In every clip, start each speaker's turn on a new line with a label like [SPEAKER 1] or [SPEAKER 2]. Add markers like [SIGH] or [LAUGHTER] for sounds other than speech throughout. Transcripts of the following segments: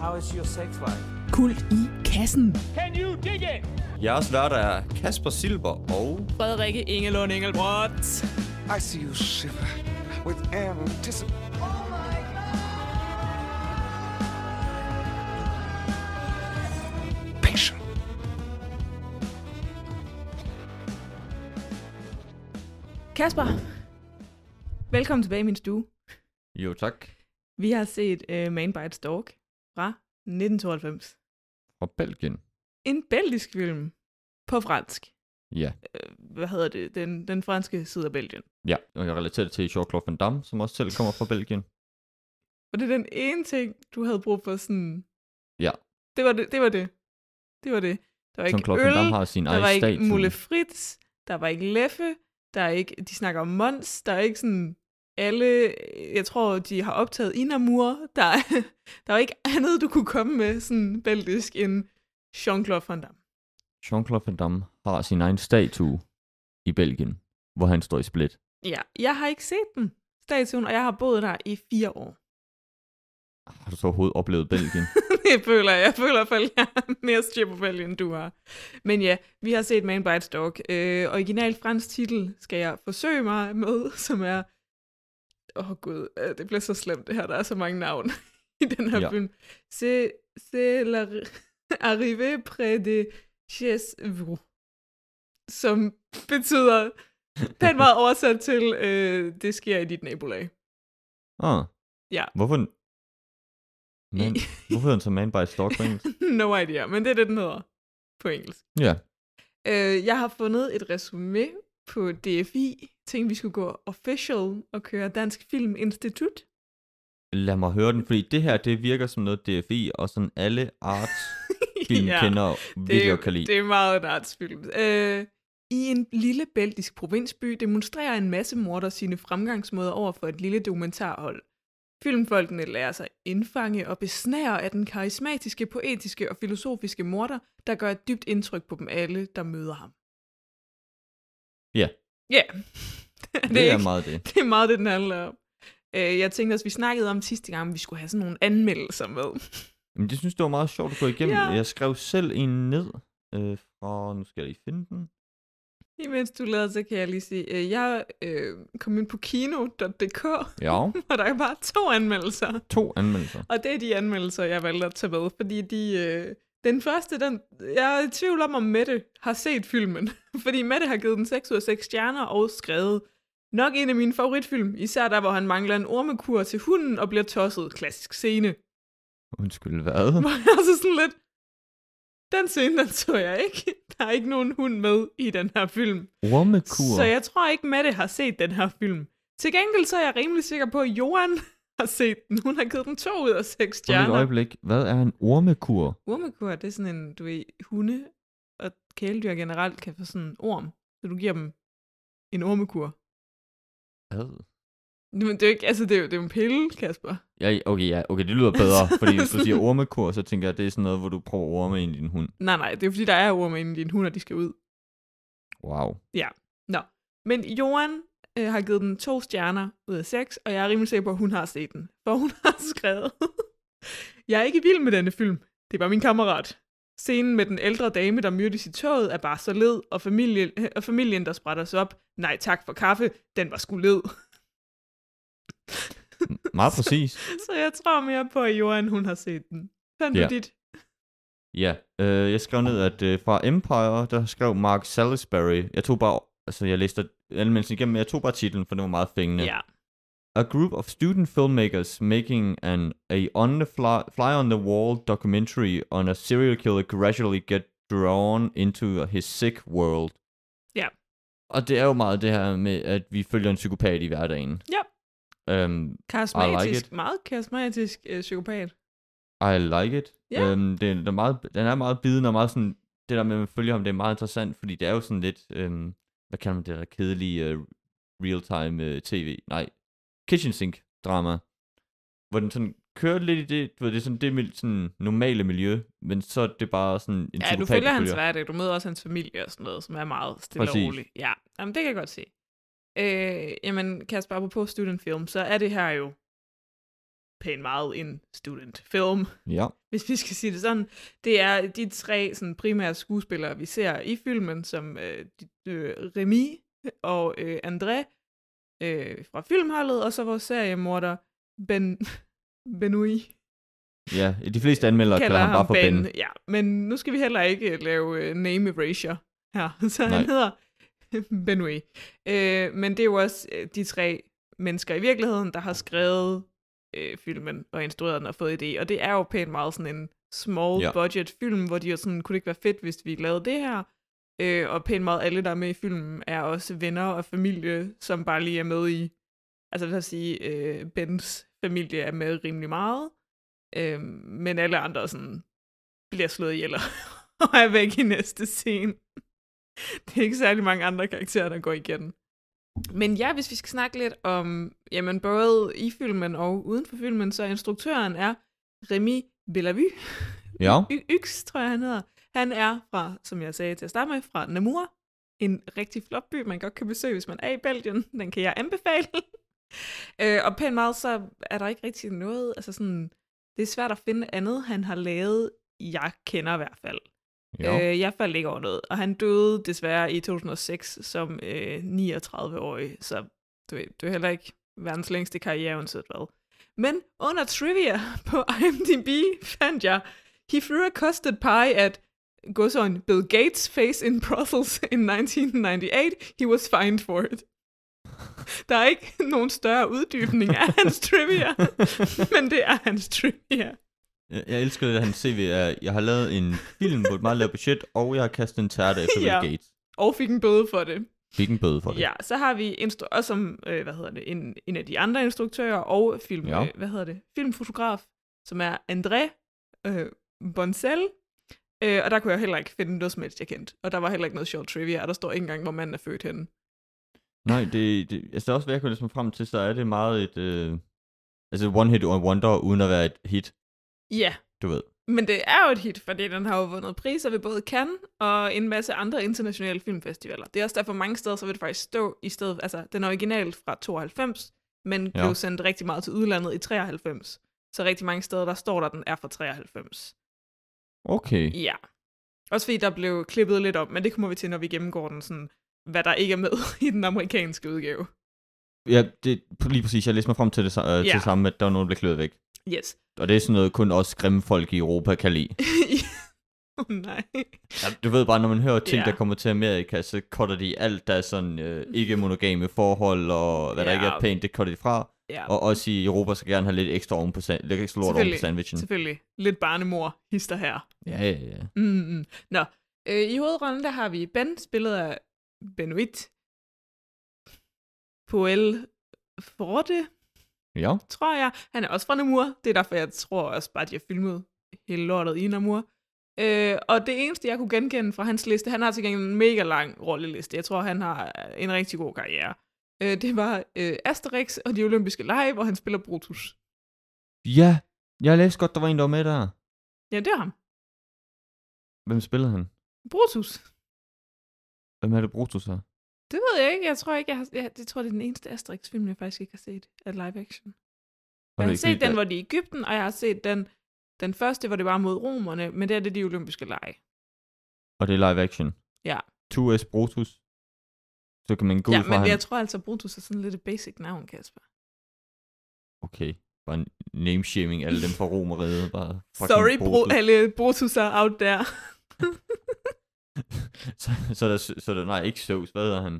[SPEAKER 1] How is your sex life?
[SPEAKER 2] Kult i kassen.
[SPEAKER 3] Can you dig it?
[SPEAKER 4] Jeres værter er Kasper Silber og...
[SPEAKER 2] Frederikke Ingelund Engelbrecht.
[SPEAKER 5] I see you shiver with anticipation.
[SPEAKER 6] Kasper, velkommen tilbage i min stue.
[SPEAKER 4] Jo, tak.
[SPEAKER 6] Vi har set uh, Man Bites Dog fra 1992.
[SPEAKER 4] Fra Belgien.
[SPEAKER 6] En belgisk film på fransk.
[SPEAKER 4] Ja.
[SPEAKER 6] Øh, Hvad hedder det? Den, den franske side af Belgien.
[SPEAKER 4] Ja, og jeg relaterer det til Jean-Claude Van Damme, som også selv kommer fra Belgien.
[SPEAKER 6] Og det er den ene ting, du havde brug for sådan...
[SPEAKER 4] Ja.
[SPEAKER 6] Det var det. Det var det. Det var det. Der var ikke
[SPEAKER 4] Jean-Claude Van
[SPEAKER 6] øl,
[SPEAKER 4] Damme har sin
[SPEAKER 6] der var
[SPEAKER 4] egen
[SPEAKER 6] ikke
[SPEAKER 4] statue.
[SPEAKER 6] Mulle Fritz, der var ikke Leffe, der er ikke... De snakker om Mons, der er ikke sådan... Alle, jeg tror, de har optaget Inamur. Der, [LAUGHS] er- der var ikke andet, du kunne komme med sådan belgisk end Jean-Claude Van Damme.
[SPEAKER 4] Jean-Claude Van Damme har sin egen statue i Belgien, hvor han står i split.
[SPEAKER 6] Ja, jeg har ikke set den, statuen, og jeg har boet der i fire år.
[SPEAKER 4] Har du så overhovedet oplevet
[SPEAKER 6] [LAUGHS]
[SPEAKER 4] Belgien?
[SPEAKER 6] det føler jeg. Jeg føler i hvert fald, jeg har mere styr på valg, end du har. Men ja, vi har set Man Bites Dog. Øh, original fransk titel skal jeg forsøge mig med, [LAUGHS] som er... Åh oh, gud, øh, det bliver så slemt det her. Der er så mange navn [LAUGHS] i den her
[SPEAKER 4] Ja.
[SPEAKER 6] ja. film. C'est, c'est la [LAUGHS] arrivée près de chez vous. Som betyder... Den var oversat til, øh, det sker i dit nabolag. [LAUGHS]
[SPEAKER 4] ah.
[SPEAKER 6] Ja.
[SPEAKER 4] Hvorfor...
[SPEAKER 6] [LAUGHS]
[SPEAKER 4] Man, hvorfor hedder den så Man by Stock på engelsk?
[SPEAKER 6] no idea, men det er det, den hedder på engelsk.
[SPEAKER 4] Ja.
[SPEAKER 6] Øh, jeg har fundet et resume på DFI. Tænkte, vi skulle gå official og køre Dansk Film Institut. [LAUGHS]
[SPEAKER 4] Lad mig høre den, fordi det her, det virker som noget DFI, og sådan alle arts
[SPEAKER 6] [LAUGHS]
[SPEAKER 4] filmkendere ja, virkelig
[SPEAKER 6] det,
[SPEAKER 4] godt kan lide.
[SPEAKER 6] det er meget et artsfilm. Øh, I en lille belgisk provinsby demonstrerer en masse morder sine fremgangsmåder over for et lille dokumentarhold. Filmfolkene lærer sig indfange og besnære af den karismatiske, poetiske og filosofiske morder, der gør et dybt indtryk på dem alle, der møder ham.
[SPEAKER 4] Ja.
[SPEAKER 6] Ja. [LAUGHS]
[SPEAKER 4] det, er meget det.
[SPEAKER 6] Det er meget det, den handler om. Øh, jeg tænkte også, vi snakkede om sidste gang, om vi skulle have sådan nogle anmeldelser med.
[SPEAKER 4] Men det synes jeg, det var meget sjovt at gå igennem.
[SPEAKER 6] Ja.
[SPEAKER 4] Ja. Jeg skrev selv en ned øh, fra, nu skal jeg lige finde den.
[SPEAKER 6] Imens du lader, så kan jeg lige sige, øh, jeg øh, kom ind på [LAUGHS] kino.dk,
[SPEAKER 4] Ja,
[SPEAKER 6] og der er bare to anmeldelser.
[SPEAKER 4] to anmeldelser.
[SPEAKER 6] Og det er de anmeldelser, jeg valgte at tage med, fordi de... Øh, den første, den, jeg er i tvivl om, om Mette har set filmen. [LAUGHS] Fordi Mette har givet den 6 ud af 6 stjerner og skrevet, nok en af mine favoritfilm, især der, hvor han mangler en ormekur til hunden og bliver tosset. Klassisk scene.
[SPEAKER 4] [LAUGHS] Undskyld,
[SPEAKER 6] [LAUGHS]
[SPEAKER 4] hvad?
[SPEAKER 6] Hvor jeg så sådan lidt, den scene, den så jeg ikke. [LAUGHS] Der er ikke nogen hund med i den her film.
[SPEAKER 4] Ormekur.
[SPEAKER 6] Så jeg tror ikke, Mette har set den her film. Til gengæld så er jeg rimelig sikker på, at Johan [LAUGHS] har set den. Hun har givet den to ud af seks
[SPEAKER 4] Hold et
[SPEAKER 6] stjerner.
[SPEAKER 4] øjeblik. Hvad er en ormekur?
[SPEAKER 6] Ormekur, det er sådan en, du ved, hunde og kæledyr generelt kan få sådan en orm. Så du giver dem en ormekur.
[SPEAKER 4] Hvad?
[SPEAKER 6] Men det er jo ikke, altså det er jo, det er jo en pille, Kasper.
[SPEAKER 4] Ja, okay, ja, okay, det lyder [LAUGHS] bedre, fordi hvis du siger ormekur, så tænker jeg, at det er sådan noget, hvor du prøver orme ind i din hund.
[SPEAKER 6] Nej, nej, det er jo fordi, der er orme inde i din hund, og de skal ud.
[SPEAKER 4] Wow.
[SPEAKER 6] Men Johan øh, har givet den to stjerner ud af seks, og jeg er rimelig sikker på, at hun har set den. For hun har [LAUGHS] skrevet, jeg er ikke vild med denne film. Det var min kammerat. Scenen med den ældre dame, der myrdes i toget, er bare så led, og, familie, og familien, der sprætter sig op. Nej, tak for kaffe. Den var sgu led. [LAUGHS]
[SPEAKER 4] M- Meget præcis.
[SPEAKER 6] Så jeg tror mere på, at Johan hun har set den. Fandt
[SPEAKER 4] Ja.
[SPEAKER 6] du dit?
[SPEAKER 4] Ja, øh, jeg skrev ned, at øh, fra Empire, der skrev Mark Salisbury, jeg tog bare, altså jeg læste anmeldelsen igennem, men jeg tog bare titlen, for den var meget fængende.
[SPEAKER 6] Ja.
[SPEAKER 4] A group of student filmmakers making an a on the fly, fly on the wall documentary on a serial killer gradually get drawn into his sick world.
[SPEAKER 6] Ja.
[SPEAKER 4] Og det er jo meget det her med, at vi følger en psykopat i hverdagen.
[SPEAKER 6] Ja.
[SPEAKER 4] Um,
[SPEAKER 6] Karismatisk.
[SPEAKER 4] it.
[SPEAKER 6] meget karismatisk øh, psykopat.
[SPEAKER 4] I like it.
[SPEAKER 6] Ja.
[SPEAKER 4] Um, det, den, er meget, den er meget bidende og meget sådan, det der med, at man følger ham, det er meget interessant, fordi det er jo sådan lidt, um, hvad kalder man det der kedelige uh, real-time uh, tv, nej, kitchen sink drama, hvor den sådan kører lidt i det, du ved, det er sådan det mil- sådan normale miljø, men så er det bare sådan en
[SPEAKER 6] Ja, du
[SPEAKER 4] psykopat,
[SPEAKER 6] følger hans hverdag, du møder også hans familie og sådan noget, som er meget stille Præcis.
[SPEAKER 4] Præcis.
[SPEAKER 6] og roligt. Ja, jamen, det kan jeg godt se. Øh, jamen, Kasper, apropos student film, så er det her jo pænt meget en studentfilm,
[SPEAKER 4] Ja.
[SPEAKER 6] [LAUGHS] hvis vi skal sige det sådan. Det er de tre sådan, primære skuespillere, vi ser i filmen, som øh, de- øh, Remy og øh, André øh, fra filmholdet, og så vores seriemorder Ben... Benoui
[SPEAKER 4] Ja, de fleste anmeldere kalder ham bare for Ben.
[SPEAKER 6] Ja, men nu skal vi heller ikke øh, lave øh, name erasure her, [LAUGHS] så
[SPEAKER 4] Nej.
[SPEAKER 6] han hedder Benoit. Øh, men det er jo også øh, de tre mennesker i virkeligheden, der har skrevet øh, filmen og instrueret den og fået idé, og det er jo pænt meget sådan en small
[SPEAKER 4] Ja.
[SPEAKER 6] ja. budget film, hvor de er sådan, kunne det ikke være fedt, hvis vi lavede det her? Øh, og pænt meget alle, der er med i filmen, er også venner og familie, som bare lige er med i, altså lad os sige, øh, Bens familie er med rimelig meget, øh, men alle andre sådan bliver slået ihjel og [LAUGHS] og er væk i næste scene. Det er ikke særlig mange andre karakterer, der går igen. Men ja, hvis vi skal snakke lidt om, jamen både i filmen og uden for filmen, så instruktøren er Remy Bellavue.
[SPEAKER 4] Ja,
[SPEAKER 6] Y- Yx, tror jeg, han hedder. Han er fra, som jeg sagde til at starte med, fra Namur. En rigtig flot by, man godt kan besøge, hvis man er i Belgien. Den kan jeg anbefale. [LAUGHS] øh, og pænt meget, så er der ikke rigtig noget, altså sådan, det er svært at finde andet, han har lavet, jeg kender i hvert fald.
[SPEAKER 4] ja.
[SPEAKER 6] Øh, jeg faldt ikke over noget. Og han døde desværre i 2006 som øh, 39-årig, så du ved, det er heller ikke verdens længste karriere, uanset hvad. Men under trivia [LAUGHS] på IMDb fandt jeg, he threw a custard pie at godsøjne Bill Gates' face in Brussels in 1998. He was fined for it. Der er ikke [LAUGHS] nogen større uddybning af hans trivia, [LAUGHS] men det er hans trivia.
[SPEAKER 4] Jeg, jeg elsker det, at han CV er, jeg har lavet en film på et meget lavt budget, og jeg har kastet en tærte efter Bill
[SPEAKER 6] [LAUGHS] Ja.
[SPEAKER 4] Gates.
[SPEAKER 6] Og fik en bøde for det.
[SPEAKER 4] Fik en bøde for det.
[SPEAKER 6] Ja, så har vi instru- også som, øh, hvad hedder det, en, en af de andre instruktører og film,
[SPEAKER 4] Ja.
[SPEAKER 6] ja. øh, hvad hedder det, filmfotograf, som er André øh, Boncel. Øh, og der kunne jeg heller ikke finde noget som helst, jeg kendte. Og der var heller ikke noget sjovt trivia, og der står ikke engang, hvor manden er født henne.
[SPEAKER 4] Nej, det, det, altså også hvad jeg kunne ligesom frem til, så er det meget et, øh, altså one hit on wonder, uden at være et hit,
[SPEAKER 6] Ja,
[SPEAKER 4] du ved.
[SPEAKER 6] men det er jo et hit, fordi den har jo vundet priser ved både Cannes og en masse andre internationale filmfestivaler. Det er også derfor mange steder, så vil det faktisk stå i stedet, altså den er originalt fra 92, men
[SPEAKER 4] Ja.
[SPEAKER 6] blev sendt rigtig meget til udlandet i 93. Så rigtig mange steder, der står der, den er fra 93.
[SPEAKER 4] Okay,
[SPEAKER 6] Ja. Også fordi der blev klippet lidt op, men det kommer vi til, når vi gennemgår den, sådan, hvad der ikke er med [LAUGHS] i den amerikanske udgave.
[SPEAKER 4] ja, det, lige præcis, jeg læste mig frem til det, sa- øh,
[SPEAKER 6] Ja.
[SPEAKER 4] til samme, at der var nogen, der blev kløet væk.
[SPEAKER 6] Yes. [LAUGHS]
[SPEAKER 4] Og det er sådan noget, kun også grimme folk i Europa kan lide.
[SPEAKER 6] oh, nej.
[SPEAKER 4] Ja, du ved bare, når man hører ting,
[SPEAKER 6] Ja.
[SPEAKER 4] der kommer til Amerika, så cutter de alt, der er sådan øh, ikke-monogame forhold, og hvad der ikke er
[SPEAKER 6] Ja.
[SPEAKER 4] pænt, det cutter de fra.
[SPEAKER 6] Ja,
[SPEAKER 4] Og også i Europa skal gerne have lidt ekstra, oven på, sand- lidt ekstra lort oven på
[SPEAKER 6] Selvfølgelig.
[SPEAKER 4] sandwichen.
[SPEAKER 6] selvfølgelig. Lidt barnemor hister her.
[SPEAKER 4] Ja, ja, ja.
[SPEAKER 6] Mm, mm. Nå, øh, i hovedrollen der har vi Ben, spillet af Benoit Poel Forte,
[SPEAKER 4] Ja,
[SPEAKER 6] tror jeg. Han er også fra Namur. Det er derfor, jeg tror også bare, at jeg filmede hele lortet i Namur. Øh, og det eneste, jeg kunne genkende fra hans liste, han har til gengæld en mega lang rolleliste. Jeg tror, han har en rigtig god karriere. Øh, det var øh, Asterix og de olympiske lege, hvor han spiller Brutus.
[SPEAKER 4] ja. jeg læste godt, der var en, der var med der.
[SPEAKER 6] Ja, det er ham.
[SPEAKER 4] Hvem spillede han?
[SPEAKER 6] Brutus.
[SPEAKER 4] Hvem er det Brutus her?
[SPEAKER 6] Det ved jeg ikke. Jeg tror ikke, jeg har... Jeg, det tror, det er den eneste Asterix-film, jeg faktisk ikke har set af live action. Jeg har set den, hvor de er i Ægypten, og jeg har set den, den første, hvor det var mod romerne, men det er det er de olympiske lege.
[SPEAKER 4] Og det er live action.
[SPEAKER 6] Ja.
[SPEAKER 4] 2S Brutus. Så kan man gå
[SPEAKER 6] ja,
[SPEAKER 4] ud fra
[SPEAKER 6] men
[SPEAKER 4] han...
[SPEAKER 6] jeg tror altså, Brutus er sådan lidt et basic navn, Kasper.
[SPEAKER 4] Okay, bare name-shaming alle dem fra Romeriet. Bare fucking
[SPEAKER 6] Sorry, bro,
[SPEAKER 4] Brutus.
[SPEAKER 6] alle Brutus er out there.
[SPEAKER 4] så, så, der, så der, nej, ikke Zeus, hvad hedder han?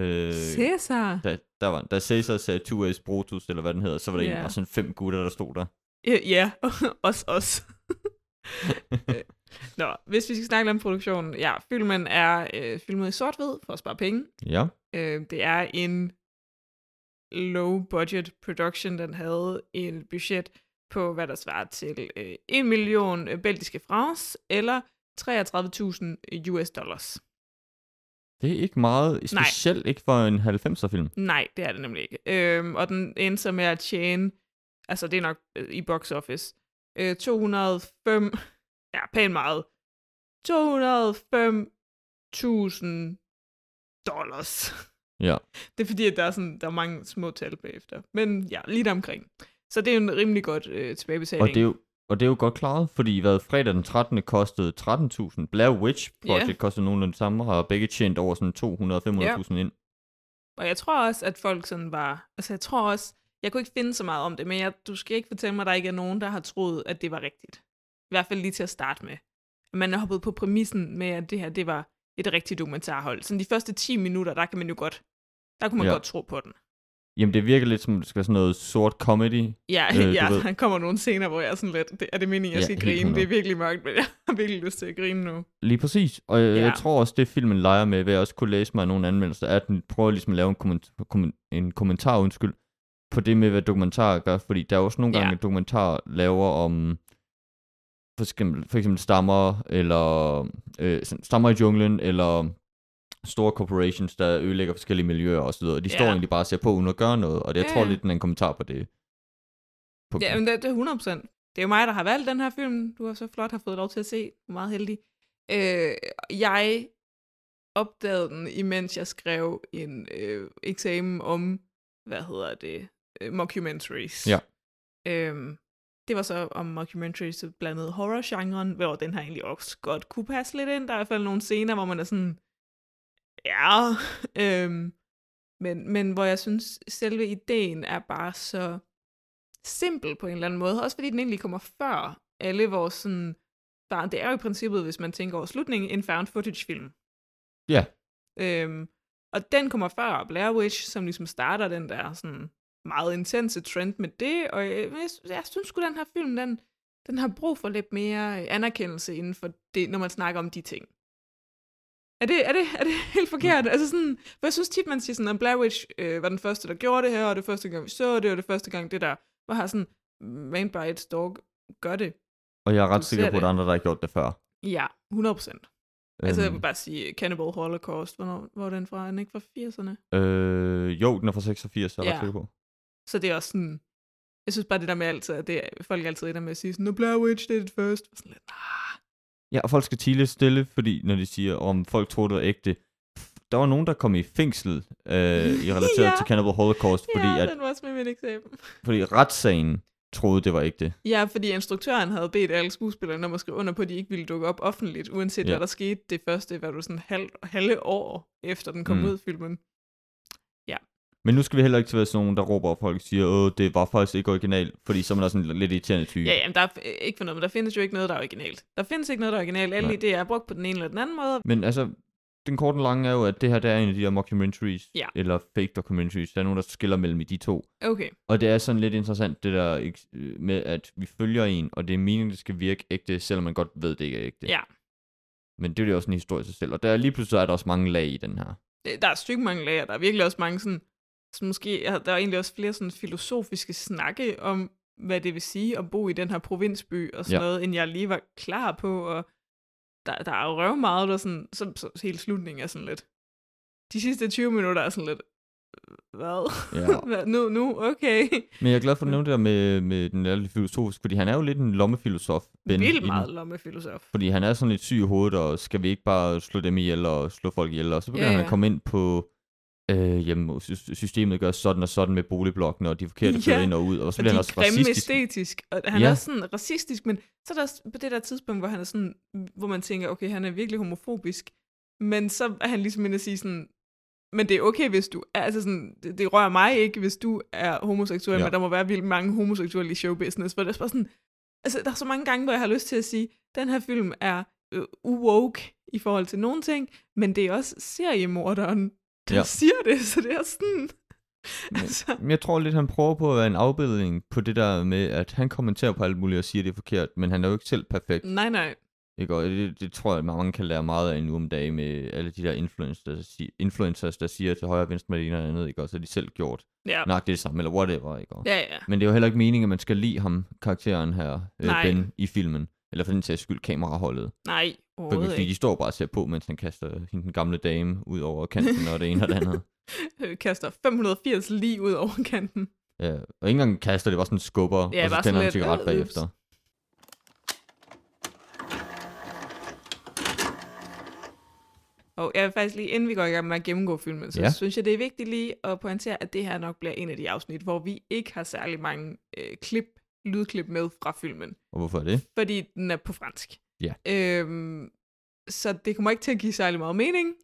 [SPEAKER 4] Øh,
[SPEAKER 6] Cæsar.
[SPEAKER 4] da, der var, da Caesar sagde 2S Brutus, eller hvad den hedder, så var der yeah.
[SPEAKER 6] Ja.
[SPEAKER 4] en, og sådan fem gutter, der stod der.
[SPEAKER 6] Ja, ja, [LAUGHS] os,
[SPEAKER 4] [LAUGHS]
[SPEAKER 6] os. Øh, Nå, hvis vi skal snakke lidt om produktionen. Ja, filmen er øh, filmet i sort-hvid for at spare penge.
[SPEAKER 4] Ja,
[SPEAKER 6] Øh, det er en low-budget production, den havde et budget på, hvad der svarer til øh, 1 million øh, belgiske francs, eller 33.000 US dollars.
[SPEAKER 4] det er ikke meget, specielt ikke for en 90'er film.
[SPEAKER 6] Nej, det er det nemlig ikke. Øhm, og den endte så med at tjene, altså det er nok øh, i box office, øh, 205, ja, pænt meget, 205.000 dollars.
[SPEAKER 4] Ja.
[SPEAKER 6] Det er fordi, at der er, sådan, der er mange små tal bagefter. Men ja, lige omkring. Så det er en rimelig godt øh, tilbagebetaling.
[SPEAKER 4] Og det, er jo, og det er jo godt klaret, fordi hvad fredag den 13. kostede 13.000. Blair Witch Project
[SPEAKER 6] Ja.
[SPEAKER 4] yeah. kostede nogenlunde det samme, og har begge tjent over sådan 200-500.000 ind.
[SPEAKER 6] Og jeg tror også, at folk sådan var... Altså, jeg tror også... Jeg kunne ikke finde så meget om det, men jeg, du skal ikke fortælle mig, at der ikke er nogen, der har troet, at det var rigtigt. I hvert fald lige til at starte med. Man er hoppet på præmissen med, at det her, det var et rigtigt dokumentarhold. Så de første 10 minutter, der kan man jo godt... Der kunne man
[SPEAKER 4] Ja.
[SPEAKER 6] ja. godt tro på den.
[SPEAKER 4] Jamen det virker lidt som, det skal være sådan noget sort comedy.
[SPEAKER 6] Ja, [LAUGHS]
[SPEAKER 4] Øh,
[SPEAKER 6] øh,
[SPEAKER 4] du
[SPEAKER 6] ja
[SPEAKER 4] ved.
[SPEAKER 6] der kommer nogle scener, hvor jeg er sådan lidt... Det, er det meningen, jeg
[SPEAKER 4] Ja,
[SPEAKER 6] skal
[SPEAKER 4] helt
[SPEAKER 6] grine? Det er
[SPEAKER 4] 100.
[SPEAKER 6] virkelig mørkt, men [LAUGHS] jeg har virkelig lyst til at grine nu.
[SPEAKER 4] Lige præcis. Og jeg,
[SPEAKER 6] Ja.
[SPEAKER 4] ja. jeg tror også, det filmen leger med, hvad jeg også kunne læse mig af nogle anmeldelser, er, at den prøver ligesom at lave en, komment- kommen- en kommentar, undskyld, på det med, hvad dokumentarer gør, fordi der er også nogle
[SPEAKER 6] Ja.
[SPEAKER 4] gange, at dokumentarer laver om for eksempel, for eksempel stammer, eller øh, sådan stammer i junglen, eller store corporations, der ødelægger forskellige miljøer osv., og de
[SPEAKER 6] Ja.
[SPEAKER 4] står egentlig bare og ser på, uden at gøre noget, og det, jeg
[SPEAKER 6] Ja,
[SPEAKER 4] tror
[SPEAKER 6] ja.
[SPEAKER 4] lidt, den er en kommentar på det. På
[SPEAKER 6] Ja, men det, det er 100%. Det er jo mig, der har valgt den her film. Du har så flot har fået lov til at se. Du er meget heldig. Øh, jeg opdagede den, imens jeg skrev en øh, eksamen om, hvad hedder det, øh, mockumentaries.
[SPEAKER 4] Ja.
[SPEAKER 6] Øhm, det var så om mockumentaries, så blandede horror-genren, hvor den her egentlig også godt kunne passe lidt ind. Der er i hvert fald nogle scener, hvor man er sådan, ja, [LAUGHS] øhm, men, men hvor jeg synes, selve ideen er bare så simpel på en eller anden måde, også fordi den egentlig kommer før alle vores sådan, bare, det er jo i princippet, hvis man tænker over slutningen, en found footage film.
[SPEAKER 4] Ja.
[SPEAKER 6] Øhm, og den kommer før Blair Witch, som ligesom starter den der sådan meget intense trend med det, og jeg, jeg, jeg synes sgu, den her film, den, den har brug for lidt mere øh, anerkendelse inden for det, når man snakker om de ting. Er det, er det, er det [LAUGHS] helt forkert? Mm. Altså sådan, for jeg synes tit, man siger sådan, at Blair Witch øh, var den første, der gjorde det her, og det første gang, vi så det, og det første gang, det der hvor har sådan, man by its dog gør det.
[SPEAKER 4] og jeg er ret
[SPEAKER 6] du
[SPEAKER 4] sikker
[SPEAKER 6] ser
[SPEAKER 4] på, at der
[SPEAKER 6] det.
[SPEAKER 4] er andre, der har gjort det før.
[SPEAKER 6] Ja, 100 procent. Altså, jeg
[SPEAKER 4] Øhm.
[SPEAKER 6] vil bare sige, Cannibal Holocaust, hvornår, hvor er den fra? Er den ikke fra 80'erne?
[SPEAKER 4] Øh, jo, den er fra 86, er jeg
[SPEAKER 6] Ja.
[SPEAKER 4] ret sikker på.
[SPEAKER 6] Så det er også sådan, jeg synes bare det der med altid, at det, er- folk altid ender med at sige sådan, no Blair Witch did it first. Og Sådan lidt, ah,
[SPEAKER 4] Ja, og folk skal tige lidt stille, fordi når de siger, om folk troede, det var ægte. Der var nogen, der kom i fængsel øh,
[SPEAKER 6] [LAUGHS]
[SPEAKER 4] i relateret
[SPEAKER 6] Ja.
[SPEAKER 4] ja. til Cannibal Holocaust, fordi,
[SPEAKER 6] ja,
[SPEAKER 4] at,
[SPEAKER 6] den var også med min eksamen.
[SPEAKER 4] fordi retssagen troede, det var ægte.
[SPEAKER 6] Ja, fordi instruktøren havde bedt alle skuespillerne om at skrive under på, at de ikke ville dukke op offentligt, uanset ja.
[SPEAKER 4] Ja.
[SPEAKER 6] hvad der skete det første, hvad du sådan halv, halve år efter den kom mm.
[SPEAKER 4] Mm.
[SPEAKER 6] ud, filmen.
[SPEAKER 4] Men nu skal vi heller ikke til at være sådan nogen, der råber, og folk siger, åh, det var faktisk ikke original, fordi så er man også sådan lidt irriterende type.
[SPEAKER 6] Ja, jamen, der er øh, ikke for noget, men der findes jo ikke noget, der er originalt. Der findes ikke noget, der er originalt. Alle
[SPEAKER 4] Nej.
[SPEAKER 6] idéer er brugt på den ene eller den anden måde.
[SPEAKER 4] Men altså, den korte og lange er jo, at det her, der er en af de her mockumentaries,
[SPEAKER 6] Ja.
[SPEAKER 4] eller fake documentaries. Der er nogen, der skiller mellem de to.
[SPEAKER 6] Okay,
[SPEAKER 4] Og det er sådan lidt interessant, det der ikke, øh, med, at vi følger en, og det er meningen, det skal virke ægte, selvom man godt ved, det ikke er ægte.
[SPEAKER 6] Ja.
[SPEAKER 4] Men det er jo også en historie i sig selv. Og der er lige pludselig er der også mange lag i den her.
[SPEAKER 6] Øh, der er sygt mange lager. Der er virkelig også mange sådan, så måske, ja, der er egentlig også flere sådan filosofiske snakke om, hvad det vil sige at bo i den her provinsby og sådan ja.
[SPEAKER 4] Ja.
[SPEAKER 6] noget, end jeg lige var klar på. Og der, der er jo røv meget, der sådan, så, så, så hele slutningen er sådan lidt. De sidste 20 minutter er sådan lidt, øh, hvad?
[SPEAKER 4] Ja.
[SPEAKER 6] Hvad? nu, nu, okay.
[SPEAKER 4] Men jeg er glad
[SPEAKER 6] [LAUGHS]
[SPEAKER 4] for, at du nævnte det der med, med den der lidt filosofisk, fordi han er jo lidt en lommefilosof. Ben, i
[SPEAKER 6] Vildt
[SPEAKER 4] den.
[SPEAKER 6] meget lommefilosof.
[SPEAKER 4] Fordi han er sådan lidt syg i hovedet, og skal vi ikke bare slå dem ihjel og slå folk ihjel? Og så begynder ja,
[SPEAKER 6] Ja,
[SPEAKER 4] ja. han
[SPEAKER 6] ja.
[SPEAKER 4] at komme ind på, øh, jamen, sy- systemet gør sådan og sådan med boligblokkene, og de forkerte flytter
[SPEAKER 6] [LAUGHS] Ja.
[SPEAKER 4] ind og ud, og så
[SPEAKER 6] Og
[SPEAKER 4] bliver
[SPEAKER 6] de
[SPEAKER 4] han
[SPEAKER 6] er
[SPEAKER 4] også
[SPEAKER 6] grimme
[SPEAKER 4] racistisk.
[SPEAKER 6] æstetisk, og han ja. er
[SPEAKER 4] Ja.
[SPEAKER 6] også sådan racistisk, men så er der også på det der tidspunkt, hvor han er sådan, hvor man tænker, okay, han er virkelig homofobisk, men så er han ligesom inde at sige sådan, men det er okay, hvis du er, altså sådan, det, det rører mig ikke, hvis du er homoseksuel, ja.
[SPEAKER 4] Ja.
[SPEAKER 6] men der må være vildt mange homoseksuelle i showbusiness, for det er også bare sådan, altså der er så mange gange, hvor jeg har lyst til at sige, den her film er øh, uwoke i forhold til nogle ting, men det er også seriemorderen, der ja.
[SPEAKER 4] Ja.
[SPEAKER 6] siger det, [LAUGHS] så det er også sådan,
[SPEAKER 4] Men-
[SPEAKER 6] altså,
[SPEAKER 4] Men jeg tror lidt, han prøver på at være en afbildning på det der med, at han kommenterer på alt muligt og siger, det er forkert, men han er jo ikke selv perfekt.
[SPEAKER 6] nej, nej,
[SPEAKER 4] Ikke? Og det, det, tror jeg, at mange kan lære meget af nu om dagen med alle de der influencers, der, siger, influencers, der siger til højre og venstre med det ene og det andet, ikke? og så har de selv gjort
[SPEAKER 6] ja,
[SPEAKER 4] nok det samme, eller whatever. Ikke? Og-
[SPEAKER 6] ja, ja.
[SPEAKER 4] Men det er jo heller ikke meningen, at man skal lide ham, karakteren her, øh,
[SPEAKER 6] Nej.
[SPEAKER 4] Ben, i filmen. Eller for den sags skyld kameraholdet.
[SPEAKER 6] Nej,
[SPEAKER 4] Fordi
[SPEAKER 6] overhovedet
[SPEAKER 4] fordi
[SPEAKER 6] ikke.
[SPEAKER 4] de står bare og ser på, mens han kaster hende den gamle dame ud over kanten og det ene og det
[SPEAKER 6] [LAUGHS]
[SPEAKER 4] andet.
[SPEAKER 6] Øh, Kaster 580 lige ud over kanten.
[SPEAKER 4] Ja, og ikke engang kaster, det var sådan skubber,
[SPEAKER 6] Ja,
[SPEAKER 4] og så
[SPEAKER 6] bare sådan
[SPEAKER 4] tænder han en
[SPEAKER 6] lidt,
[SPEAKER 4] cigaret
[SPEAKER 6] øh,
[SPEAKER 4] bagefter.
[SPEAKER 6] ups. Og jeg vil faktisk lige, inden vi går i gang med at gennemgå filmen, så
[SPEAKER 4] Ja.
[SPEAKER 6] ja. synes jeg, det er vigtigt lige at pointere, at det her nok bliver en af de afsnit, hvor vi ikke har særlig mange øh, klip, lydklip med fra filmen,
[SPEAKER 4] Og hvorfor er det?
[SPEAKER 6] fordi den er på fransk.
[SPEAKER 4] Ja.
[SPEAKER 6] Øhm, så det kommer ikke til at give særlig meget mening,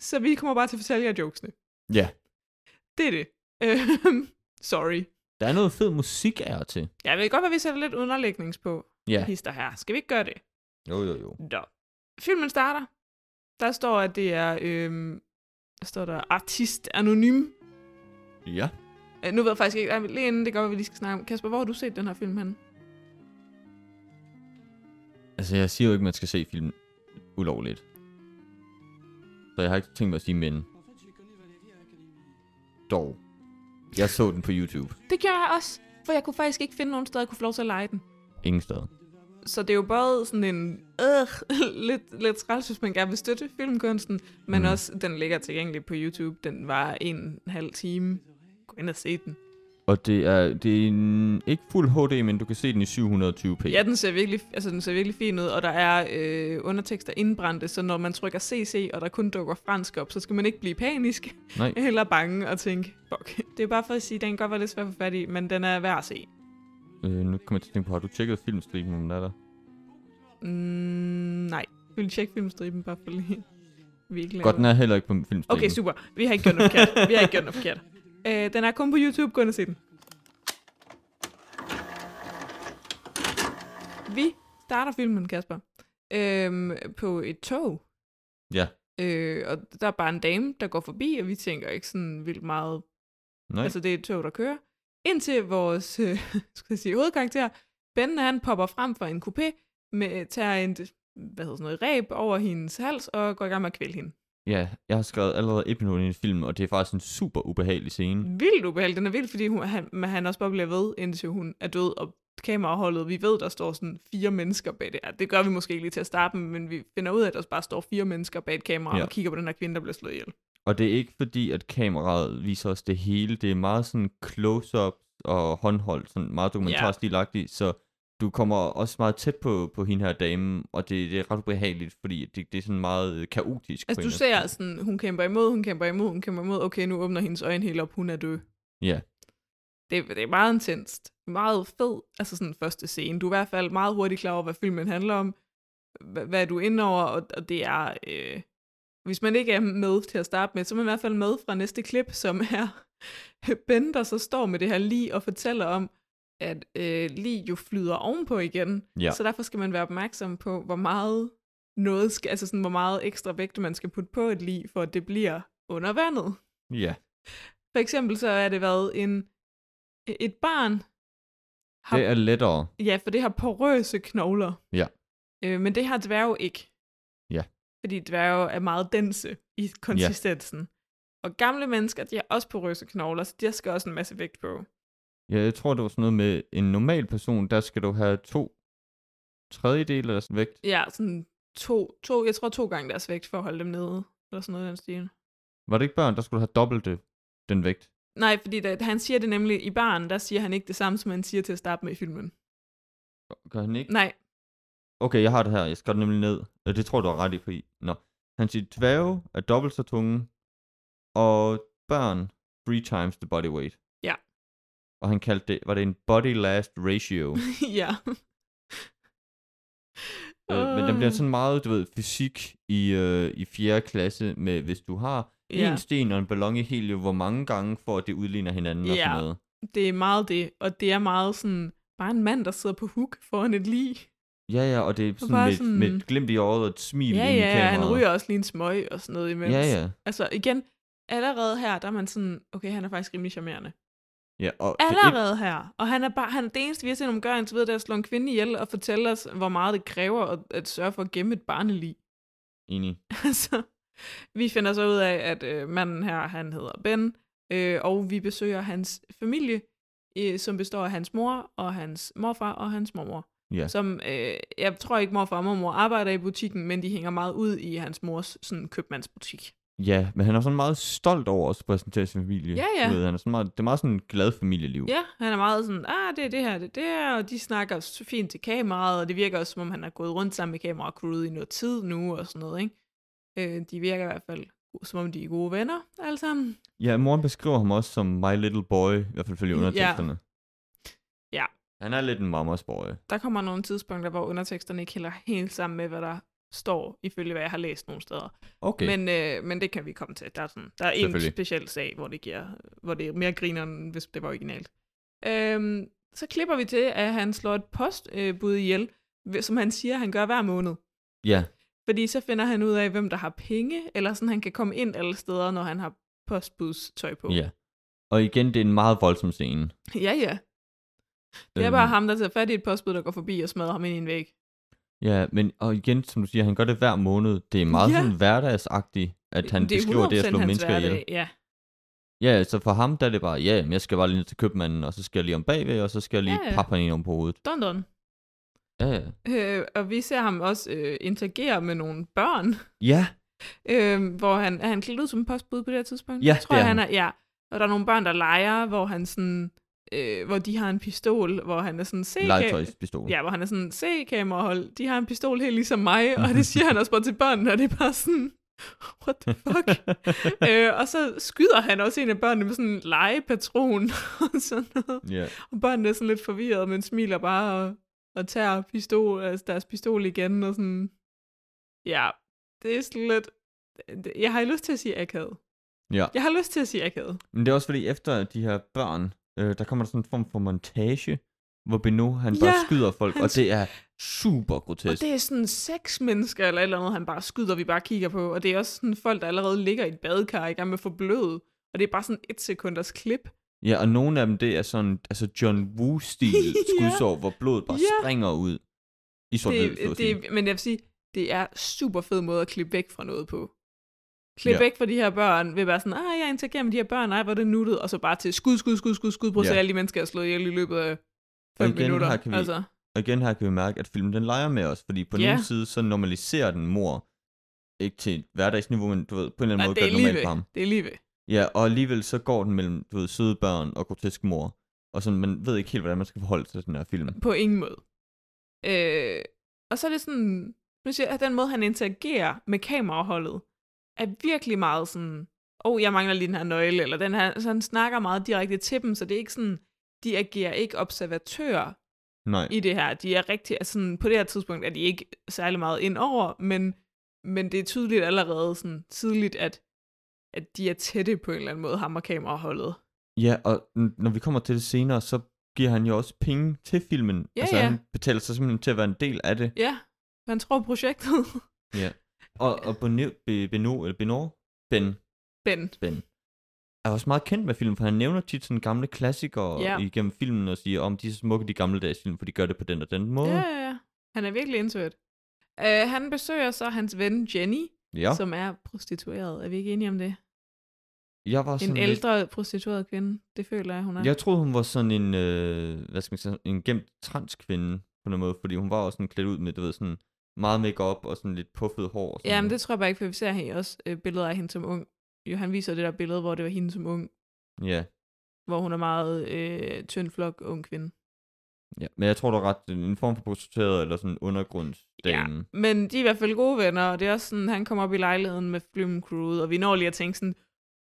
[SPEAKER 6] så vi kommer bare til at fortælle jer jokesene.
[SPEAKER 4] Ja.
[SPEAKER 6] Det er det. Øhm, sorry.
[SPEAKER 4] Der er noget fed musik af og til.
[SPEAKER 6] Jeg ved godt, hvad vi sætter lidt underlægnings på,
[SPEAKER 4] Ja.
[SPEAKER 6] hister her. Skal vi ikke gøre det?
[SPEAKER 4] Jo, jo, jo.
[SPEAKER 6] Nå. Filmen starter. Der står, at det er... Øhm, der står der artist anonym.
[SPEAKER 4] Ja.
[SPEAKER 6] Øh, nu ved jeg faktisk ikke... Ej, men lige inden det gør, at vi lige skal snakke om... Kasper, hvor har du set den her film henne?
[SPEAKER 4] Altså, jeg siger jo ikke, at man skal se film ulovligt. Så jeg har ikke tænkt mig at sige men. Dog. Jeg så den på YouTube.
[SPEAKER 6] Det gjorde jeg også, for jeg kunne faktisk ikke finde nogen steder, jeg kunne få lov til at lege den.
[SPEAKER 4] Ingen steder.
[SPEAKER 6] Så det er jo både sådan en... Øh, [LAUGHS] lidt, lidt træls, hvis man gerne vil støtte filmkunsten, men
[SPEAKER 4] Mm.
[SPEAKER 6] mm. også, den ligger tilgængelig på YouTube. Den var en halv time. Gå ind og se den.
[SPEAKER 4] Og det er, det er en, ikke fuld HD, men du kan se den i 720p.
[SPEAKER 6] Ja, den ser virkelig, altså, den ser virkelig fin ud, og der er øh, undertekster indbrændte, så når man trykker CC, og der kun dukker fransk op, så skal man ikke blive panisk [LAUGHS]
[SPEAKER 4] Nej.
[SPEAKER 6] eller bange og tænke, fuck. Det er bare for at sige, at den kan godt være lidt svær at få fat i, men den er værd at se.
[SPEAKER 4] Øh, nu kommer jeg til at tænke på, har du tjekket filmstriben, om den er der?
[SPEAKER 6] Mm, nej, vi vil tjekke filmstriben bare for lige. Vi ikke laver-
[SPEAKER 4] Godt, den er heller ikke på filmstriben.
[SPEAKER 6] Okay, super. Vi har ikke gjort noget forkert. Vi har ikke gjort noget forkert. Øh, den er kun på YouTube. Gå ind og se den. Vi starter filmen, Kasper, øhm, på et tog.
[SPEAKER 4] Ja.
[SPEAKER 6] Øh, og der er bare en dame, der går forbi, og vi tænker ikke sådan vildt meget.
[SPEAKER 4] Nej. Altså,
[SPEAKER 6] Altså, det er et tog, der kører. Indtil vores øh, [LAUGHS] skal jeg sige, hovedkarakter, Ben, han popper frem fra en coupé, med, tager en hvad hedder sådan noget, ræb over hendes hals og går i gang med at kvæle hende.
[SPEAKER 4] ja, jeg har skrevet allerede episoden i filmen, og det er faktisk en super ubehagelig scene.
[SPEAKER 6] vildt ubehagelig. Den er vild, fordi hun, han, men han også bare bliver ved, indtil hun er død, og kameraholdet, vi ved, der står sådan fire mennesker bag det. Ja, det gør vi måske ikke lige til at starte med, men vi finder ud af, at der bare står fire mennesker bag et kamera
[SPEAKER 4] Ja.
[SPEAKER 6] ja. og kigger på den her kvinde, der bliver slået ihjel.
[SPEAKER 4] Og det er ikke fordi, at kameraet viser os det hele. Det er meget sådan close-up og håndholdt, sådan meget dokumentarstilagtigt, så du kommer også meget tæt på, på hende her dame, og det, det er ret ubehageligt, fordi det, det er sådan meget øh, kaotisk. på
[SPEAKER 6] Altså,
[SPEAKER 4] en
[SPEAKER 6] du
[SPEAKER 4] eller anden
[SPEAKER 6] ser sådan, hun kæmper imod, hun kæmper imod, hun kæmper imod. Okay, nu åbner hendes øjne helt op, hun er død.
[SPEAKER 4] måde. Ja,
[SPEAKER 6] Det, det er meget intenst. Meget fed, altså sådan første scene. Du er i hvert fald meget hurtigt klar over, hvad filmen handler om, hvad, hvad du er inde over, og, og det er... Øh, hvis man ikke er med til at starte med, så er man i hvert fald med fra næste klip, som er [LAUGHS] Ben, der så står med det her lige og fortæller om, at øh, lige jo flyder ovenpå igen.
[SPEAKER 4] Ja.
[SPEAKER 6] Så derfor skal man være opmærksom på, hvor meget noget skal, altså sådan, hvor meget ekstra vægt man skal putte på et lige, for at det bliver under vandet.
[SPEAKER 4] ja.
[SPEAKER 6] For eksempel så er det været en, et barn, har,
[SPEAKER 4] Det er lettere.
[SPEAKER 6] ja, for det har porøse knogler.
[SPEAKER 4] Ja.
[SPEAKER 6] Øh, men det har dværge ikke.
[SPEAKER 4] Ja.
[SPEAKER 6] Fordi dværge er meget dense i konsistensen. Og gamle mennesker, de har også porøse knogler, så der skal også en masse vægt på.
[SPEAKER 4] Ja, jeg tror, det var sådan noget med en normal person, der skal du have to tredjedel af deres vægt.
[SPEAKER 6] Ja, sådan to, to, jeg tror to gange deres vægt for at holde dem nede, eller sådan noget i den stil.
[SPEAKER 4] Var det ikke børn, der skulle du have dobbelt det, den vægt?
[SPEAKER 6] Nej, fordi da, han siger det nemlig i barn, der siger han ikke det samme, som han siger til at starte med i filmen.
[SPEAKER 4] Gør han ikke?
[SPEAKER 6] Nej, [LAUGHS]
[SPEAKER 4] Okay, jeg har det her. Jeg skal det nemlig ned. Øh, Det tror jeg, du har ret i, fordi... Nå. Han siger, dværge er dobbelt så tunge, og børn three times the body weight.
[SPEAKER 6] Ja.
[SPEAKER 4] Og han kaldte det, var det en body last
[SPEAKER 6] [LAUGHS]
[SPEAKER 4] ratio.
[SPEAKER 6] ja.
[SPEAKER 4] øh, men den bliver sådan meget, du ved, fysik i, øh, i 4. klasse med, hvis du har
[SPEAKER 6] Ja.
[SPEAKER 4] en sten og en ballon i helium, hvor mange gange for at det udligner hinanden og sådan
[SPEAKER 6] Ja.
[SPEAKER 4] noget.
[SPEAKER 6] det er meget det, og det er meget sådan, bare en mand, der sidder på hook foran et lig.
[SPEAKER 4] Ja, ja, og det er sådan,
[SPEAKER 6] bare
[SPEAKER 4] med, sådan...
[SPEAKER 6] sådan-
[SPEAKER 4] med et glimt i øjet og et smil
[SPEAKER 6] Ja,
[SPEAKER 4] ind i
[SPEAKER 6] ja,
[SPEAKER 4] kameraet.
[SPEAKER 6] han ryger også lige en smøg og sådan noget imens.
[SPEAKER 4] Ja, ja.
[SPEAKER 6] Altså igen, allerede her, der er man sådan, okay, han er faktisk rimelig charmerende.
[SPEAKER 4] ja og det-
[SPEAKER 6] Allerede her, og han er bare, han er det eneste, vi har set om gør, indtil videre, det er at slå en kvinde ihjel og fortælle os, hvor meget det kræver at, at sørge for at gemme et barnelig.
[SPEAKER 4] Enig.
[SPEAKER 6] [LAUGHS] Altså, vi finder så ud af, at øh, manden her, han hedder Ben, øh, og vi besøger hans familie, øh, som består af hans mor og hans morfar og hans mormor.
[SPEAKER 4] Ja.
[SPEAKER 6] Som, øh, jeg tror ikke, morfar og mormor arbejder i butikken, men de hænger meget ud i hans mors sådan, købmandsbutik.
[SPEAKER 4] Ja, men han er sådan meget stolt over at præsentere sin familie.
[SPEAKER 6] Ja, ja.
[SPEAKER 4] Du Ved, han er sådan meget, det er meget sådan et glad familieliv.
[SPEAKER 6] Ja, han er meget sådan, ah, det er det her, det er det her, og de snakker så fint til kameraet, og det virker også, som om han har gået rundt sammen med kameraet og crewet i noget tid nu og sådan noget, ikke? Øh, de virker i hvert fald, som om de er gode venner, alle sammen.
[SPEAKER 4] Ja, moren beskriver ham også som my little boy, i hvert fald følge underteksterne.
[SPEAKER 6] Ja.
[SPEAKER 4] Han er lidt en mamas boy.
[SPEAKER 6] Der kommer nogle tidspunkter, hvor underteksterne ikke hælder helt sammen med, hvad der står, ifølge hvad jeg har læst nogle steder.
[SPEAKER 4] Okay. Men...
[SPEAKER 6] Men, øh, men det kan vi komme til. Der er, sådan, der er en
[SPEAKER 4] Selvfølgelig.
[SPEAKER 6] speciel sag, hvor det, giver, hvor det er mere griner, end hvis det var originalt. Øhm, så klipper vi til, at han slår et postbud øh, bud ihjel, hv- som han siger, han gør hver måned.
[SPEAKER 4] Ja,
[SPEAKER 6] Fordi så finder han ud af, hvem der har penge, eller sådan han kan komme ind alle steder, når han har postbudstøj på.
[SPEAKER 4] ja. Og igen, det er en meget voldsom scene.
[SPEAKER 6] ja. ja. Det er
[SPEAKER 4] Øhm,
[SPEAKER 6] bare ham, der tager fat i et postbud, der går forbi og smadrer ham ind i en væg.
[SPEAKER 4] Ja, men og igen, som du siger, han gør det hver måned. Det er meget
[SPEAKER 6] Ja.
[SPEAKER 4] ja. sådan hverdagsagtigt, at han det beskriver det at
[SPEAKER 6] 100%
[SPEAKER 4] slå
[SPEAKER 6] hans
[SPEAKER 4] mennesker ihjel.
[SPEAKER 6] hverdag, Ja,
[SPEAKER 4] Ja, så for ham der er det bare, ja, men jeg skal bare lige ned til købmanden, og så skal jeg lige om bagved, og så skal jeg lige
[SPEAKER 6] Ja,
[SPEAKER 4] ja,
[SPEAKER 6] ja.
[SPEAKER 4] ja. pappe hende om på hovedet.
[SPEAKER 6] don don.
[SPEAKER 4] Ja, ja.
[SPEAKER 6] Øh, og vi ser ham også øh, interagere med nogle børn,
[SPEAKER 4] Ja,
[SPEAKER 6] øh, hvor han, er han klædt ud som postbud på det her tidspunkt?
[SPEAKER 4] Ja,
[SPEAKER 6] Jeg tror,
[SPEAKER 4] det er
[SPEAKER 6] han. er, ja. Og der er nogle børn, der leger, hvor han sådan, øh, hvor de har en pistol, hvor han er sådan, se, ka-
[SPEAKER 4] legetøjspistol. Ja.
[SPEAKER 6] ja, hvor han er sådan, se kamerahold, de har en pistol helt ligesom mig, og det siger han
[SPEAKER 4] [LAUGHS]
[SPEAKER 6] også bare til børnene, og det er bare sådan, what the fuck? øh, og så skyder han også en af børnene med sådan en legepatron og sådan noget.
[SPEAKER 4] [LAUGHS] ja.
[SPEAKER 6] Og børnene er sådan lidt forvirrede, men smiler bare og, og tager pistol, altså deres pistol igen, og sådan... Ja, det er sådan lidt... det- Jeg har lyst til at sige akavet.
[SPEAKER 4] ja.
[SPEAKER 6] Jeg har lyst til at sige akavet.
[SPEAKER 4] Men det er også fordi, efter de her børn, øh, der kommer der sådan en form for montage, hvor Beno han
[SPEAKER 6] Ja,
[SPEAKER 4] ja, bare skyder folk,
[SPEAKER 6] han
[SPEAKER 4] og
[SPEAKER 6] sk-
[SPEAKER 4] det er super
[SPEAKER 6] Og
[SPEAKER 4] grotesk.
[SPEAKER 6] det er sådan seks mennesker eller et eller andet, han bare skyder, vi bare kigger på. Og det er også sådan folk, der allerede ligger i et badekar i gang med at få blød. Og det er bare sådan et sekunders klip.
[SPEAKER 4] Ja, og nogle af dem, det er sådan, altså John Woo-stil
[SPEAKER 6] [LAUGHS] Ja.
[SPEAKER 4] skudsår, hvor blodet bare
[SPEAKER 6] Ja.
[SPEAKER 4] springer ud i sort
[SPEAKER 6] Det, det, men jeg vil sige, det er super fed måde at klippe væk fra noget på. Klip
[SPEAKER 4] Ja.
[SPEAKER 6] væk fra de her børn ved bare sådan, ah, jeg interagerer med de her børn, nej, hvor er det nuttet, og så bare til skud, skud, skud, skud, skud, prøv at se
[SPEAKER 4] Ja.
[SPEAKER 6] alle de mennesker, jeg har slået ihjel i løbet af
[SPEAKER 4] Og
[SPEAKER 6] fem
[SPEAKER 4] igen,
[SPEAKER 6] minutter.
[SPEAKER 4] her kan vi-
[SPEAKER 6] Altså,
[SPEAKER 4] Og igen her kan vi mærke, at filmen den leger med os, fordi på den
[SPEAKER 6] Ja.
[SPEAKER 4] ene side, så normaliserer den mor, ikke til et hverdagsniveau, men du ved, på en eller anden
[SPEAKER 6] nej,
[SPEAKER 4] måde
[SPEAKER 6] det
[SPEAKER 4] gør
[SPEAKER 6] er
[SPEAKER 4] det
[SPEAKER 6] lige
[SPEAKER 4] normalt for ham.
[SPEAKER 6] ved. Det er lige ved.
[SPEAKER 4] Ja, og alligevel så går den mellem, du ved, søde børn og grotesk mor, og sådan, man ved ikke helt, hvordan man skal forholde sig til den her film.
[SPEAKER 6] På ingen måde. Øh, og så er det sådan, nu siger jeg, at den måde, han interagerer med kameraholdet, er virkelig meget sådan, åh, oh, jeg mangler lige den her nøgle, eller den her, så han snakker meget direkte til dem, så det er ikke sådan, de agerer ikke observatører,
[SPEAKER 4] Nej.
[SPEAKER 6] i det her. De er rigtig, altså sådan, på det her tidspunkt er de ikke særlig meget ind over, men, men det er tydeligt allerede sådan, tidligt, at, at de er tætte på en eller anden måde, ham og kameraholdet.
[SPEAKER 4] Ja, og n- når vi kommer til det senere, så giver han jo også penge til filmen.
[SPEAKER 6] Ja,
[SPEAKER 4] altså,
[SPEAKER 6] ja.
[SPEAKER 4] han betaler sig simpelthen til at være en del af det.
[SPEAKER 6] Ja, man tror projektet. [LAUGHS]
[SPEAKER 4] Og, og Beno, Be- Beno, eller Benor, Ben,
[SPEAKER 6] Ben,
[SPEAKER 4] Ben, er også meget kendt med filmen, for han nævner tit sådan gamle klassikere
[SPEAKER 6] Ja.
[SPEAKER 4] ja. igennem filmen og siger, om de er så smukke, de gamle dages film, for de gør det på den og den måde.
[SPEAKER 6] ja, ja, ja. Han er virkelig indsøgt. Uh, han besøger så hans ven Jenny,
[SPEAKER 4] ja.
[SPEAKER 6] ja. som er prostitueret. Er vi ikke enige om det?
[SPEAKER 4] jeg var sådan
[SPEAKER 6] En
[SPEAKER 4] lidt-
[SPEAKER 6] ældre prostitueret kvinde. Det føler jeg, hun er.
[SPEAKER 4] Jeg troede, hun var sådan en, øh, hvad skal man sige, en gemt transkvinde på en måde, fordi hun var også sådan klædt ud med, du ved, sådan meget makeup og sådan lidt puffet hår. Og sådan
[SPEAKER 6] Jamen, det
[SPEAKER 4] noget.
[SPEAKER 6] tror jeg bare ikke, for vi ser her også øh, billeder af hende som ung. Jo, han viser det der billede, hvor det var hende som ung,
[SPEAKER 4] Ja,
[SPEAKER 6] hvor hun er meget øh, tyndflok ung kvinde.
[SPEAKER 4] ja. Men jeg tror, du er ret, det er en form for prostitueret eller sådan en undergrundsdame. Ja.
[SPEAKER 6] Men de er i hvert fald gode venner, og det er også sådan, han kommer op i lejligheden med filmcrewet, og vi når lige at tænke sådan,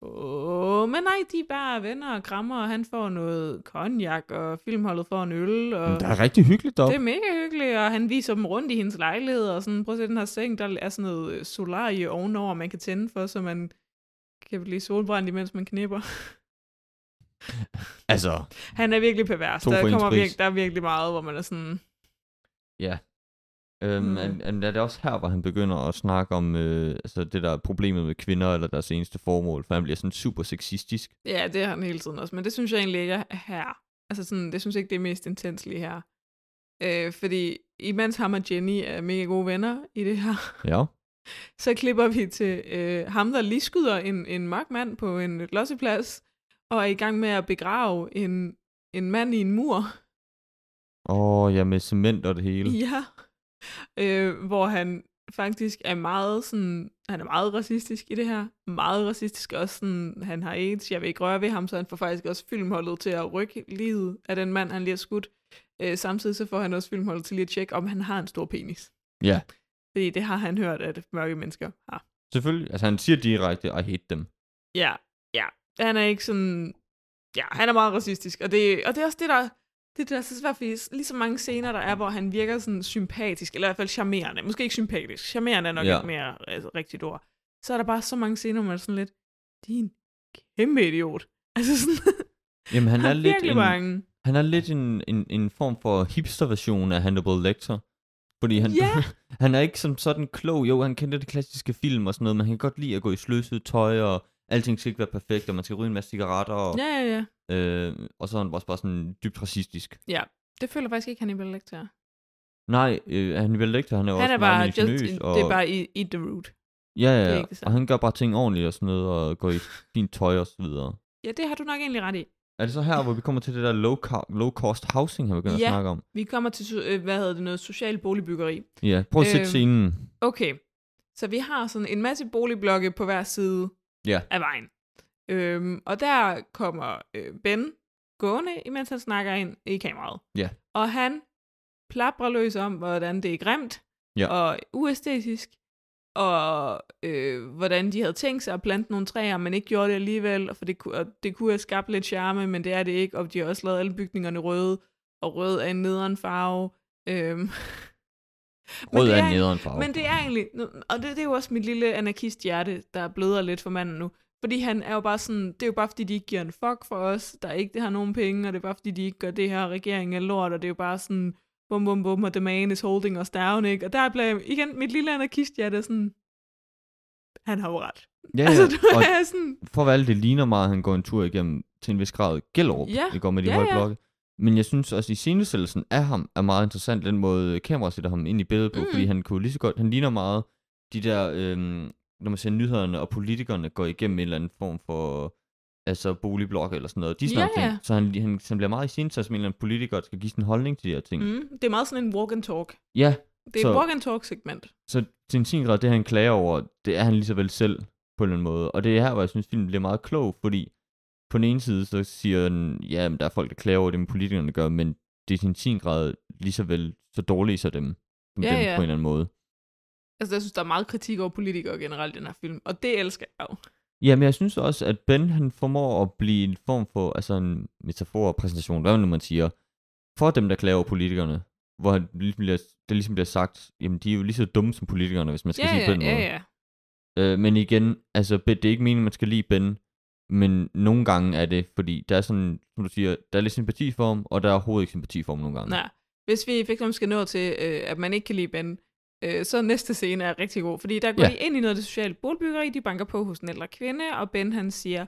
[SPEAKER 6] åh, men nej, de er bare venner og krammer, og han får noget cognac, og filmholdet får en øl, og
[SPEAKER 4] Der er rigtig hyggeligt
[SPEAKER 6] det
[SPEAKER 4] deroppe.
[SPEAKER 6] er mega hyggeligt, og han viser dem rundt i hendes lejlighed, og sådan, prøv at se den her seng, der er sådan noget øh, solarie ovenover, man kan tænde for, så man kan blive solbrændt, imens man knipper.
[SPEAKER 4] Altså,
[SPEAKER 6] Han er virkelig pervers.
[SPEAKER 4] To
[SPEAKER 6] Der,
[SPEAKER 4] for ens
[SPEAKER 6] kommer
[SPEAKER 4] pris.
[SPEAKER 6] virke, der er virkelig meget, hvor man er sådan,
[SPEAKER 4] øhm,
[SPEAKER 6] Mm.
[SPEAKER 4] mm. er, er det også her, hvor han begynder at snakke om øh, altså det der er problemet med kvinder eller deres eneste formål, for han bliver sådan super sexistisk.
[SPEAKER 6] Ja, det har han hele tiden også, men det synes jeg egentlig ikke er her. Altså sådan, det synes jeg ikke, det er mest intens lige her. Øh, fordi imens ham og Jenny er mega gode venner i det her, [LAUGHS]
[SPEAKER 4] Ja.
[SPEAKER 6] så klipper vi til øh, ham, der lige skyder en, en mørk mand på en losseplads, og er i gang med at begrave en, en mand i en mur.
[SPEAKER 4] Åh, oh, ja, med cement og det hele.
[SPEAKER 6] Ja. Øh, hvor han faktisk er meget sådan, han er meget racistisk i det her. Meget racistisk også sådan, han har AIDS, jeg vil ikke røre ved ham, så han får faktisk også filmholdet til at rykke livet af den mand, han lige har skudt. Øh, samtidig så får han også filmholdet til lige at tjekke, om han har en stor penis.
[SPEAKER 4] Ja.
[SPEAKER 6] Fordi det har han hørt, at mørke mennesker har.
[SPEAKER 4] Selvfølgelig. Altså, han siger direkte, I hate them.
[SPEAKER 6] Ja, ja. Han er ikke sådan... Ja, han er meget racistisk. Og det, og det er også det, der, det, er det, der er så svært, fordi lige så mange scener, der er, hvor han virker sådan sympatisk, eller i hvert fald charmerende. Måske ikke sympatisk. Charmerende er nok
[SPEAKER 4] Ja.
[SPEAKER 6] ja. ikke mere altså, rigtigt ord. Så er der bare så mange scener, hvor man er sådan lidt, din kæmpe idiot. [LAUGHS] Altså sådan,
[SPEAKER 4] Jamen, han
[SPEAKER 6] han
[SPEAKER 4] er lidt
[SPEAKER 6] virkelig
[SPEAKER 4] en,
[SPEAKER 6] mange.
[SPEAKER 4] han er lidt en, en, en form for hipster-version af Hannibal Lecter. Fordi han,
[SPEAKER 6] Ja.
[SPEAKER 4] [LAUGHS] han er ikke som sådan klog. Jo, han kender det klassiske film og sådan noget, men han kan godt lide at gå i sløset tøj, og alting skal ikke være perfekt, og man skal ryge en masse cigaretter, og,
[SPEAKER 6] Ja, ja, ja.
[SPEAKER 4] øh, og så er han også bare sådan dybt racistisk.
[SPEAKER 6] Det føler jeg faktisk ikke, han er Lecter.
[SPEAKER 4] Nej, øh, Hannibal Lecter, han er jo
[SPEAKER 6] Han
[SPEAKER 4] også
[SPEAKER 6] er bare,
[SPEAKER 4] meget
[SPEAKER 6] just,
[SPEAKER 4] ingeniøs,
[SPEAKER 6] in,
[SPEAKER 4] og,
[SPEAKER 6] det er bare i, i the root.
[SPEAKER 4] ja,
[SPEAKER 6] det er
[SPEAKER 4] ja,
[SPEAKER 6] ikke det
[SPEAKER 4] ja, og
[SPEAKER 6] samme.
[SPEAKER 4] han gør bare ting ordentligt og sådan noget, og går i
[SPEAKER 6] [LAUGHS]
[SPEAKER 4] fint tøj og så videre.
[SPEAKER 6] Ja, det har du nok egentlig ret i.
[SPEAKER 4] Er det så her, hvor vi kommer til det der low, car- low cost housing, han begynder
[SPEAKER 6] Ja.
[SPEAKER 4] at snakke om?
[SPEAKER 6] Vi kommer til, so- øh, hvad hedder det, noget socialt boligbyggeri.
[SPEAKER 4] Ja, prøv at sætte
[SPEAKER 6] Øhm,
[SPEAKER 4] scenen.
[SPEAKER 6] Okay, så vi har sådan en masse boligblokke på hver side
[SPEAKER 4] Ja.
[SPEAKER 6] af vejen. Øhm, og der kommer øh, Ben gående, imens han snakker ind i kameraet.
[SPEAKER 4] Ja.
[SPEAKER 6] Og han plapper løs om, hvordan det er grimt
[SPEAKER 4] Ja.
[SPEAKER 6] og uæstetisk, og øh, hvordan de havde tænkt sig at plante nogle træer, men ikke gjorde det alligevel, for det, ku- og det kunne have skabt lidt charme, men det er det ikke, og de har også lavet alle bygningerne røde, og rød er en nederen farve. Øhm. Men
[SPEAKER 4] Rød
[SPEAKER 6] det
[SPEAKER 4] er
[SPEAKER 6] en-
[SPEAKER 4] nederen farve.
[SPEAKER 6] men det er egentlig, og det, det er jo også mit lille anarkist hjerte, der bløder lidt for manden nu. Fordi han er jo bare sådan, det er jo bare fordi, de ikke giver en fuck for os, der ikke har nogen penge, og det er bare fordi, de ikke gør det her, og regeringen er lort, og det er jo bare sådan, bum bum bum, og the man is holding us down, ikke? Og der bliver jeg- igen mit lille anarkist hjerte sådan, han har jo ret.
[SPEAKER 4] Ja,
[SPEAKER 6] Ja,
[SPEAKER 4] ja.
[SPEAKER 6] altså, du
[SPEAKER 4] og
[SPEAKER 6] er sådan,
[SPEAKER 4] for at være ærlig, det ligner meget, at han går en tur igennem til en vis grad Gellerup,
[SPEAKER 6] Ja,
[SPEAKER 4] det går med de
[SPEAKER 6] ja,
[SPEAKER 4] høje
[SPEAKER 6] ja.
[SPEAKER 4] blokke. Men jeg synes også, at scenesættelsen af ham er meget interessant, den måde øh, kameraet sætter ham ind i billedet på, mm.
[SPEAKER 6] Mm.
[SPEAKER 4] fordi han kunne lige så godt, han ligner meget de der, øhm, når man ser nyhederne og politikerne går igennem en eller anden form for altså boligblokke eller sådan noget, de snakker
[SPEAKER 6] Ja, ja.
[SPEAKER 4] ting. Så han, han, han bliver meget i som en eller anden politiker, der skal give sin holdning til de her ting. Mm.
[SPEAKER 6] mm, det er meget sådan en walk and talk.
[SPEAKER 4] Ja,
[SPEAKER 6] Det er
[SPEAKER 4] Så-
[SPEAKER 6] et walk and talk segment.
[SPEAKER 4] så til en sin grad, det han klager over, det er han lige så vel selv på en eller anden måde. Og det er her, hvor jeg synes, filmen bliver meget klog, fordi på den ene side, så siger den, ja, men der er folk, der klager over det, men politikerne gør, men det er til en sin grad lige så vel så dårlige så dem, som
[SPEAKER 6] Ja,
[SPEAKER 4] dem
[SPEAKER 6] ja.
[SPEAKER 4] på en eller anden måde.
[SPEAKER 6] Altså, jeg synes, der er meget kritik over politikere generelt i den her film, og det elsker jeg jo.
[SPEAKER 4] Ja, men jeg synes også, at Ben, han formår at blive en form for, altså en metafor og præsentation, hvad man man siger, for dem, der klager over politikerne, hvor han ligesom bliver, der ligesom bliver sagt, jamen de er jo lige så dumme som politikerne, hvis man skal sige det på den måde.
[SPEAKER 6] ja, ja.
[SPEAKER 4] Øh, men igen, altså, Ben- det er ikke meningen, man skal lide Ben, men nogle gange er det, fordi der er sådan, som du siger, der er lidt sympati for ham, og der er overhovedet ikke sympati for ham nogle gange.
[SPEAKER 6] Nej. Hvis vi fx skal nå til, øh, at man ikke kan lide Ben, øh, så næste scene er rigtig god, fordi der går
[SPEAKER 4] Ja.
[SPEAKER 6] ja. de ind i noget af det sociale boligbyggeri, de banker på hos en ældre kvinde, og Ben han siger,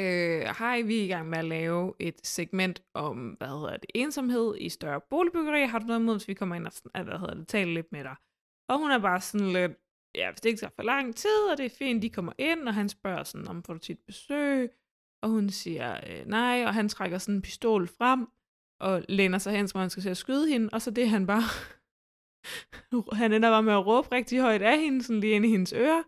[SPEAKER 6] øh, hej, vi er i gang med at lave et segment om, hvad hedder det, ensomhed i større boligbyggeri, har du noget imod, hvis vi kommer ind og sn- hvad hedder det, taler lidt med dig? Og hun er bare sådan lidt, ja, hvis det ikke tager for lang tid, og det er fint, de kommer ind, og han spørger sådan, om får du tit besøg? Og hun siger øh, nej, og han trækker sådan en pistol frem, og læner sig hen, som om han skal til at skyde hende, og så det er han bare... [LAUGHS] han ender bare med at råbe rigtig højt af hende, sådan lige ind i hendes ører.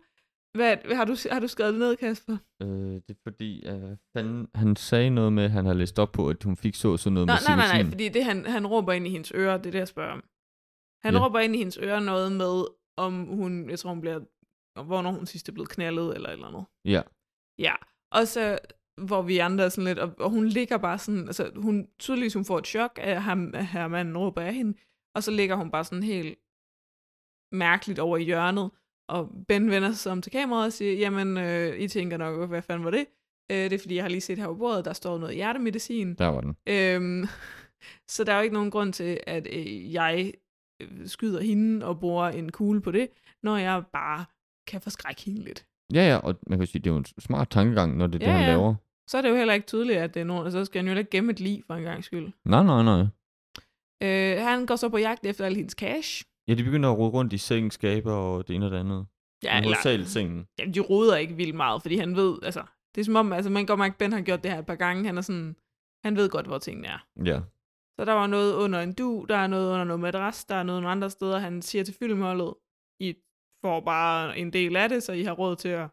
[SPEAKER 6] Hvad, hvad har, du, har du skrevet det ned, Kasper?
[SPEAKER 4] Øh, det er fordi, øh, han, han sagde noget med, han har læst op på, at hun fik så sådan noget
[SPEAKER 6] Nå,
[SPEAKER 4] med
[SPEAKER 6] nej, nej, nej,
[SPEAKER 4] psilocin.
[SPEAKER 6] fordi det, han, han råber ind i hendes ører, det er det, jeg spørger om. Han
[SPEAKER 4] Ja.
[SPEAKER 6] ja. råber ind i hendes ører noget med, om hun, jeg tror hun bliver, hvornår hun sidst er blevet knaldet, eller et eller andet.
[SPEAKER 4] Ja.
[SPEAKER 6] Ja, og så hvor vi andre er sådan lidt, og, og hun ligger bare sådan, altså hun, tydeligvis hun får et chok af ham, af her manden råber af hende, og så ligger hun bare sådan helt mærkeligt over i hjørnet, og Ben vender sig om til kameraet og siger, jamen, øh, I tænker nok, hvad fanden var det? Øh, det er fordi, jeg har lige set her på bordet, der står noget hjertemedicin.
[SPEAKER 4] Der var den.
[SPEAKER 6] Øhm, så der er jo ikke nogen grund til, at øh, jeg øh, skyder hende og bruger en kugle på det, når jeg bare kan forskrække hende lidt.
[SPEAKER 4] Ja, ja, og man kan sige, det er jo en smart tankegang, når det er ja,
[SPEAKER 6] Ja,
[SPEAKER 4] det, han
[SPEAKER 6] ja.
[SPEAKER 4] laver.
[SPEAKER 6] Så er det jo heller ikke tydeligt, at det er nogen, og så skal han jo heller ikke gemme et lig for en gang skyld.
[SPEAKER 4] Nej, nej, nej.
[SPEAKER 6] Øh, han går så på jagt efter al hendes cash.
[SPEAKER 4] Ja, de begynder at rode rundt i sengen, skaber og det ene og det andet.
[SPEAKER 6] Ja,
[SPEAKER 4] Ja,
[SPEAKER 6] eller,
[SPEAKER 4] Hovedsageligt sengen.
[SPEAKER 6] jamen, de roder ikke vildt meget, fordi han ved, altså, det er som om, altså, man går mærke, Ben har gjort det her et par gange, han er sådan, han ved godt, hvor tingene er.
[SPEAKER 4] Ja.
[SPEAKER 6] Så der var noget under en du, der er noget under noget madras, der er noget nogle andre steder. Han siger til filmholdet, I får bare en del af det, så I har råd til at...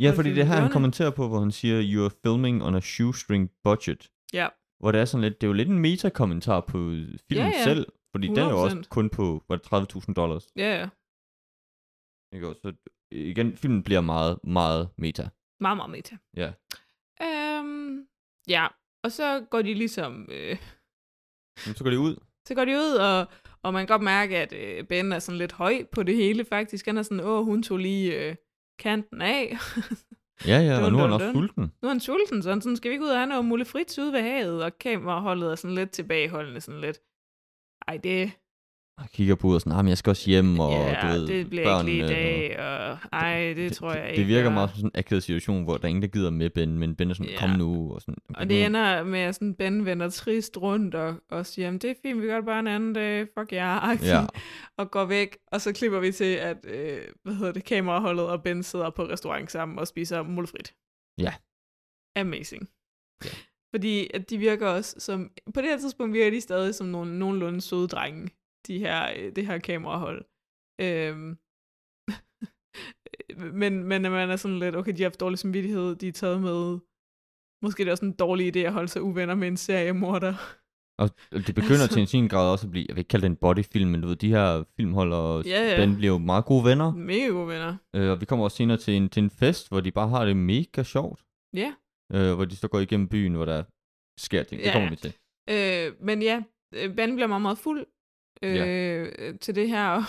[SPEAKER 4] Ja,
[SPEAKER 6] Og
[SPEAKER 4] fordi det
[SPEAKER 6] filmen
[SPEAKER 4] er her, han
[SPEAKER 6] Bjørne.
[SPEAKER 4] kommenterer på, hvor han siger, you're filming on a shoestring budget.
[SPEAKER 6] Ja.
[SPEAKER 4] Hvor det er sådan lidt, det er jo lidt en meta-kommentar på filmen ja,
[SPEAKER 6] Ja,
[SPEAKER 4] ja.
[SPEAKER 6] ja.
[SPEAKER 4] selv, fordi den er jo også
[SPEAKER 6] 100%.
[SPEAKER 4] kun på, var det 30.000 dollars?
[SPEAKER 6] Ja, ja.
[SPEAKER 4] Ikke? også? Så igen, filmen bliver meget, meget meta.
[SPEAKER 6] Meget, meget meta.
[SPEAKER 4] Ja.
[SPEAKER 6] Øhm, ja, og så går de ligesom... Øh,
[SPEAKER 4] Men så går det ud.
[SPEAKER 6] så går de ud, og, og man kan godt mærke, at øh, Ben er sådan lidt høj på det hele, faktisk. Han er sådan, åh, hun tog lige øh, kanten af. [LAUGHS]
[SPEAKER 4] Ja, ja, og
[SPEAKER 6] Dun,
[SPEAKER 4] nu er han
[SPEAKER 6] dun,
[SPEAKER 4] også
[SPEAKER 6] dun.
[SPEAKER 4] sulten.
[SPEAKER 6] nu er han sulten, så han sådan, skal vi ikke ud og have noget mulle frit ude ved havet? Og kameraholdet er sådan lidt tilbageholdende, sådan lidt. Ej, det,
[SPEAKER 4] Og kigger på ud og sådan, "Ah, men jeg skal også hjem, og
[SPEAKER 6] ja,
[SPEAKER 4] du ved,
[SPEAKER 6] det bliver ikke lige i
[SPEAKER 4] børnene, og-
[SPEAKER 6] dag, og ej, det, tror jeg ikke.
[SPEAKER 4] Det virker
[SPEAKER 6] og-
[SPEAKER 4] meget som sådan en akavet situation, hvor der er ingen, der gider med Ben, men Ben er sådan,
[SPEAKER 6] Ja.
[SPEAKER 4] kom nu, og sådan.
[SPEAKER 6] Og det ender med, at sådan Ben vender trist rundt og, og siger, "Jamen, det er fint, vi gør det bare en anden dag, fuck jer,
[SPEAKER 4] Ja,
[SPEAKER 6] yeah. og går væk. Og så klipper vi til, at øh, hvad hedder det, kameraholdet og Ben sidder på restaurant sammen og spiser mulfrit.
[SPEAKER 4] Ja.
[SPEAKER 6] Amazing. Fordi at de virker også som, på det her tidspunkt virker de stadig som nogle nogenlunde søde drenge, de her, øh, det her kamerahold. Øhm. [LAUGHS] men, men at man er sådan lidt, okay, de har haft dårlig samvittighed, de er taget med. Måske er det også en dårlig idé at holde sig uvenner med en seriemorder.
[SPEAKER 4] og det begynder
[SPEAKER 6] Altså-
[SPEAKER 4] til en sin grad også at blive, jeg vil ikke kalde det en bodyfilm, men du ved, de her filmholder og
[SPEAKER 6] Ja, Mm. ja.
[SPEAKER 4] Ben bliver jo meget gode venner,
[SPEAKER 6] Mega gode venner.
[SPEAKER 4] øh, og vi kommer også senere til en, til en fest, hvor de bare har det mega sjovt,
[SPEAKER 6] Ja.
[SPEAKER 4] øh, hvor de så går igennem byen, hvor der sker ting, det
[SPEAKER 6] Ja,
[SPEAKER 4] kommer
[SPEAKER 6] ja.
[SPEAKER 4] vi til.
[SPEAKER 6] Øh, men ja, øh, Ben bliver meget, meget fuld øh,
[SPEAKER 4] Ja.
[SPEAKER 6] øh, til det her. [LAUGHS] Og,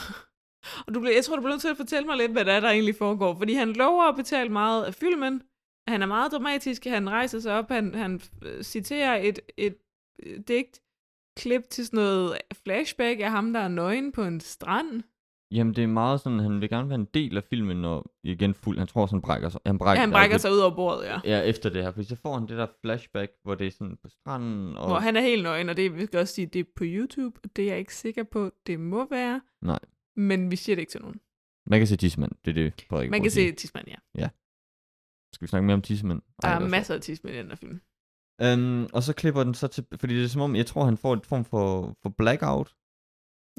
[SPEAKER 6] og du bliver, jeg tror, du bliver nødt til at fortælle mig lidt, hvad der, er, der egentlig foregår. Fordi han lover at betale meget af filmen. Han er meget dramatisk. Han rejser sig op. Han, han øh, citerer et, et øh, digt klip til sådan noget flashback af ham, der er nøgen på en strand.
[SPEAKER 4] Jamen, det er meget sådan, han vil gerne være en del af filmen, og igen fuld, han tror også, han brækker sig. Han
[SPEAKER 6] Ja,
[SPEAKER 4] brækker, altså,
[SPEAKER 6] han brækker sig ud over bordet, ja.
[SPEAKER 4] Ja, efter det her, fordi så får han det der flashback, hvor det er sådan på stranden, og
[SPEAKER 6] Hvor han er helt nøgen, og det vi skal også sige, det er på YouTube, og det er jeg ikke sikker på, det må være.
[SPEAKER 4] Nej.
[SPEAKER 6] Men vi siger det ikke til nogen.
[SPEAKER 4] man kan se Tissemand, det er det, Frederik
[SPEAKER 6] Man
[SPEAKER 4] prøver
[SPEAKER 6] kan
[SPEAKER 4] at sige.
[SPEAKER 6] se Tisman, ja.
[SPEAKER 4] Skal vi snakke mere om tissemænd?
[SPEAKER 6] Der
[SPEAKER 4] Ej,
[SPEAKER 6] er
[SPEAKER 4] det var
[SPEAKER 6] masser af tidsmænd i den her film.
[SPEAKER 4] sjovt. Øhm, og så klipper den så til... Fordi det er som om, jeg tror, han får en form for, for blackout,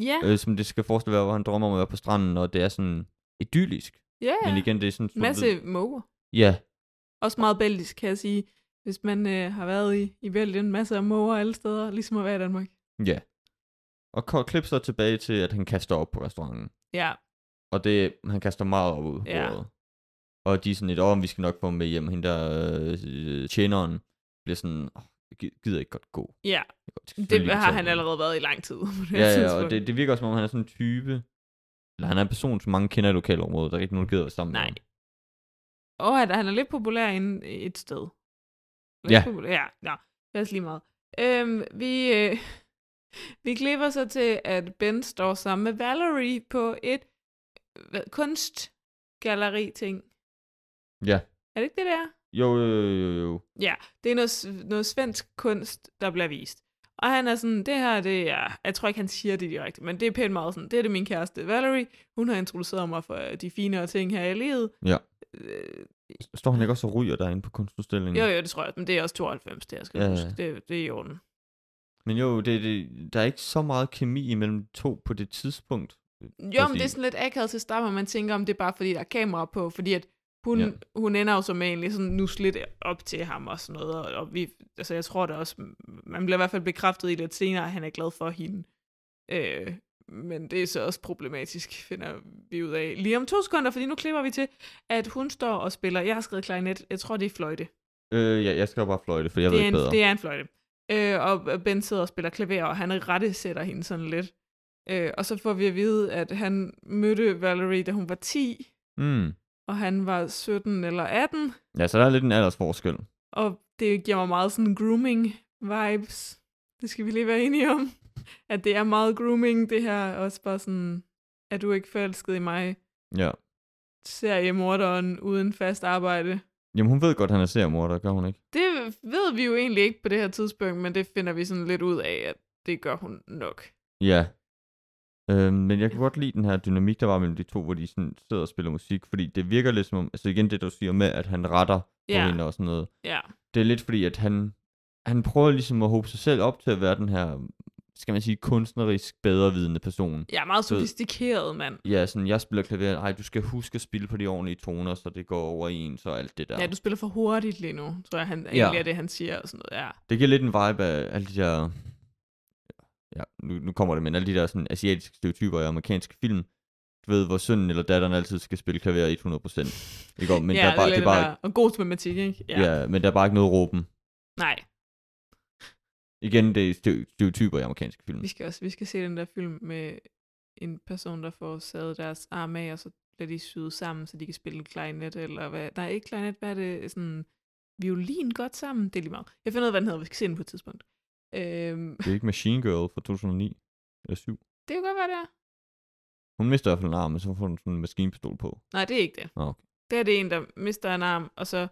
[SPEAKER 6] Ja,
[SPEAKER 4] øh, som det skal forestille være, hvor han drømmer om at være på stranden, og det er sådan idyllisk.
[SPEAKER 6] ja,
[SPEAKER 4] Men igen, det er sådan... sort-hvid.
[SPEAKER 6] masse måger.
[SPEAKER 4] Ja,
[SPEAKER 6] Også meget belgisk, kan jeg sige. Hvis man øh, har været i, i Belgien, masser af måger alle steder, ligesom at være i Danmark.
[SPEAKER 4] ja. Og ko- klip så tilbage til, at han kaster op på restauranten.
[SPEAKER 6] Ja,
[SPEAKER 4] Og det, han kaster meget op ud på
[SPEAKER 6] Ja.
[SPEAKER 4] bordet. Og de er sådan lidt, om vi skal nok få ham med hjem. Hende der øh, tjeneren bliver sådan, oh, gider ikke godt gå.
[SPEAKER 6] ja.
[SPEAKER 4] Jeg kan godt
[SPEAKER 6] det
[SPEAKER 4] selvfølgelig
[SPEAKER 6] har
[SPEAKER 4] betale
[SPEAKER 6] han
[SPEAKER 4] ham."
[SPEAKER 6] allerede været i lang tid. På det her
[SPEAKER 4] Ja, ja, og
[SPEAKER 6] tidspunkt.
[SPEAKER 4] det, det virker også, som om han er sådan en type, eller han er en person, som mange kender i lokalområdet, der er ikke nogen, der gider at være sammen med
[SPEAKER 6] Nej.
[SPEAKER 4] ham.
[SPEAKER 6] Og at han er lidt populær inde et sted. Lidt
[SPEAKER 4] Ja.
[SPEAKER 6] Populær. Ja, nå, det er også lige meget. Øhm, vi, øh, [LAUGHS] vi klipper så til, at Ben står sammen med Valerie på et hvad, kunstgalleri-ting.
[SPEAKER 4] Ja.
[SPEAKER 6] Er det ikke det der?
[SPEAKER 4] Jo, jo, jo, jo, jo.
[SPEAKER 6] Ja, det er noget, s- noget svensk kunst, der bliver vist. Og han er sådan, det her, det er, jeg tror ikke, han siger det direkte, men det er pænt meget sådan, det er det min kæreste Valerie, hun har introduceret mig for øh, de finere ting her i livet.
[SPEAKER 4] Ja.
[SPEAKER 6] Øh,
[SPEAKER 4] Står han ikke også og ryger derinde på kunstudstillingen?
[SPEAKER 6] jo, jo, det tror jeg, men det er også 92, det jeg skal
[SPEAKER 4] Mm. Ja,
[SPEAKER 6] ja,
[SPEAKER 4] ja.
[SPEAKER 6] huske. Det, det er i orden.
[SPEAKER 4] Men jo, det, det, der er ikke så meget kemi imellem de to på det tidspunkt.
[SPEAKER 6] Jo, men det er
[SPEAKER 4] Præcis.
[SPEAKER 6] sådan lidt akavet til start, og man tænker, om det er bare fordi, der er kamera på, fordi at hun, ja.
[SPEAKER 4] Ja.
[SPEAKER 6] hun ender jo som egentlig sådan nus lidt op til ham og sådan noget, og, og vi, altså jeg tror da også, man bliver i hvert fald bekræftet i lidt senere, at han er glad for hende. Øh, men det er så også problematisk, finder vi ud af. Lige om to sekunder, fordi nu klipper vi til, at hun står og spiller, jeg har skrevet klarinet, jeg tror det er fløjte.
[SPEAKER 4] Øh, ja, jeg skal jo bare fløjte, for jeg
[SPEAKER 6] det
[SPEAKER 4] ved
[SPEAKER 6] er
[SPEAKER 4] ikke
[SPEAKER 6] en,
[SPEAKER 4] bedre.
[SPEAKER 6] Det er en fløjte. Øh, og Ben sidder og spiller klaver, og han rette sætter hende sådan lidt. Øh, og så får vi at vide, at han mødte Valerie, da hun var 10,
[SPEAKER 4] Mm.
[SPEAKER 6] og han var 17 eller 18.
[SPEAKER 4] Ja, så der er lidt en aldersforskel.
[SPEAKER 6] Og det giver mig meget sådan grooming-vibes. Det skal vi lige være enige om. [LAUGHS] At det er meget grooming, det her. Også bare sådan, er du ikke forelsket i mig?
[SPEAKER 4] Ja.
[SPEAKER 6] Seriemorderen uden fast arbejde.
[SPEAKER 4] Jamen, hun ved godt, han er seriemorder, gør hun ikke?
[SPEAKER 6] Det ved vi jo egentlig ikke på det her tidspunkt, men det finder vi sådan lidt ud af, at det gør hun nok.
[SPEAKER 4] Ja. Øhm, men jeg kan godt lide den her dynamik, der var mellem de to, hvor de sådan sidder og spiller musik, fordi det virker lidt som om, altså igen det, du siger med, at han retter på
[SPEAKER 6] Ja.
[SPEAKER 4] hende og sådan noget.
[SPEAKER 6] Ja.
[SPEAKER 4] det er lidt fordi, at han, han prøver ligesom at håbe sig selv op til at være den her, skal man sige, kunstnerisk bedrevidende person.
[SPEAKER 6] Jeg er meget
[SPEAKER 4] Du ved-
[SPEAKER 6] sofistikeret, mand.
[SPEAKER 4] Ja, sådan, jeg spiller klaver, ej, du skal huske at spille på de ordentlige toner, så det går over ens og alt det der.
[SPEAKER 6] Ja. ja, du spiller for hurtigt lige nu, tror jeg, han, ja. egentlig er det, han siger og sådan noget. Ja,
[SPEAKER 4] Det giver lidt en vibe af alle de der, ja, nu, nu kommer det, men alle de der sådan asiatiske stereotyper i amerikanske film, du ved, hvor sønnen eller datteren altid skal spille klaver 100%. Ikke om, Mm. men
[SPEAKER 6] [LAUGHS] ja,
[SPEAKER 4] der er bare,
[SPEAKER 6] lidt
[SPEAKER 4] det er bare,
[SPEAKER 6] der, og god matematik, ikke?
[SPEAKER 4] ja. ja, men der er bare ikke noget råben.
[SPEAKER 6] Nej,
[SPEAKER 4] Igen, det er steo- stereotyper i amerikanske film.
[SPEAKER 6] vi skal også vi skal se den der film med en person, der får sadet deres arme af, og så bliver de syet sammen, så de kan spille klarinet, eller hvad? Nej, ikke klarinet, hvad er det? Sådan violin godt sammen? Det er lige meget. Jeg finder ud af, hvad den hedder, vi skal se den på et tidspunkt. Øhm, [LAUGHS]
[SPEAKER 4] Det er ikke Machine Girl fra 2009 eller 7.
[SPEAKER 6] det kan godt være, det er.
[SPEAKER 4] Hun mister i hvert fald en arm, men så får hun sådan en maskinpistol på.
[SPEAKER 6] Nej, det er ikke det.
[SPEAKER 4] Nå, okay.
[SPEAKER 6] Det er det en, der mister en arm, og så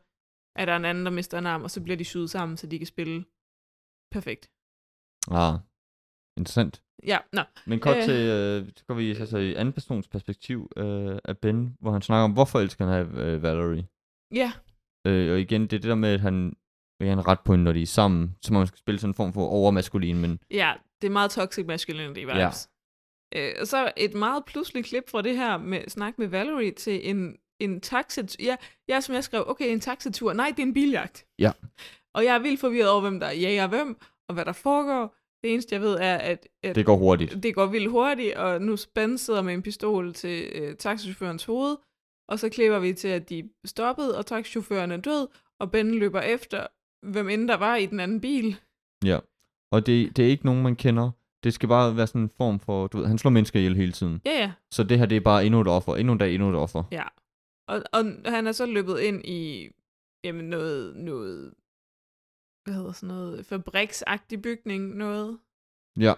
[SPEAKER 6] er der en anden, der mister en arm, og så bliver de syet sammen, så de kan spille perfekt.
[SPEAKER 4] Ah, interessant.
[SPEAKER 6] Ja, nå.
[SPEAKER 4] Men kort
[SPEAKER 6] Øh.
[SPEAKER 4] øh. til, øh, så går vi altså, i anden persons perspektiv øh, af Ben, hvor han snakker om, hvorfor elsker han øh, Valerie.
[SPEAKER 6] Ja,
[SPEAKER 4] Øh, og igen, det er det der med, at han vil have en ret på hende, når de er sammen, så man skal spille sådan en form for overmaskulin, men
[SPEAKER 6] ja, det er meget toxic masculinity vibes. Ja. Øh, og så et meget pludseligt klip fra det her med snak med Valerie til en, en taxatur. Ja, ja, som jeg skrev, okay, en taxatur. Nej, det er en biljagt.
[SPEAKER 4] Ja.
[SPEAKER 6] Og jeg er vildt forvirret over, hvem der jager hvem, og hvad der foregår. Det eneste, jeg ved, er, at, at
[SPEAKER 4] det går hurtigt.
[SPEAKER 6] det går vildt hurtigt, og nu Ben sidder med en pistol til øh, taxichaufførens hoved, og så klipper vi til, at de er stoppet, og taxichaufføren er død, og Ben løber efter, hvem end der var i den anden bil.
[SPEAKER 4] Og det, det er ikke nogen, man kender. Det skal bare være sådan en form for, du ved, han slår mennesker ihjel hele tiden.
[SPEAKER 6] Ja, ja.
[SPEAKER 4] Så det her, det er bare endnu et offer, endnu en dag, endnu et offer.
[SPEAKER 6] Og, og han er så løbet ind i jamen noget, noget hvad hedder sådan noget, fabriksagtig bygning, noget.
[SPEAKER 4] Ja.
[SPEAKER 6] Øh,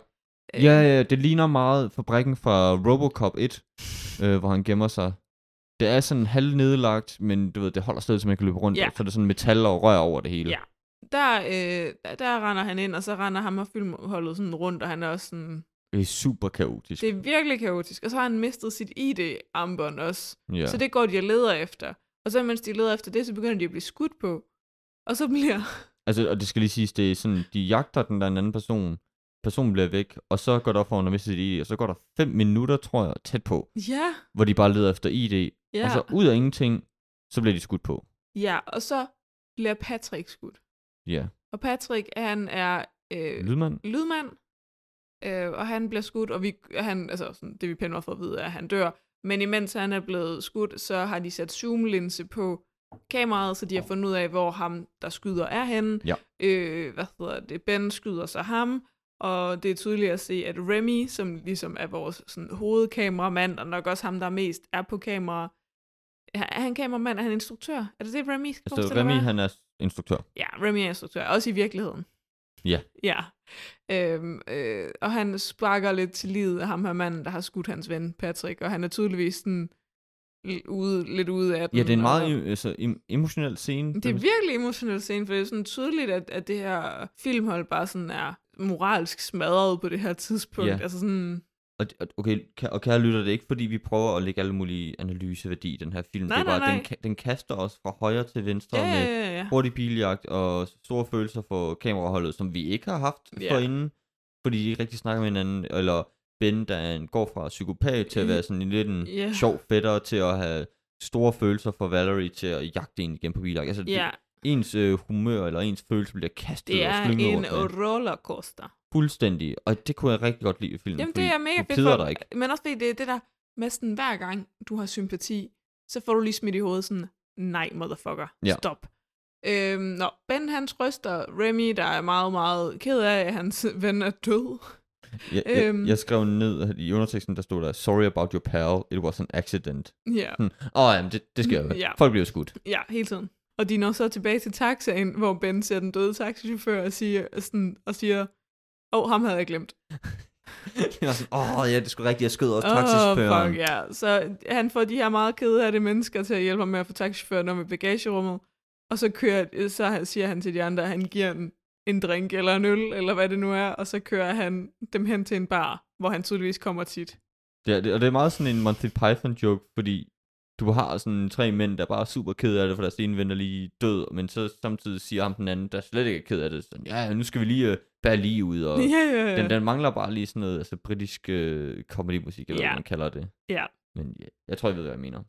[SPEAKER 4] Ja, ja, det ligner meget fabrikken fra Robocop
[SPEAKER 6] [LAUGHS]
[SPEAKER 4] 1, øh, hvor han gemmer sig. Det er sådan halv nedlagt, men du ved, det holder stadig, så man kan løbe rundt.
[SPEAKER 6] Ja.
[SPEAKER 4] Ja. Så er der sådan metal og rør over det hele.
[SPEAKER 6] Ja. Der, øh, der, der render han ind, og så render ham og filmholdet sådan rundt, og han er også sådan,
[SPEAKER 4] Det er super kaotisk.
[SPEAKER 6] det er virkelig kaotisk. Og så har han mistet sit ID-armbånd også.
[SPEAKER 4] ja.
[SPEAKER 6] Så det går de og leder efter. Og så mens de leder efter det, så begynder de at blive skudt på. Og så bliver... [LAUGHS]
[SPEAKER 4] Altså, og det skal lige siges, det er sådan, de jagter den der anden person. Personen bliver væk, og så går der op for, at hun har mistet sit ID, og så går der 5 minutter, tror jeg, tæt på,
[SPEAKER 6] Ja,
[SPEAKER 4] hvor de bare leder efter ID,
[SPEAKER 6] ja,
[SPEAKER 4] Og så ud af ingenting, så bliver de skudt på.
[SPEAKER 6] ja. Og så bliver Patrick skudt.
[SPEAKER 4] Ja.
[SPEAKER 6] Og Patrick, han er øh,
[SPEAKER 4] Lydmand?
[SPEAKER 6] lydmand, øh, og han bliver skudt, og vi, og han, altså, sådan, det vi pænder for at vide er, at han dør. Men imens han er blevet skudt, så har de sat zoomlinse på kameraet, så de har fundet ud af, hvor ham, der skyder, er henne.
[SPEAKER 4] Ja.
[SPEAKER 6] Øh, hvad hedder det? Ben skyder så ham, og det er tydeligt at se, at Remy, som ligesom er vores sådan, hovedkameramand, og nok også ham, der mest er på kamera, er er han kameramand? Er han instruktør? Er det det, Remy skal
[SPEAKER 4] Altså,
[SPEAKER 6] forestille at
[SPEAKER 4] Remy,
[SPEAKER 6] være?
[SPEAKER 4] han er instruktør.
[SPEAKER 6] Ja, Remy er instruktør, også i virkeligheden.
[SPEAKER 4] Ja.
[SPEAKER 6] Ja. Øhm, øh, og han sparker lidt til livet af ham her manden, der har skudt hans ven, Patrick, og han er tydeligvis sådan l- ude, lidt ude af den.
[SPEAKER 4] Ja, det er en meget
[SPEAKER 6] og,
[SPEAKER 4] em- altså, em- emotionel scene.
[SPEAKER 6] det er virkelig emotionel scene, for det er sådan tydeligt, at, at det her filmhold bare sådan er moralsk smadret på det her tidspunkt.
[SPEAKER 4] Ja.
[SPEAKER 6] Altså sådan,
[SPEAKER 4] og, og- okay, ka- og kære lytter, det er ikke fordi, vi prøver at lægge alle mulige analyseværdi i den her film.
[SPEAKER 6] Nej,
[SPEAKER 4] det er
[SPEAKER 6] nej,
[SPEAKER 4] bare,
[SPEAKER 6] nej.
[SPEAKER 4] Den, ka- den kaster os fra højre til venstre
[SPEAKER 6] ja, ja,
[SPEAKER 4] med
[SPEAKER 6] ja, ja.
[SPEAKER 4] hurtig biljagt og store følelser for kameraholdet, som vi ikke har haft
[SPEAKER 6] Ja.
[SPEAKER 4] yeah. forinden, fordi de ikke rigtig snakker med hinanden, eller Ben, der er en, går fra psykopat til at være sådan en lidt en
[SPEAKER 6] Ja.
[SPEAKER 4] yeah. sjov fætter til at have store følelser for Valerie til at jagte en igen på biljagt. Altså, det,
[SPEAKER 6] Ja,
[SPEAKER 4] ens øh, humør eller ens følelse bliver kastet
[SPEAKER 6] det
[SPEAKER 4] og
[SPEAKER 6] er
[SPEAKER 4] slynget
[SPEAKER 6] en
[SPEAKER 4] rundt med.
[SPEAKER 6] rollercoaster.
[SPEAKER 4] Fuldstændig. Og det kunne jeg rigtig godt lide i filmen.
[SPEAKER 6] Jamen,
[SPEAKER 4] fordi
[SPEAKER 6] det er mega
[SPEAKER 4] du
[SPEAKER 6] fedt
[SPEAKER 4] keder
[SPEAKER 6] for-
[SPEAKER 4] dig ikke.
[SPEAKER 6] Men også fordi det er det der, med sådan hver gang du har sympati, så får du lige smidt i hovedet sådan, nej motherfucker,
[SPEAKER 4] Ja.
[SPEAKER 6] stop. Øhm, nå, Ben han trøster Remy, der er meget, meget ked af, at hans ven er død.
[SPEAKER 4] Jeg, jeg,
[SPEAKER 6] Øhm.
[SPEAKER 4] jeg skrev ned at i underteksten, der stod der, sorry about your pal, it was an accident.
[SPEAKER 6] Ja,
[SPEAKER 4] Åh, oh, jamen, det, det sker jo.
[SPEAKER 6] Ja.
[SPEAKER 4] Ja. Folk bliver
[SPEAKER 6] [LAUGHS]
[SPEAKER 4] skudt.
[SPEAKER 6] ja, hele tiden. Og de når så tilbage til taxaen, hvor Ben ser den døde taxichauffør og siger, sådan, og siger åh, oh, ham havde jeg glemt.
[SPEAKER 4] Jeg var sådan, åh, oh, ja, det er sgu rigtigt, jeg skød også
[SPEAKER 6] Åh,
[SPEAKER 4] oh, taxichaufføren.
[SPEAKER 6] fuck, ja. Så han får de her meget kede af det mennesker til at hjælpe ham med at få taxichaufføren om i bagagerummet. Og så, kører, så siger han til de andre, at han giver en, en drink eller en øl, eller hvad det nu er, og så kører han dem hen til en bar, hvor han tydeligvis kommer tit.
[SPEAKER 4] Ja, det, og det er meget sådan en Monty Python joke, fordi du har sådan tre mænd, der bare er super ked af det, for deres ene ven er lige død, men så samtidig siger ham den anden, der slet ikke er ked af det, sådan, ja, ja, nu skal vi lige øh, bære lige ud, og
[SPEAKER 6] [LAUGHS] Ja, ja,
[SPEAKER 4] Den,
[SPEAKER 6] ja.
[SPEAKER 4] den mangler bare lige sådan noget, altså britisk øh, comedy-musik, eller
[SPEAKER 6] Ja.
[SPEAKER 4] hvad man kalder det.
[SPEAKER 6] Ja.
[SPEAKER 4] Men ja, jeg tror, jeg ved, hvad jeg mener.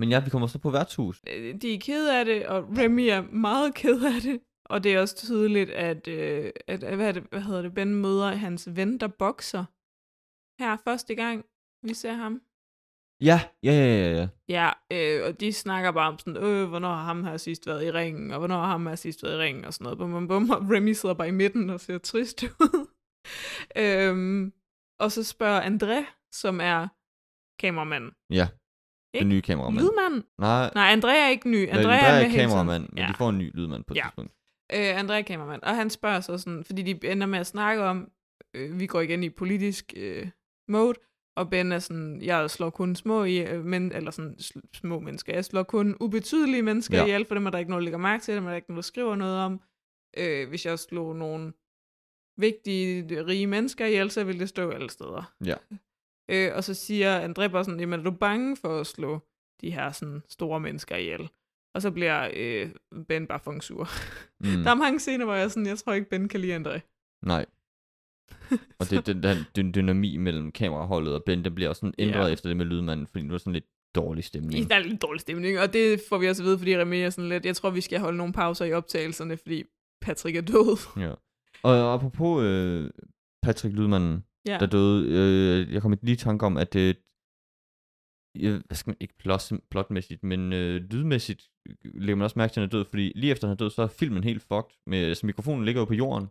[SPEAKER 4] Men ja, vi kommer så på værtshus.
[SPEAKER 6] Øh, De er kede af det, og Remy er meget ked af det. Og det er også tydeligt, at, øh, at at- hvad, er det, hvad hedder det, Ben møder hans ven, der bokser. Her er første gang, vi ser ham.
[SPEAKER 4] Ja, ja, ja, ja, ja.
[SPEAKER 6] Ja, øh, og de snakker bare om sådan, øh, hvornår har ham her sidst været i ringen, og hvornår har ham her sidst været i ringen, og sådan noget. Bum, bum, bum, og Remy sidder bare i midten og ser trist [LAUGHS] ud. øhm, og så spørger André, som er kameramanden.
[SPEAKER 4] Ja, den
[SPEAKER 6] Ikke?
[SPEAKER 4] nye kameramand.
[SPEAKER 6] Lydmand?
[SPEAKER 4] Nej,
[SPEAKER 6] Nej, André er ikke ny.
[SPEAKER 4] Andrea,
[SPEAKER 6] André er, med hele tiden.
[SPEAKER 4] kameramand, men
[SPEAKER 6] Ja.
[SPEAKER 4] de får en ny lydmand på et
[SPEAKER 6] Ja.
[SPEAKER 4] tidspunkt.
[SPEAKER 6] Øh, André er kameramand, og han spørger så sådan, fordi de ender med at snakke om, øh, vi går igen i politisk øh, mode, og Ben er sådan, jeg slår kun små i, øh, men, eller sådan sl- små mennesker, jeg slår kun ubetydelige mennesker
[SPEAKER 4] Ja.
[SPEAKER 6] ja. ihjel, for dem er der ikke nogen, der lægger mærke til, dem er der ikke nogen, der skriver noget om. Øh, hvis jeg slog nogle vigtige, rige mennesker ihjel, så ville det stå alle steder.
[SPEAKER 4] Ja.
[SPEAKER 6] [LAUGHS] Øh, og så siger André bare sådan, jamen er du bange for at slå de her sådan, store mennesker ihjel? Og så bliver øh, Ben bare fucking sur.
[SPEAKER 4] Mm,
[SPEAKER 6] Der er mange scener, hvor jeg er sådan, jeg tror ikke, Ben kan lide André. [LAUGHS]
[SPEAKER 4] nej. Og det er den der dyn- dynami mellem kameraholdet og Ben, den bliver også sådan ændret
[SPEAKER 6] Ja.
[SPEAKER 4] efter det med lydmanden, fordi nu er sådan lidt dårlig stemning.
[SPEAKER 6] Der er lidt dårlig stemning, og det får vi også at vide, fordi Remy er sådan lidt, jeg tror, vi skal holde nogle pauser i optagelserne, fordi Patrick er død.
[SPEAKER 4] Ja. Og apropos øh, Patrick Lydmanden,
[SPEAKER 6] Ja.
[SPEAKER 4] der døde, øh, jeg kom lige i tanke om, at det, øh, hvad skal man, ikke plot, plotmæssigt, men øh, lydmæssigt øh, lægger man også mærke til, at han er død, fordi lige efter han er død, så er filmen helt fucked, med, altså mikrofonen ligger jo på jorden.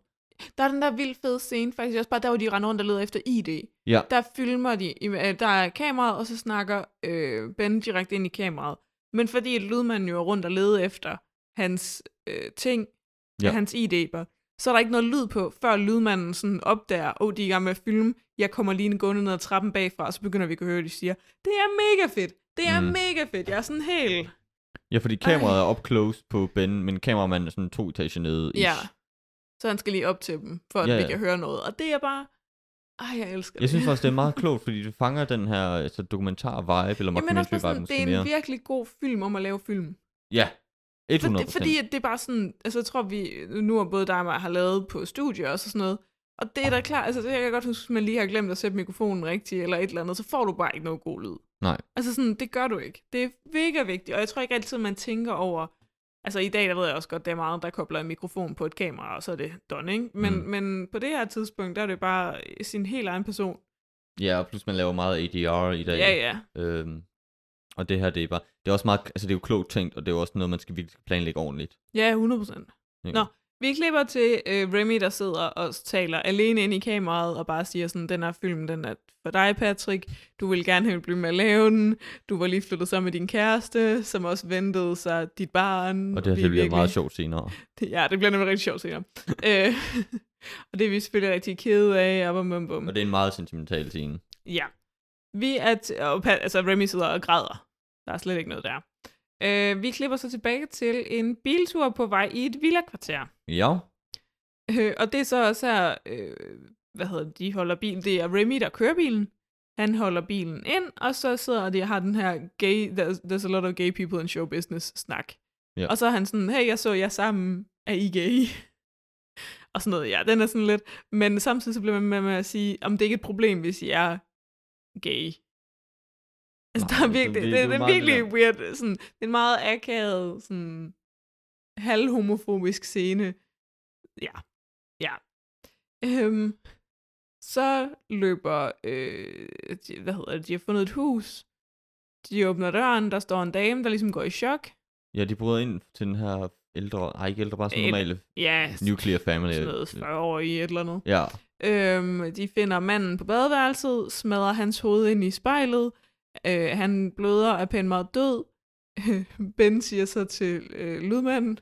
[SPEAKER 6] Der er den der vildt fede scene, faktisk også bare der, hvor de render rundt og leder efter ID.
[SPEAKER 4] Ja.
[SPEAKER 6] Der filmer de, i- øh, der er kameraet, og så snakker øh, Ben direkte ind i kameraet. Men fordi lydmanden jo er rundt og leder efter hans øh, ting,
[SPEAKER 4] Ja.
[SPEAKER 6] ja. hans ID, bare, så er der ikke noget lyd på, før lydmanden sådan opdager, åh, oh, de er i gang med at filme, jeg kommer lige gående ned ad trappen bagfra, og så begynder vi at kunne høre, at de siger, det er mega fedt, det er
[SPEAKER 4] Mm.
[SPEAKER 6] mm. mega fedt, jeg er sådan helt...
[SPEAKER 4] Ja, fordi kameraet er up close på Ben, men kameramanden er sådan to etager nede. ish.
[SPEAKER 6] Ja. Så han skal lige op til dem, for at
[SPEAKER 4] Ja,
[SPEAKER 6] ja, ja.
[SPEAKER 4] ja.
[SPEAKER 6] vi kan høre noget. Og det er bare... Ej, jeg elsker
[SPEAKER 4] Jeg
[SPEAKER 6] det.
[SPEAKER 4] synes også, det er meget klogt, fordi det fanger den her altså, dokumentar-vibe, eller
[SPEAKER 6] Jamen også
[SPEAKER 4] mockumentary-vibe
[SPEAKER 6] bare sådan,
[SPEAKER 4] måske
[SPEAKER 6] det er en
[SPEAKER 4] mere.
[SPEAKER 6] virkelig god film om at lave film.
[SPEAKER 4] Ja, 100
[SPEAKER 6] Fordi, fordi at det er bare sådan, altså jeg tror vi, nu har både dig og mig har lavet på studier og så sådan noget, og det er da klart, altså det kan jeg godt huske, hvis man lige har glemt at sætte mikrofonen rigtigt eller et eller andet, så får du bare ikke noget god lyd.
[SPEAKER 4] Nej.
[SPEAKER 6] Altså sådan, det gør du ikke. Det er mega vigtigt, og jeg tror ikke altid, man tænker over, altså i dag, der ved jeg også godt, der er meget, der kobler en mikrofon på et kamera, og så er det done, ikke? Men,
[SPEAKER 4] Mm.
[SPEAKER 6] mm. men på det her tidspunkt, der er det bare sin helt egen person.
[SPEAKER 4] Ja, og plus man laver meget ADR i dag.
[SPEAKER 6] Ja, ja.
[SPEAKER 4] Øhm, og det her, det er bare, det er også meget, altså det er jo klogt tænkt, og det er jo også noget, man skal virkelig planlægge ordentligt.
[SPEAKER 6] Ja, 100%.
[SPEAKER 4] Ja.
[SPEAKER 6] Nå. Vi klipper til øh, Remy, der sidder og taler alene ind i kameraet og bare siger sådan, den her film, den er for dig, Patrick. Du vil gerne have blive med at lave den. Du var lige flyttet sammen med din kæreste, som også ventede sig dit barn.
[SPEAKER 4] Og det her,
[SPEAKER 6] Vi
[SPEAKER 4] det
[SPEAKER 6] er
[SPEAKER 4] bliver
[SPEAKER 6] virkelig-
[SPEAKER 4] meget sjovt senere.
[SPEAKER 6] [LAUGHS] Ja, det bliver nemlig rigtig sjovt senere. [LAUGHS] øh, og det er vi selvfølgelig rigtig kede af. Og bum, bum, bum.
[SPEAKER 4] Og det er en meget sentimental scene.
[SPEAKER 6] Ja. Vi er t- og, pa- altså, Remy sidder og græder. Der er slet ikke noget der. Øh, vi klipper så tilbage til en biltur på vej i et villakvarter.
[SPEAKER 4] Ja,
[SPEAKER 6] Øh, og det er så også her, øh, hvad hedder det, de holder bilen, det er Remy, der kører bilen. Han holder bilen ind, og så sidder de og har den her gay, there's, there's a lot of gay people in show business snak.
[SPEAKER 4] Ja.
[SPEAKER 6] Og så er han sådan, hey, jeg så jer sammen, er I gay? [LAUGHS] og sådan noget, ja, den er sådan lidt. Men samtidig så bliver man med, med at sige, om det ikke er et problem, hvis I er gay. Altså,
[SPEAKER 4] Nej,
[SPEAKER 6] der er
[SPEAKER 4] det-
[SPEAKER 6] virkelig,
[SPEAKER 4] det-
[SPEAKER 6] det,
[SPEAKER 4] det er
[SPEAKER 6] det, det, er
[SPEAKER 4] meget det
[SPEAKER 6] virkelig weird, sådan, det er en meget akavet, sådan, halvhomofobisk scene. Ja, ja. Øhm, så løber, øh, de, hvad hedder det, de har fundet et hus, de åbner døren, der står en dame, der ligesom går i chok.
[SPEAKER 4] ja, de bryder ind til den her ældre, nej ikke ældre, bare sådan
[SPEAKER 6] Ældre.
[SPEAKER 4] normale
[SPEAKER 6] Ja,
[SPEAKER 4] nuclear family.
[SPEAKER 6] altså, sådan noget 40 år i et eller andet.
[SPEAKER 4] Ja,
[SPEAKER 6] Øhm, de finder manden på badeværelset, smadrer hans hoved ind i spejlet. Øh, han bløder og er pænt meget død. [LAUGHS] ben siger så til øh, lydmanden,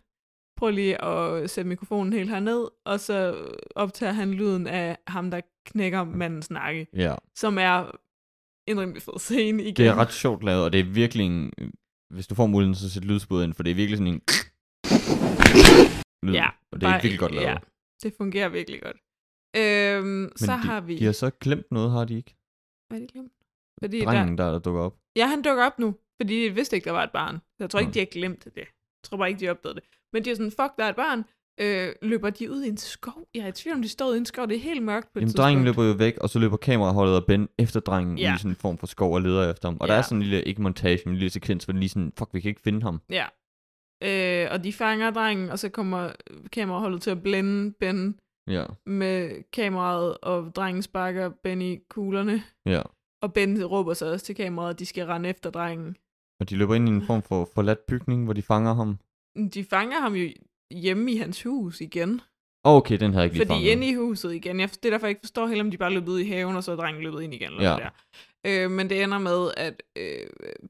[SPEAKER 6] prøv lige at sætte mikrofonen helt herned, og så optager han lyden af ham, der knækker mandens nakke,
[SPEAKER 4] ja.
[SPEAKER 6] som er en rimelig fed scene igen.
[SPEAKER 4] Det er ret sjovt lavet, og det er virkelig en, hvis du får muligheden, så sæt lydspod ind, for det er virkelig sådan en lyd,
[SPEAKER 6] Ja,
[SPEAKER 4] og det er
[SPEAKER 6] bare-
[SPEAKER 4] virkelig godt lavet.
[SPEAKER 6] ja, det fungerer virkelig godt. Øhm, så
[SPEAKER 4] de,
[SPEAKER 6] har vi...
[SPEAKER 4] De har så glemt noget, har de ikke?
[SPEAKER 6] Hvad er det glemt? Fordi der...
[SPEAKER 4] Drengen, der, der dukker op.
[SPEAKER 6] Ja, han dukker op nu, fordi de vidste ikke, der var et barn. Så Jeg tror ikke,
[SPEAKER 4] Nå.
[SPEAKER 6] de har glemt det. Jeg tror bare ikke, de opdagede det. Men de er sådan, fuck, der er et barn. Øh, løber de ud i en skov? Jeg er i tvivl om, de står ude i en skov. Det er helt mørkt på et
[SPEAKER 4] Jamen,
[SPEAKER 6] tidspunkt.
[SPEAKER 4] drengen løber jo væk, og så løber kameraholdet og Ben efter drengen ja.
[SPEAKER 6] Ja.
[SPEAKER 4] i sådan en form for skov og leder efter ham. Og ja. der er
[SPEAKER 6] Ja.
[SPEAKER 4] sådan en lille, ikke montage, men en lille sekvens, hvor den lige sådan, fuck, vi kan ikke finde ham.
[SPEAKER 6] Ja. Øh, og de fanger drengen, og så kommer kameraholdet til at blænde Ben
[SPEAKER 4] Ja,
[SPEAKER 6] med kameraet, og drengen sparker Ben i kuglerne.
[SPEAKER 4] ja.
[SPEAKER 6] Og Ben råber så også til kameraet, at de skal rende efter drengen.
[SPEAKER 4] Og de løber ind i en form for forladt bygning, hvor de fanger ham.
[SPEAKER 6] De fanger ham jo hjemme i hans hus igen.
[SPEAKER 4] Åh, Okay, den havde jeg ikke lige
[SPEAKER 6] Fordi
[SPEAKER 4] fanget.
[SPEAKER 6] inde i huset igen. Jeg, det er derfor, jeg ikke forstår helt, om de bare løb ud i haven, og så er drengen løbet ind igen. Eller
[SPEAKER 4] Ja.
[SPEAKER 6] ja. der. Øh, men det ender med, at øh,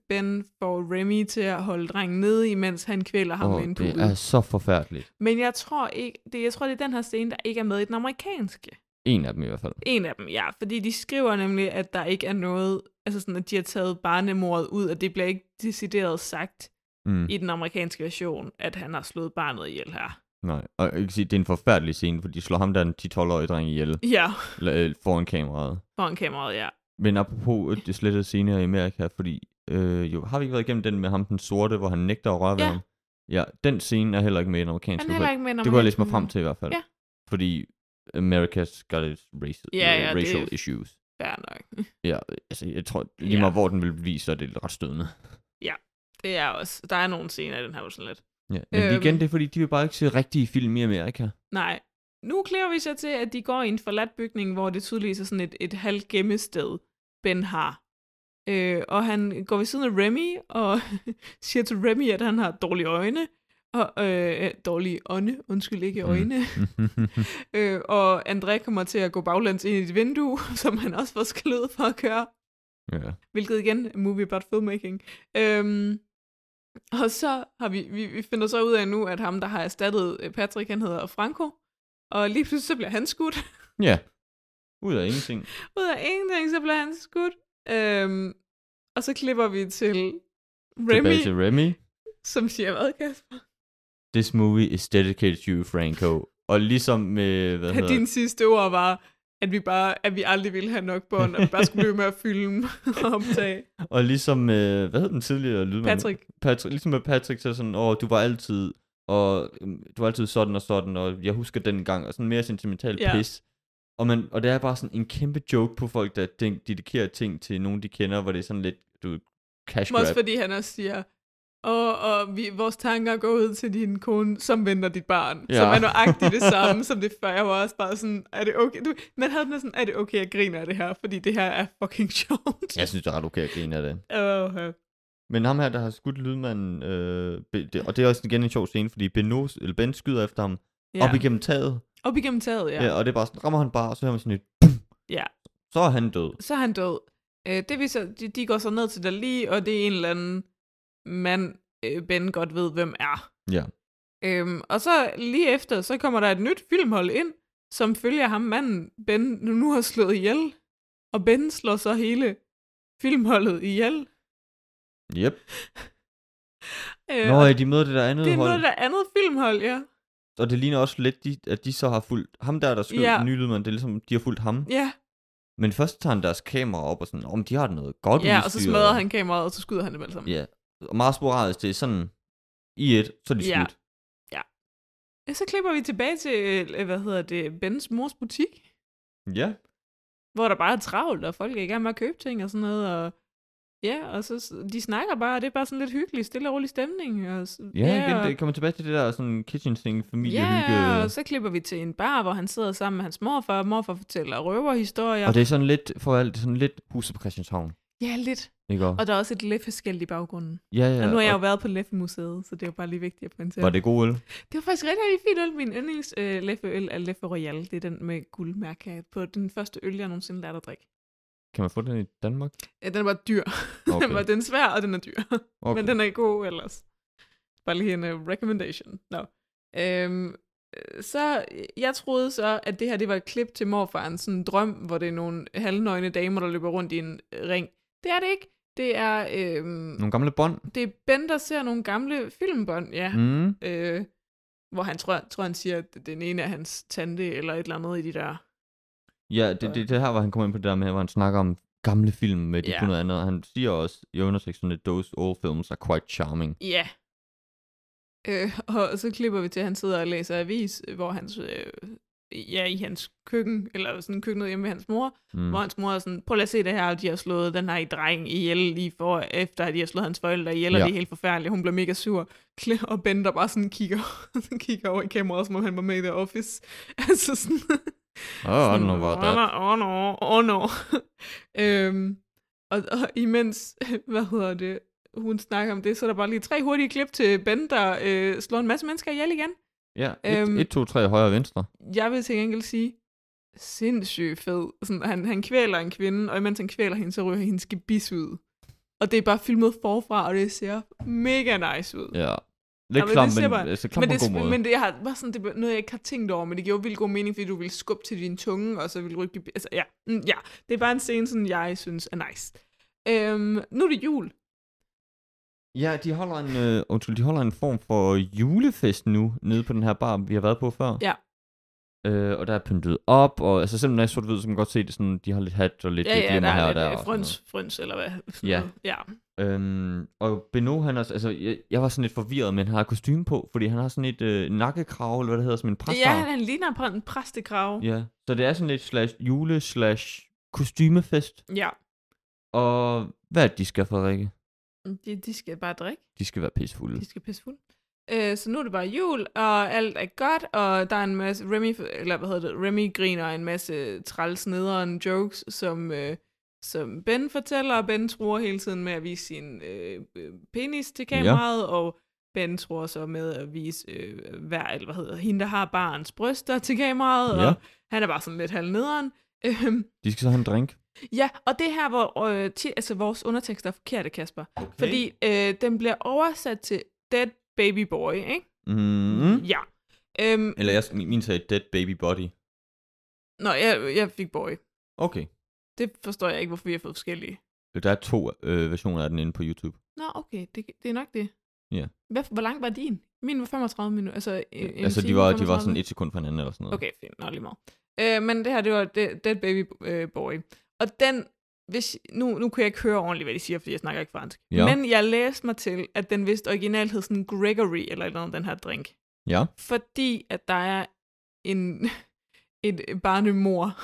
[SPEAKER 6] Ben får Remy til at holde drengen nede, imens han kvæler ham
[SPEAKER 4] Åh,
[SPEAKER 6] oh, med en
[SPEAKER 4] det
[SPEAKER 6] pude.
[SPEAKER 4] er så forfærdeligt.
[SPEAKER 6] Men jeg tror, ikke, det, jeg tror, det er den her scene, der ikke er med i den amerikanske.
[SPEAKER 4] En af dem i hvert fald.
[SPEAKER 6] En af dem, ja. Fordi de skriver nemlig, at der ikke er noget... Altså sådan, at de har taget barnemordet ud, og det bliver ikke decideret sagt
[SPEAKER 4] Mm.
[SPEAKER 6] i den amerikanske version, at han har slået barnet ihjel her.
[SPEAKER 4] Nej, og jeg kan sige, det er en forfærdelig scene, for de slår ham der den 10-12-årige dreng ihjel
[SPEAKER 6] Ja,
[SPEAKER 4] la- øh, foran kameraet.
[SPEAKER 6] foran kameraet, ja.
[SPEAKER 4] Men apropos øh, det slettede scene her i Amerika, fordi øh, jo, har vi ikke været igennem den med ham, den sorte, hvor han nægter at røre ved
[SPEAKER 6] Ja.
[SPEAKER 4] ham? Ja, den scene er heller ikke med i den
[SPEAKER 6] Han
[SPEAKER 4] amerikanske.
[SPEAKER 6] er heller ikke med i den
[SPEAKER 4] det kunne jeg læse mig
[SPEAKER 6] amerikanske
[SPEAKER 4] frem til i hvert fald.
[SPEAKER 6] Ja.
[SPEAKER 4] Fordi America's got its racial,
[SPEAKER 6] Ja, ja,
[SPEAKER 4] øh,
[SPEAKER 6] det-
[SPEAKER 4] racial issues.
[SPEAKER 6] Fair nok.
[SPEAKER 4] Ja, altså jeg tror lige
[SPEAKER 6] Ja.
[SPEAKER 4] meget, hvor den vil vise, så er det ret stødende.
[SPEAKER 6] Det er også... Der er nogle scener i den her, hvor sådan lidt...
[SPEAKER 4] Ja. Men øhm.
[SPEAKER 6] Øhm.
[SPEAKER 4] igen, det er fordi, de vil bare ikke se rigtige film i
[SPEAKER 6] [LAUGHS]
[SPEAKER 4] Amerika.
[SPEAKER 6] Nej. Nu klæder vi så til, at de går i en forladt bygning, hvor det tydeligvis er sådan et, et halvt gemmested, Ben har. Øh, og han går ved siden af Remy og [LAUGHS] siger til Remy, at han har dårlige øjne. Og, øh, dårlige ånde, undskyld ikke
[SPEAKER 4] Mm.
[SPEAKER 6] øjne. Mm. Øh, og André kommer til at gå baglæns ind i et vindue, [LAUGHS] som han også får skældet for at køre.
[SPEAKER 4] ja.
[SPEAKER 6] Hvilket igen er movie about filmmaking. Øhm, og så har vi, vi, vi finder så ud af nu, at ham, der har erstattet øh, Patrick, han hedder Franco. Og lige pludselig så bliver han skudt. [LAUGHS]
[SPEAKER 4] ja. Ud af ingenting.
[SPEAKER 6] ud af ingenting, så bliver han skudt. Øhm, og så klipper vi til
[SPEAKER 4] Tilbage
[SPEAKER 6] Remy,
[SPEAKER 4] til Remy.
[SPEAKER 6] som siger, hvad Kasper?
[SPEAKER 4] This movie is dedicated to you, Franco. Og ligesom med, hvad
[SPEAKER 6] At
[SPEAKER 4] hedder
[SPEAKER 6] dine sidste ord var, at vi, bare, at vi aldrig ville have nok bånd, og vi bare skulle blive ved med at filme og
[SPEAKER 4] [LAUGHS]
[SPEAKER 6] optage.
[SPEAKER 4] Og ligesom med, hvad hed den tidligere lydmand?
[SPEAKER 6] Patrick,
[SPEAKER 4] Patrick. Ligesom med Patrick, så sådan, åh, du var altid, og øhm, du var altid sådan og sådan, og jeg husker den gang, og sådan mere sentimental
[SPEAKER 6] Ja.
[SPEAKER 4] pis. Og, man, og det er bare sådan en kæmpe joke på folk, der den- dedikerer ting til nogen, de kender, hvor det er sådan lidt, du ved, cash
[SPEAKER 6] Også
[SPEAKER 4] grab.
[SPEAKER 6] fordi han også siger, og, og vi, vores tanker går ud til din kone, som venter dit barn.
[SPEAKER 4] Ja.
[SPEAKER 6] Ja. Som er nøjagtigt det
[SPEAKER 4] [LAUGHS]
[SPEAKER 6] samme som det før. Jeg var også bare sådan, er det okay? Du, man havde den sådan, er det okay, jeg griner af det her? Fordi det her er fucking sjovt.
[SPEAKER 4] Jeg synes, det er ret okay at grine af det.
[SPEAKER 6] [LAUGHS] Åh, ja.
[SPEAKER 4] Men ham her, der har skudt lydmanden, øh, be- det, og det er også igen en sjov scene, fordi Beno, eller Ben skyder efter ham ja. op igennem taget,
[SPEAKER 6] Op igennem taget, ja.
[SPEAKER 4] Ja. ja, Øh, og det er bare sådan, rammer han bare, og så hører man sådan et
[SPEAKER 6] Ja.
[SPEAKER 4] Så er han død.
[SPEAKER 6] Så er han død. Øh, det vi så, de, de går så ned til Dali, og det er en eller anden mand, øh, Ben godt ved, hvem er.
[SPEAKER 4] Ja.
[SPEAKER 6] Øhm, og så lige efter, så kommer der et nyt filmhold ind, som følger ham manden, Ben nu nu har slået ihjel. Og Ben slår så hele filmholdet ihjel.
[SPEAKER 4] Yep.
[SPEAKER 6] Øh,
[SPEAKER 4] Nå,
[SPEAKER 6] og
[SPEAKER 4] ja, de møder det der andet
[SPEAKER 6] det er
[SPEAKER 4] hold,
[SPEAKER 6] noget der andet filmhold, ja.
[SPEAKER 4] og det ligner også lidt, de, at de så har fulgt ham der, der skød ja.
[SPEAKER 6] Ja.
[SPEAKER 4] den nye lydmand, det er ligesom, de har fulgt ham.
[SPEAKER 6] Ja,
[SPEAKER 4] Men først tager han deres kamera op og sådan, om de har noget godt
[SPEAKER 6] ja og så
[SPEAKER 4] udstyr."
[SPEAKER 6] smadrer han kameraet, og så skyder han dem alle sammen.
[SPEAKER 4] Ja, og meget sporadisk, det er sådan, i et, så er de
[SPEAKER 6] Ja.
[SPEAKER 4] skudt.
[SPEAKER 6] Ja. Så klipper vi tilbage til, øh, hvad hedder det, Bens mors butik.
[SPEAKER 4] Ja.
[SPEAKER 6] hvor der bare er travlt, og folk er i gang med at købe ting og sådan noget, og ja, og så s- de snakker bare, og det er bare sådan lidt hyggeligt, stille og rolig stemning. Og, s-
[SPEAKER 4] Ja, igen,
[SPEAKER 6] og,
[SPEAKER 4] det kommer tilbage til det der sådan kitchen sink, familiehygge.
[SPEAKER 6] ja, og så klipper vi til en bar, hvor han sidder sammen med hans morfar, og morfar fortæller røverhistorier.
[SPEAKER 4] Og det er sådan lidt, for alt, det er sådan lidt huset på Christianshavn,
[SPEAKER 6] Ja, lidt.
[SPEAKER 4] ikke også?
[SPEAKER 6] Og der er også et læfeskilt i baggrunden.
[SPEAKER 4] Ja, ja.
[SPEAKER 6] Ja, og nu har jeg jo
[SPEAKER 4] og-
[SPEAKER 6] været på Leffe-museet, så det er jo bare lige vigtigt at pointere.
[SPEAKER 4] Var det god øl?
[SPEAKER 6] det var faktisk rigtig, rigtig fint øl. Min yndlings øh, Leffe-øl er Leffe Royal. Det er den med guldmærke på den første øl, jeg nogensinde lærte at drikke.
[SPEAKER 4] Kan man få den i Danmark?
[SPEAKER 6] Ja, den var dyr. Okay. den, [LAUGHS] var, den er svær, og den er dyr. Okay. Men den er god ellers. Bare lige en uh, recommendation. No. Øhm, øh, så øh, jeg troede så, at det her det var et klip til morfarens sådan en drøm, hvor det er nogle halvnøgne damer, der løber rundt i en øh, ring. Det er det ikke. Det er, øhm,
[SPEAKER 4] Nogle gamle bånd.
[SPEAKER 6] det er Ben, der ser nogle gamle filmbånd, ja. Mm.
[SPEAKER 4] Mm.
[SPEAKER 6] Øh, hvor han tror, tror, han siger, at den ene er hans tante eller et eller andet i de der...
[SPEAKER 4] Ja, det, det, det her, hvor han kommer ind på det der med, hvor han snakker om gamle film med de
[SPEAKER 6] Ja.
[SPEAKER 4] yeah. noget andet. og Han siger også i underteksten, at those old films are quite charming.
[SPEAKER 6] Ja. Øh, [LAUGHS] og så klipper vi til, at han sidder og læser avis, hvor hans, øh, ja, i hans køkken, eller sådan køkkenet hjemme ved hans mor,
[SPEAKER 4] Mm.
[SPEAKER 6] hvor hans mor er sådan, prøv lige at se det her, de har slået den her dreng ihjel lige for, efter at de har slået hans forældre ihjel, ja.
[SPEAKER 4] Ja.
[SPEAKER 6] og det er helt forfærdeligt, hun bliver mega sur, Kl- og Ben der bare sådan kigger, [LAUGHS] sådan kigger over i kameraet, som om han var med i The Office. [LAUGHS] altså sådan,
[SPEAKER 4] Oh, I don't know about
[SPEAKER 6] oh,
[SPEAKER 4] that.
[SPEAKER 6] no, oh no, oh no. [LAUGHS] øhm, Og, og imens, [LAUGHS] hvad hedder det, hun snakker om det, så er der bare lige tre hurtige klip til Ben, der øh, slår en masse mennesker ihjel igen.
[SPEAKER 4] Ja, 1,
[SPEAKER 6] Øhm.
[SPEAKER 4] 1 2, 3 højre og venstre.
[SPEAKER 6] Jeg vil til gengæld sige, sindssygt fed. Sådan, han, han kvæler en kvinde, og imens han kvæler hende, så ryger hendes gebis ud. Og det er bare filmet forfra, og det ser mega nice ud.
[SPEAKER 4] Ja.
[SPEAKER 6] Ja,
[SPEAKER 4] Lidt
[SPEAKER 6] men det
[SPEAKER 4] klam,
[SPEAKER 6] siger bare-
[SPEAKER 4] men, altså, klam
[SPEAKER 6] men
[SPEAKER 4] på en god
[SPEAKER 6] det,
[SPEAKER 4] måde.
[SPEAKER 6] men det, jeg har, var sådan, det var noget, jeg ikke har tænkt over, men det gjorde vildt god mening, fordi du ville skubbe til din tunge, og så ville rykke... Altså, ja, mm, ja, det er bare en scene, sådan, jeg synes er nice. Øhm, nu er det jul.
[SPEAKER 4] Ja, de holder, en, øh, undskyld, de holder en form for julefest nu, nede på den her bar, vi har været på før.
[SPEAKER 6] Ja.
[SPEAKER 4] Øh, og der er pyntet op, og altså selvom den er sort-hvid, så kan man godt se det sådan, de har lidt hat og lidt
[SPEAKER 6] Ja,
[SPEAKER 4] øh,
[SPEAKER 6] ja, der
[SPEAKER 4] glimmer her
[SPEAKER 6] er
[SPEAKER 4] og der. og
[SPEAKER 6] lidt øh,
[SPEAKER 4] sådan noget.
[SPEAKER 6] frøns, frøns, eller hvad? sådan
[SPEAKER 4] Ja.
[SPEAKER 6] noget. ja.
[SPEAKER 4] Øhm, og Beno, han er, altså, jeg, jeg, var sådan lidt forvirret, men han har kostume på, fordi han har sådan et øh, nakkekrav, eller hvad det hedder, som en præstar.
[SPEAKER 6] Ja, han, han ligner på en præstekrave. Ja.
[SPEAKER 4] ja. Så det er sådan lidt slash jule slash kostymefest.
[SPEAKER 6] ja.
[SPEAKER 4] Og hvad er det, de skal, Frederikke?
[SPEAKER 6] Mm, De, de skal bare drikke.
[SPEAKER 4] De skal være pissefulde.
[SPEAKER 6] De skal pisse fuld. Øh, så nu er det bare jul, og alt er godt, og der er en masse, Remy, eller hvad hedder det, Remy griner en masse træls nederen jokes, som, øh, som Ben fortæller, og Ben tror hele tiden med at vise sin øh, øh, penis til kameraet, ja. og Ben tror så med at vise øh, hver, eller hvad hedder, hende, der har barns bryster til kameraet,
[SPEAKER 4] Ja.
[SPEAKER 6] og han er bare sådan lidt halvnederen. Øhm,
[SPEAKER 4] De skal så have en drink.
[SPEAKER 6] Ja, og det er her, hvor øh, ti, altså, vores undertekster er forkerte, Kasper. Okay. Fordi øh, den bliver oversat til Dead Baby Boy, ikke?
[SPEAKER 4] Mm-hmm.
[SPEAKER 6] Ja. Øhm,
[SPEAKER 4] Eller jeg, min, min sagde Dead Baby Body.
[SPEAKER 6] nå, jeg, jeg fik boy.
[SPEAKER 4] Okay.
[SPEAKER 6] Det forstår jeg ikke, hvorfor vi har fået forskellige.
[SPEAKER 4] Der er to øh, versioner af den inde på YouTube.
[SPEAKER 6] Nå, okay, det, det er nok det.
[SPEAKER 4] Ja.
[SPEAKER 6] Hvad, hvor lang var din? Min var 35 minutter. Altså, en, en
[SPEAKER 4] altså, de
[SPEAKER 6] time
[SPEAKER 4] var,
[SPEAKER 6] og
[SPEAKER 4] de var
[SPEAKER 6] 35
[SPEAKER 4] sådan et sekund fra hinanden eller sådan noget.
[SPEAKER 6] Okay, fint. Nå, lige meget. Øh, men det her, det var Dead, Dead Baby øh, Boy. Og den, hvis, nu, nu kan jeg ikke høre ordentligt, hvad de siger, fordi jeg snakker ikke fransk.
[SPEAKER 4] Ja.
[SPEAKER 6] Men jeg læste mig til, at den vist originalt hed sådan Gregory, eller noget den her drink.
[SPEAKER 4] Ja.
[SPEAKER 6] Fordi at der er en, [LAUGHS] et barnemor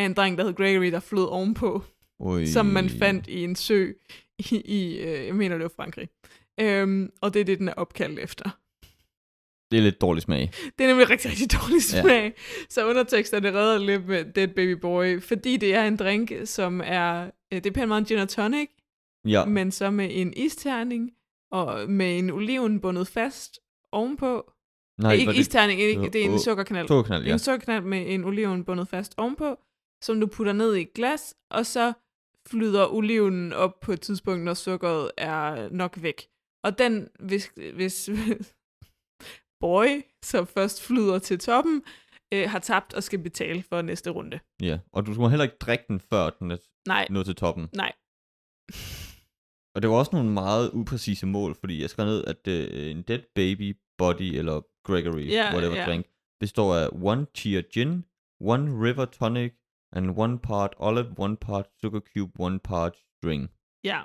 [SPEAKER 6] af en dreng, der hed Gregory, der flød ovenpå,
[SPEAKER 4] Ui.
[SPEAKER 6] som man fandt i en sø i, i øh, jeg mener det var Frankrig. Øhm, og det er det, den er opkaldt efter.
[SPEAKER 4] Det er lidt dårlig smag.
[SPEAKER 6] Det er nemlig rigtig, rigtig dårlig
[SPEAKER 4] Ja.
[SPEAKER 6] smag. Ja. Så underteksterne redder lidt med Dead Baby Boy, fordi det er en drink, som er... øh, Det er pænt meget en gin og tonic,
[SPEAKER 4] Ja.
[SPEAKER 6] ja.
[SPEAKER 4] Men...
[SPEAKER 6] men så med en isterning og med en oliven bundet fast ovenpå.
[SPEAKER 4] Nej,
[SPEAKER 6] Nej,
[SPEAKER 4] var
[SPEAKER 6] ikke
[SPEAKER 4] det
[SPEAKER 6] isterning, ikke, det er en
[SPEAKER 4] Åh,
[SPEAKER 6] sukkerknald.
[SPEAKER 4] to knald,
[SPEAKER 6] Ja.
[SPEAKER 4] ja.
[SPEAKER 6] En sukkerknald med en oliven bundet fast ovenpå, som du putter ned i et glas, og så flyder oliven op på et tidspunkt, når sukkeret er nok væk. Og den, hvis, hvis [LAUGHS] boy, som først flyder til toppen, øh, har tabt og skal betale for næste runde.
[SPEAKER 4] ja. Og du må heller ikke drikke den, før den er
[SPEAKER 6] Nej,
[SPEAKER 4] nået til toppen.
[SPEAKER 6] nej.
[SPEAKER 4] Og det var også nogle meget upræcise mål, fordi jeg skrev ned, at øh, en Dead Baby Body, eller Gregory,
[SPEAKER 6] Ja,
[SPEAKER 4] whatever
[SPEAKER 6] ja.
[SPEAKER 4] drink, består af one cheer gin, one river tonic, and one part olive, one part sugar cube, one part string.
[SPEAKER 6] Ja.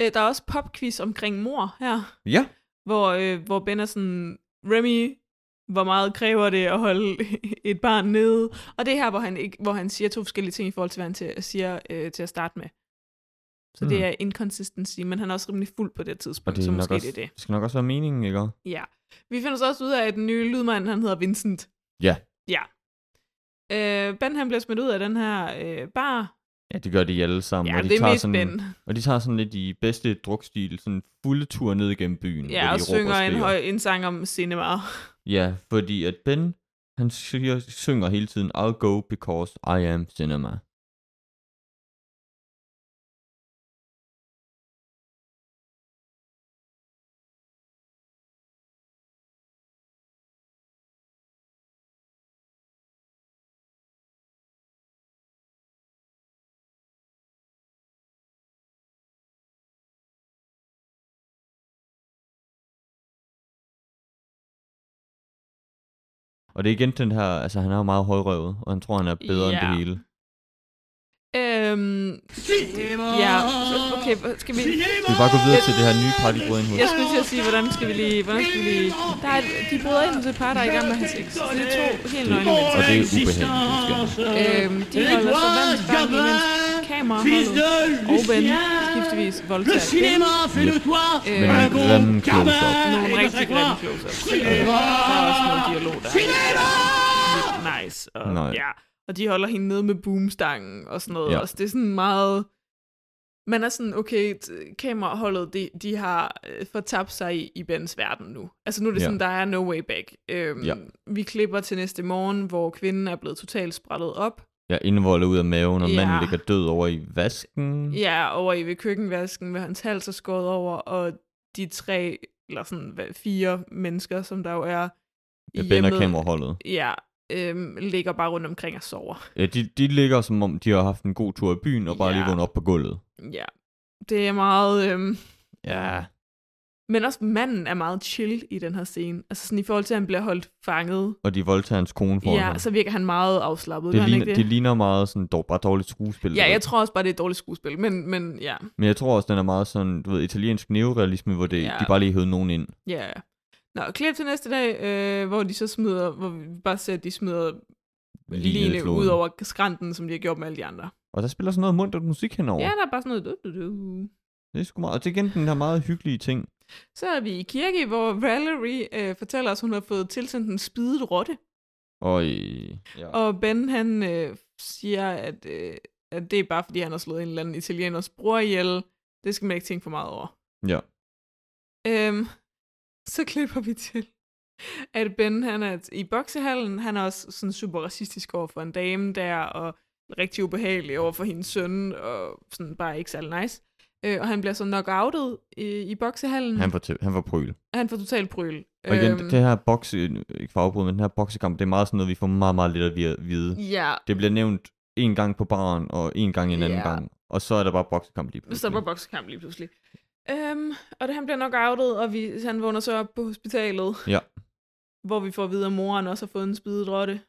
[SPEAKER 6] Øh, der er også popquiz omkring mor her.
[SPEAKER 4] Ja.
[SPEAKER 6] hvor, øh, hvor Ben er sådan, Remy, hvor meget kræver det at holde [LAUGHS] et barn nede? Og det er her, hvor han, ikke, hvor han siger to forskellige ting i forhold til, hvad han til, siger øh, til at starte med. Så mm. det
[SPEAKER 4] Hmm.
[SPEAKER 6] er inconsistency, men han er også rimelig fuld på det
[SPEAKER 4] Og
[SPEAKER 6] tidspunkt,
[SPEAKER 4] det,
[SPEAKER 6] så
[SPEAKER 4] er
[SPEAKER 6] måske
[SPEAKER 4] nok også,
[SPEAKER 6] det er det.
[SPEAKER 4] det skal nok også være meningen, ikke?
[SPEAKER 6] Ja. Vi finder så også ud af, at den nye lydmand, han hedder Vincent.
[SPEAKER 4] Ja.
[SPEAKER 6] Ja. Øh, ben, han bliver smidt ud af den her øh, bar.
[SPEAKER 4] Ja, det gør de alle sammen.
[SPEAKER 6] Ja,
[SPEAKER 4] og de
[SPEAKER 6] det er
[SPEAKER 4] tager
[SPEAKER 6] mest
[SPEAKER 4] sådan,
[SPEAKER 6] Ben.
[SPEAKER 4] Og de tager sådan lidt i bedste drukstil, sådan fulde tur ned gennem byen. hvor
[SPEAKER 6] Ja,
[SPEAKER 4] de
[SPEAKER 6] og
[SPEAKER 4] råber
[SPEAKER 6] synger en,
[SPEAKER 4] skriger.
[SPEAKER 6] høj, en sang om cinema.
[SPEAKER 4] Ja, fordi at Ben, han siger, synger hele tiden, I'll go because I am cinema. Og det er igen den her, altså han er jo meget højrøvet, og han tror, han er bedre yeah. end
[SPEAKER 6] Ja.
[SPEAKER 4] det hele.
[SPEAKER 6] Øhm, ja, så- okay, hvad- skal vi...
[SPEAKER 4] Vi kan bare gå videre til det her nye party Brødren
[SPEAKER 6] Jeg skulle til at sige, hvordan skal vi lige... Hvordan skal vi lige... Der er et, de bryder ind hos et par, der er i gang med at have sex. Så det er to helt nøgne
[SPEAKER 4] Og
[SPEAKER 6] mennesker.
[SPEAKER 4] det er ubehageligt. det skal jeg.
[SPEAKER 6] Øhm, de holder så vand til gang, imens kameraholdet og Ben skiftevis Øhm,
[SPEAKER 1] Le
[SPEAKER 6] voldtager kvinden.
[SPEAKER 1] cinéma, fais-le-toi
[SPEAKER 4] Men
[SPEAKER 6] Euh,
[SPEAKER 4] en grim close-up.
[SPEAKER 6] Nogle rigtig grimme close-ups. Der er også noget dialog, der er
[SPEAKER 1] Cinéma
[SPEAKER 6] lidt nice. Og,
[SPEAKER 4] Nej.
[SPEAKER 6] ja. og de holder hende nede med boomstangen og sådan noget.
[SPEAKER 4] Ja.
[SPEAKER 6] Ja. Og så det er sådan meget... Man er sådan, okay, t- kameraholdet, de, de har øh, fortabt sig i, i Bens verden nu. Altså nu er det
[SPEAKER 4] Ja.
[SPEAKER 6] sådan, der er no way back. Øhm,
[SPEAKER 4] Ja.
[SPEAKER 6] Vi klipper til næste morgen, hvor kvinden er blevet totalt sprællet op.
[SPEAKER 4] Ja, indvoldet ud af maven, og
[SPEAKER 6] Ja.
[SPEAKER 4] manden ligger død over i vasken.
[SPEAKER 6] Ja, over i ved køkkenvasken, med hans hals er skåret over, og de tre, eller sådan hvad, fire mennesker, som der jo er i
[SPEAKER 4] Ja, Ben og kameraholdet.
[SPEAKER 6] ja, øhm, ligger bare rundt omkring og sover.
[SPEAKER 4] Ja, de, de ligger, som om de har haft en god tur i byen, og bare
[SPEAKER 6] Ja.
[SPEAKER 4] lige vågnet op på gulvet.
[SPEAKER 6] Ja, det er meget... Øhm,
[SPEAKER 4] Ja,
[SPEAKER 6] men også manden er meget chill i den her scene. Altså sådan i forhold til, at han bliver holdt fanget,
[SPEAKER 4] og de voldtager hans kone foran
[SPEAKER 6] ja,
[SPEAKER 4] ham.
[SPEAKER 6] så virker han meget afslappet.
[SPEAKER 4] det,
[SPEAKER 6] gør han
[SPEAKER 4] ligner,
[SPEAKER 6] ikke
[SPEAKER 4] det? ligner meget sådan, dog bare dårligt skuespil. du
[SPEAKER 6] Ja,
[SPEAKER 4] ved.
[SPEAKER 6] jeg tror også bare, det er et dårligt skuespil, men, men ja.
[SPEAKER 4] Men jeg tror også, den er meget sådan, du ved, italiensk neorealisme, hvor det,
[SPEAKER 6] Ja.
[SPEAKER 4] de bare lige høvede nogen ind.
[SPEAKER 6] Ja, ja. Nå, klip til næste dag, øh, hvor de så smider, hvor vi bare ser, at de smider
[SPEAKER 4] Lige
[SPEAKER 6] line ud over skrænten, som de har gjort med alle de andre.
[SPEAKER 4] Og der spiller sådan noget mundt musik henover.
[SPEAKER 6] Ja, der er bare sådan noget... Du, du, du.
[SPEAKER 4] Det er sgu meget. Og det er igen den her meget hyggelige ting.
[SPEAKER 6] Så er vi i kirke, hvor Valerie øh, fortæller os, at hun har fået tilsendt en spidet rotte.
[SPEAKER 4] Og, i- ja.
[SPEAKER 6] Og Ben, han øh, siger, at, øh, at det er bare, fordi han har slået en eller anden italieners bror ihjel. Det skal man ikke tænke for meget over.
[SPEAKER 4] ja.
[SPEAKER 6] Øhm, så klipper vi til, at Ben, han er i boksehallen. Han er også sådan super racistisk over for en dame der, og rigtig ubehagelig over for hendes søn, og sådan bare ikke særlig nice. Øh, og han bliver så knockoutet i, i boksehallen.
[SPEAKER 4] Han får, til, han får pryl.
[SPEAKER 6] Han får totalt bryl. Øhm,
[SPEAKER 4] Og igen, det her bokse, ikke for afbrud, men den her boksekamp, det er meget sådan noget, vi får meget, meget lidt at vi- vide.
[SPEAKER 6] Ja,
[SPEAKER 4] Det bliver nævnt en gang på baren, og en gang en anden
[SPEAKER 6] Ja.
[SPEAKER 4] gang. Og så er der bare boksekamp lige
[SPEAKER 6] så var
[SPEAKER 4] pludselig.
[SPEAKER 6] boksekamp lige pludselig. Øhm, og det, han bliver nok outet, og vi, han vågner så op på hospitalet.
[SPEAKER 4] Ja.
[SPEAKER 6] Hvor vi får at vide, at moren også har fået en spidedrotte.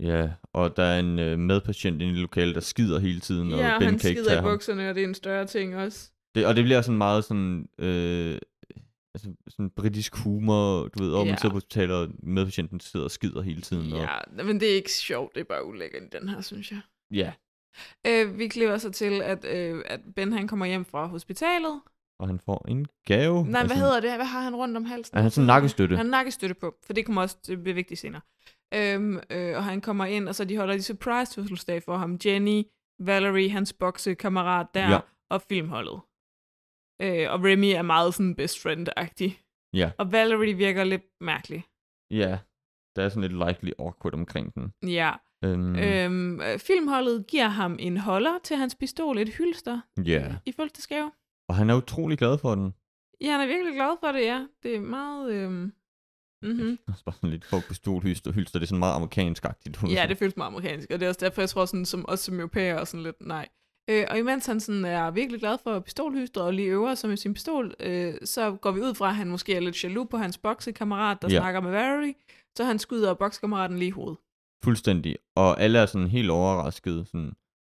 [SPEAKER 4] Ja, og der er en øh, medpatient inde i lokalet, der skider hele tiden, og
[SPEAKER 6] Ja, og
[SPEAKER 4] Ben
[SPEAKER 6] han
[SPEAKER 4] kan ikke
[SPEAKER 6] skider
[SPEAKER 4] tage
[SPEAKER 6] i
[SPEAKER 4] ham.
[SPEAKER 6] bukserne, og det er en større ting også.
[SPEAKER 4] Det, og det bliver sådan meget sådan, øh, altså, sådan britisk humor, du ved, og man
[SPEAKER 6] Ja.
[SPEAKER 4] sidder på hospitalet, og medpatienten sidder og skider hele tiden. Og,
[SPEAKER 6] Ja, men det er ikke sjovt, det er bare ulækkert i den her, synes jeg.
[SPEAKER 4] ja.
[SPEAKER 6] Øh, vi klipper så til, at, øh, at Ben han kommer hjem fra hospitalet.
[SPEAKER 4] Og han får en gave.
[SPEAKER 6] Nej, hvad hedder det? Hvad har han rundt om
[SPEAKER 4] Uh, altså,
[SPEAKER 6] halsen?
[SPEAKER 4] Er han sådan en nakkestøtte?
[SPEAKER 6] Han har nakkestøtte på, for det kommer også det bliver vigtigt senere. Øhm, øh, og han kommer ind, og så de holder de surprise fødselsdag for ham. Jenny, Valerie, hans boksekammerat der,
[SPEAKER 4] Ja.
[SPEAKER 6] ja. og filmholdet. Øh, og Remy er meget sådan best friend-agtig.
[SPEAKER 4] Ja.
[SPEAKER 6] Og Valerie virker lidt mærkelig.
[SPEAKER 4] Ja, der er sådan lidt likely awkward omkring den.
[SPEAKER 6] Ja.
[SPEAKER 4] Øhm,
[SPEAKER 6] Mm.
[SPEAKER 4] øh.
[SPEAKER 6] Øhm, øh, filmholdet giver ham en holder til hans pistol, et hylster
[SPEAKER 4] Ja,
[SPEAKER 6] i fødselsdagsgave.
[SPEAKER 4] og han er utrolig glad for den. [LAUGHS]
[SPEAKER 6] Ja, han er virkelig glad for det, ja. Det er meget... Øhm, mm-hmm.
[SPEAKER 4] Og så bare sådan lidt folk på stolhylster, hylster, det er sådan meget amerikansk agtigt.
[SPEAKER 6] Ja, det føles meget amerikansk, og det er også derfor, jeg tror, sådan, som os som europæere er sådan lidt nej. Øh, og imens han sådan er virkelig glad for pistolhysteret og lige øver sig med sin pistol, øh, så går vi ud fra, at han måske er lidt jaloux på hans boksekammerat, der
[SPEAKER 4] Ja.
[SPEAKER 6] ja. snakker med Valerie, så han skyder boksekammeraten lige i hovedet.
[SPEAKER 4] Fuldstændig. Og alle er sådan helt overrasket, sådan,